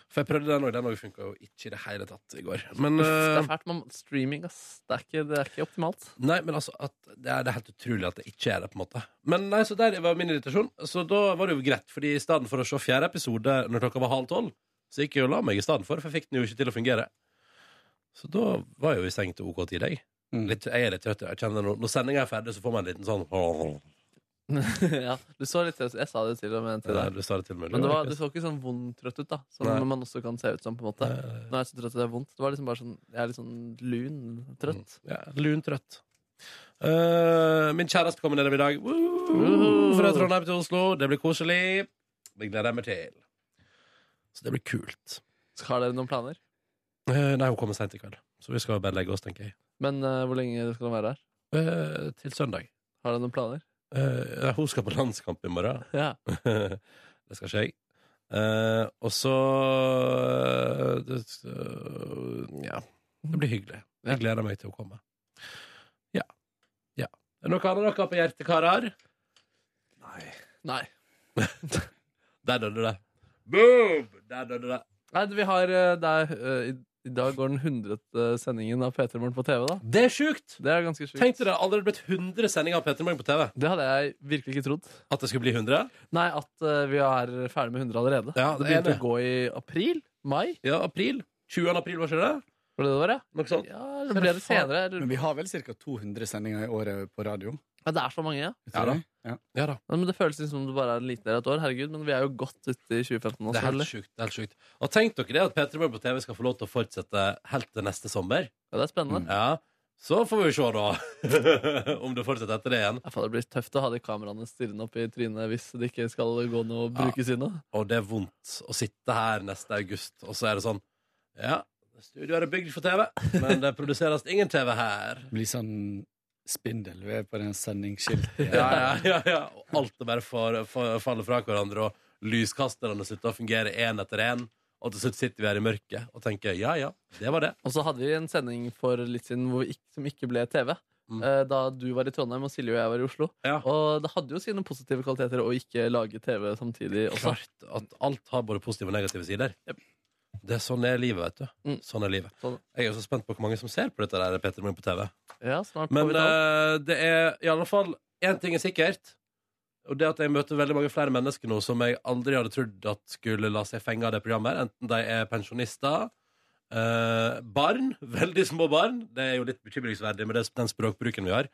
S2: For jeg prøvde den òg. Den òg funka jo ikke i det hele tatt i går. Men,
S3: Uff,
S2: eh,
S3: det er fælt. Man, streaming, ass. Det er ikke, det er ikke optimalt.
S2: nei, men altså at, det, er, det er helt utrolig at det ikke er det, på en måte. Men nei, så der var min irritasjon. Så da var det jo greit, Fordi i stedet for å se fjerde episode når klokka var halv tolv, så gikk jeg og la meg i stedet for, for jeg fikk den jo ikke til å fungere. Så da var jeg jo i seng til OK tid, jeg. Litt, jeg er litt trøtt. Jeg kjenner Når, når sendinga er ferdig, så får man en liten sånn
S3: (laughs)
S2: (laughs)
S3: ja, du så litt trøtt Jeg sa det til og med til
S2: Ja,
S3: deg.
S2: du sa det til meg.
S3: Men det var, du så ikke sånn vond trøtt ut, da. Som
S2: Nei.
S3: man også kan se ut som. på en måte Nå er jeg så trøtt at det er vondt. Det var liksom bare sånn, Jeg er litt sånn lun trøtt.
S2: Ja, lun trøtt. Eh, min kjæreste kommer nedover i dag. Woo! Fra Trondheim til Oslo. Det blir koselig. Det gleder jeg meg til. Så det blir kult.
S3: Har dere noen planer?
S2: Eh, nei, hun kommer seint i kveld, så vi skal bare legge oss, tenker jeg.
S3: Men eh, hvor lenge skal dere være her?
S2: Eh, til søndag.
S3: Har dere noen
S2: (laughs)
S3: planer?
S2: Eh, nei, hun skal på landskamp i morgen. (laughs)
S3: Ja.
S2: det skal ikke jeg. Eh, og så eh, det, øh, Ja. Det blir hyggelig. Jeg gleder meg til å komme. Ja. ja. Er det noe annet dere har på hjertet, karer?
S3: Nei.
S2: Der døde det. Boom! Der døde det.
S3: Nei, vi har eh, det er, eh, i, I dag går den hundrede sendingen av P3 Morgen på TV, da.
S2: Det er sjukt!
S3: Det er ganske sjukt.
S2: Tenk deg, det har allerede blitt 100 sendinger av Petter Morgen på TV.
S3: Det hadde jeg virkelig ikke trodd.
S2: At det skulle bli 100?
S3: Nei, at eh, vi er ferdig med 100 allerede.
S2: Ja, det
S3: det
S2: er
S3: begynte
S2: det.
S3: å gå i april? Mai?
S2: Ja, april. 20. april, var ikke det?
S3: Var det det var, ja?
S2: Noe sånt?
S3: Ja, eller ble det senere? eller-
S10: Men vi har vel ca. 200 sendinger i året på radio.
S3: Ja, det er så mange, ja.
S10: vet
S2: Ja
S10: du
S2: da.
S10: det? Ja.
S2: Ja da.
S3: Men det føles liksom som det bare er en liten del av et år. Herregud, men vi er jo godt ute i 2015 også.
S2: Det er helt
S3: eller?
S2: sjukt. det er helt sjukt. Og tenk dere det at Petter Morgen på TV skal få lov til å fortsette helt til neste sommer.
S3: Ja, det er spennende.
S2: Ja, Så får vi jo se, da, (laughs) om det fortsetter etter det igjen.
S3: Ja, faen, det blir tøft å ha de kameraene stirrende opp i trynet hvis det ikke skal gå noe å
S2: Ja.
S3: brukes i noe.
S2: Og det er vondt å sitte her neste august, og så er det sånn Ja, studioet er bygd for TV, men det produseres ingen TV her.
S10: Det blir sånn spindelvev på den sendingsskiltet. (laughs)
S2: Ja, ja, ja, ja. Og alt er bare for, for, faller fra hverandre, og lyskasterne slutter å fungere én etter én. Og til slutt sitter vi her i mørket og tenker ja, ja, det var det.
S3: Og så hadde vi en sending for litt siden hvor vi ikke, som ikke ble TV.
S2: Mm.
S3: eh, Da du var i Trondheim og Silje og jeg var i Oslo.
S2: Ja.
S3: Og det hadde jo sine positive kvaliteter å ikke lage TV samtidig også.
S2: klart at alt har både positive og negative sider. Det er sånn er livet, vet du.
S3: Mm.
S2: Sånn er livet.
S3: Sånn.
S2: Jeg er så spent på hvor mange som ser på dette der Peter Morgen på TV.
S3: Ja, snart får
S2: Men
S3: vi tall.
S2: eh, det er i alle fall én ting er sikkert. Og det at jeg møter veldig mange flere mennesker nå som jeg aldri hadde trodd at skulle la seg fenge av det programmet. her. Enten de er pensjonister, eh, barn, (laughs) veldig små barn Det er jo litt bekymringsverdig med det, den språkbruken vi har.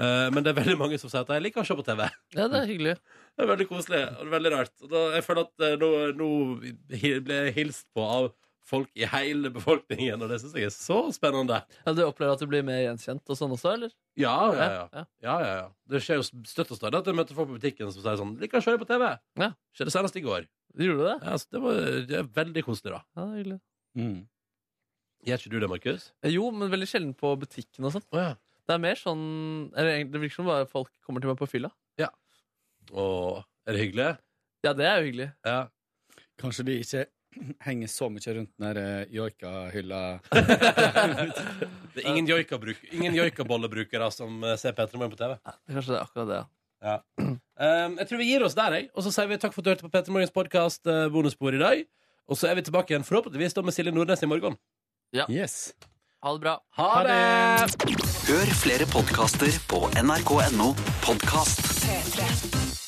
S2: Eh, men det er veldig mange som sier at de liker å se på TV.
S3: Ja, det er hyggelig.
S2: (laughs) Det er veldig koselig og det er veldig rart. Og da, jeg føler at eh, nå, nå hi- ble jeg hilst på av folk i hele befolkningen, og det syns jeg er så spennende.
S3: Ja, du opplever at du blir mer gjenkjent og sånn også, eller?
S2: Ja, ja, ja.
S3: ja.
S2: ja, ja, ja. Det skjer jo støtt og stadig at jeg møter folk på butikken som sier sånn 'Liker å se deg på TV'.
S3: Ja.
S2: Skjedde senest i går.
S3: Gjorde du det?
S2: Ja, så det, var, det er veldig koselig, da.
S3: Ja, det er hyggelig.
S10: Mm.
S2: Gjør ikke du det, Markus?
S3: Eh, Jo, men veldig sjelden på butikken og sånn.
S2: Å ja.
S3: Det er mer sånn eller egentlig- Det virker som bare folk kommer til meg på fylla.
S2: Å, er det hyggelig?
S3: Ja, det er jo hyggelig.
S2: Ja.
S10: Kanskje de ikke (clears throat) henger så mye rundt den der eh, joika-hylla.
S2: Det er ingen joikabruk- ingen joikabollebrukere som eh, ser Petter Morgen på TV.
S3: Kanskje det er akkurat det. ja.
S2: Um, jeg tror vi gir oss der, jeg. Og så sier vi takk for at du hørte på Petter Morgens podkast bonusbord i dag. Og så er vi tilbake igjen forhåpentligvis da med Silje Nordnes i morgen.
S10: Yes.
S3: Ha det bra.
S2: Ha, det!
S1: Hør flere podkaster på nrk.no podkast.
S4: P3.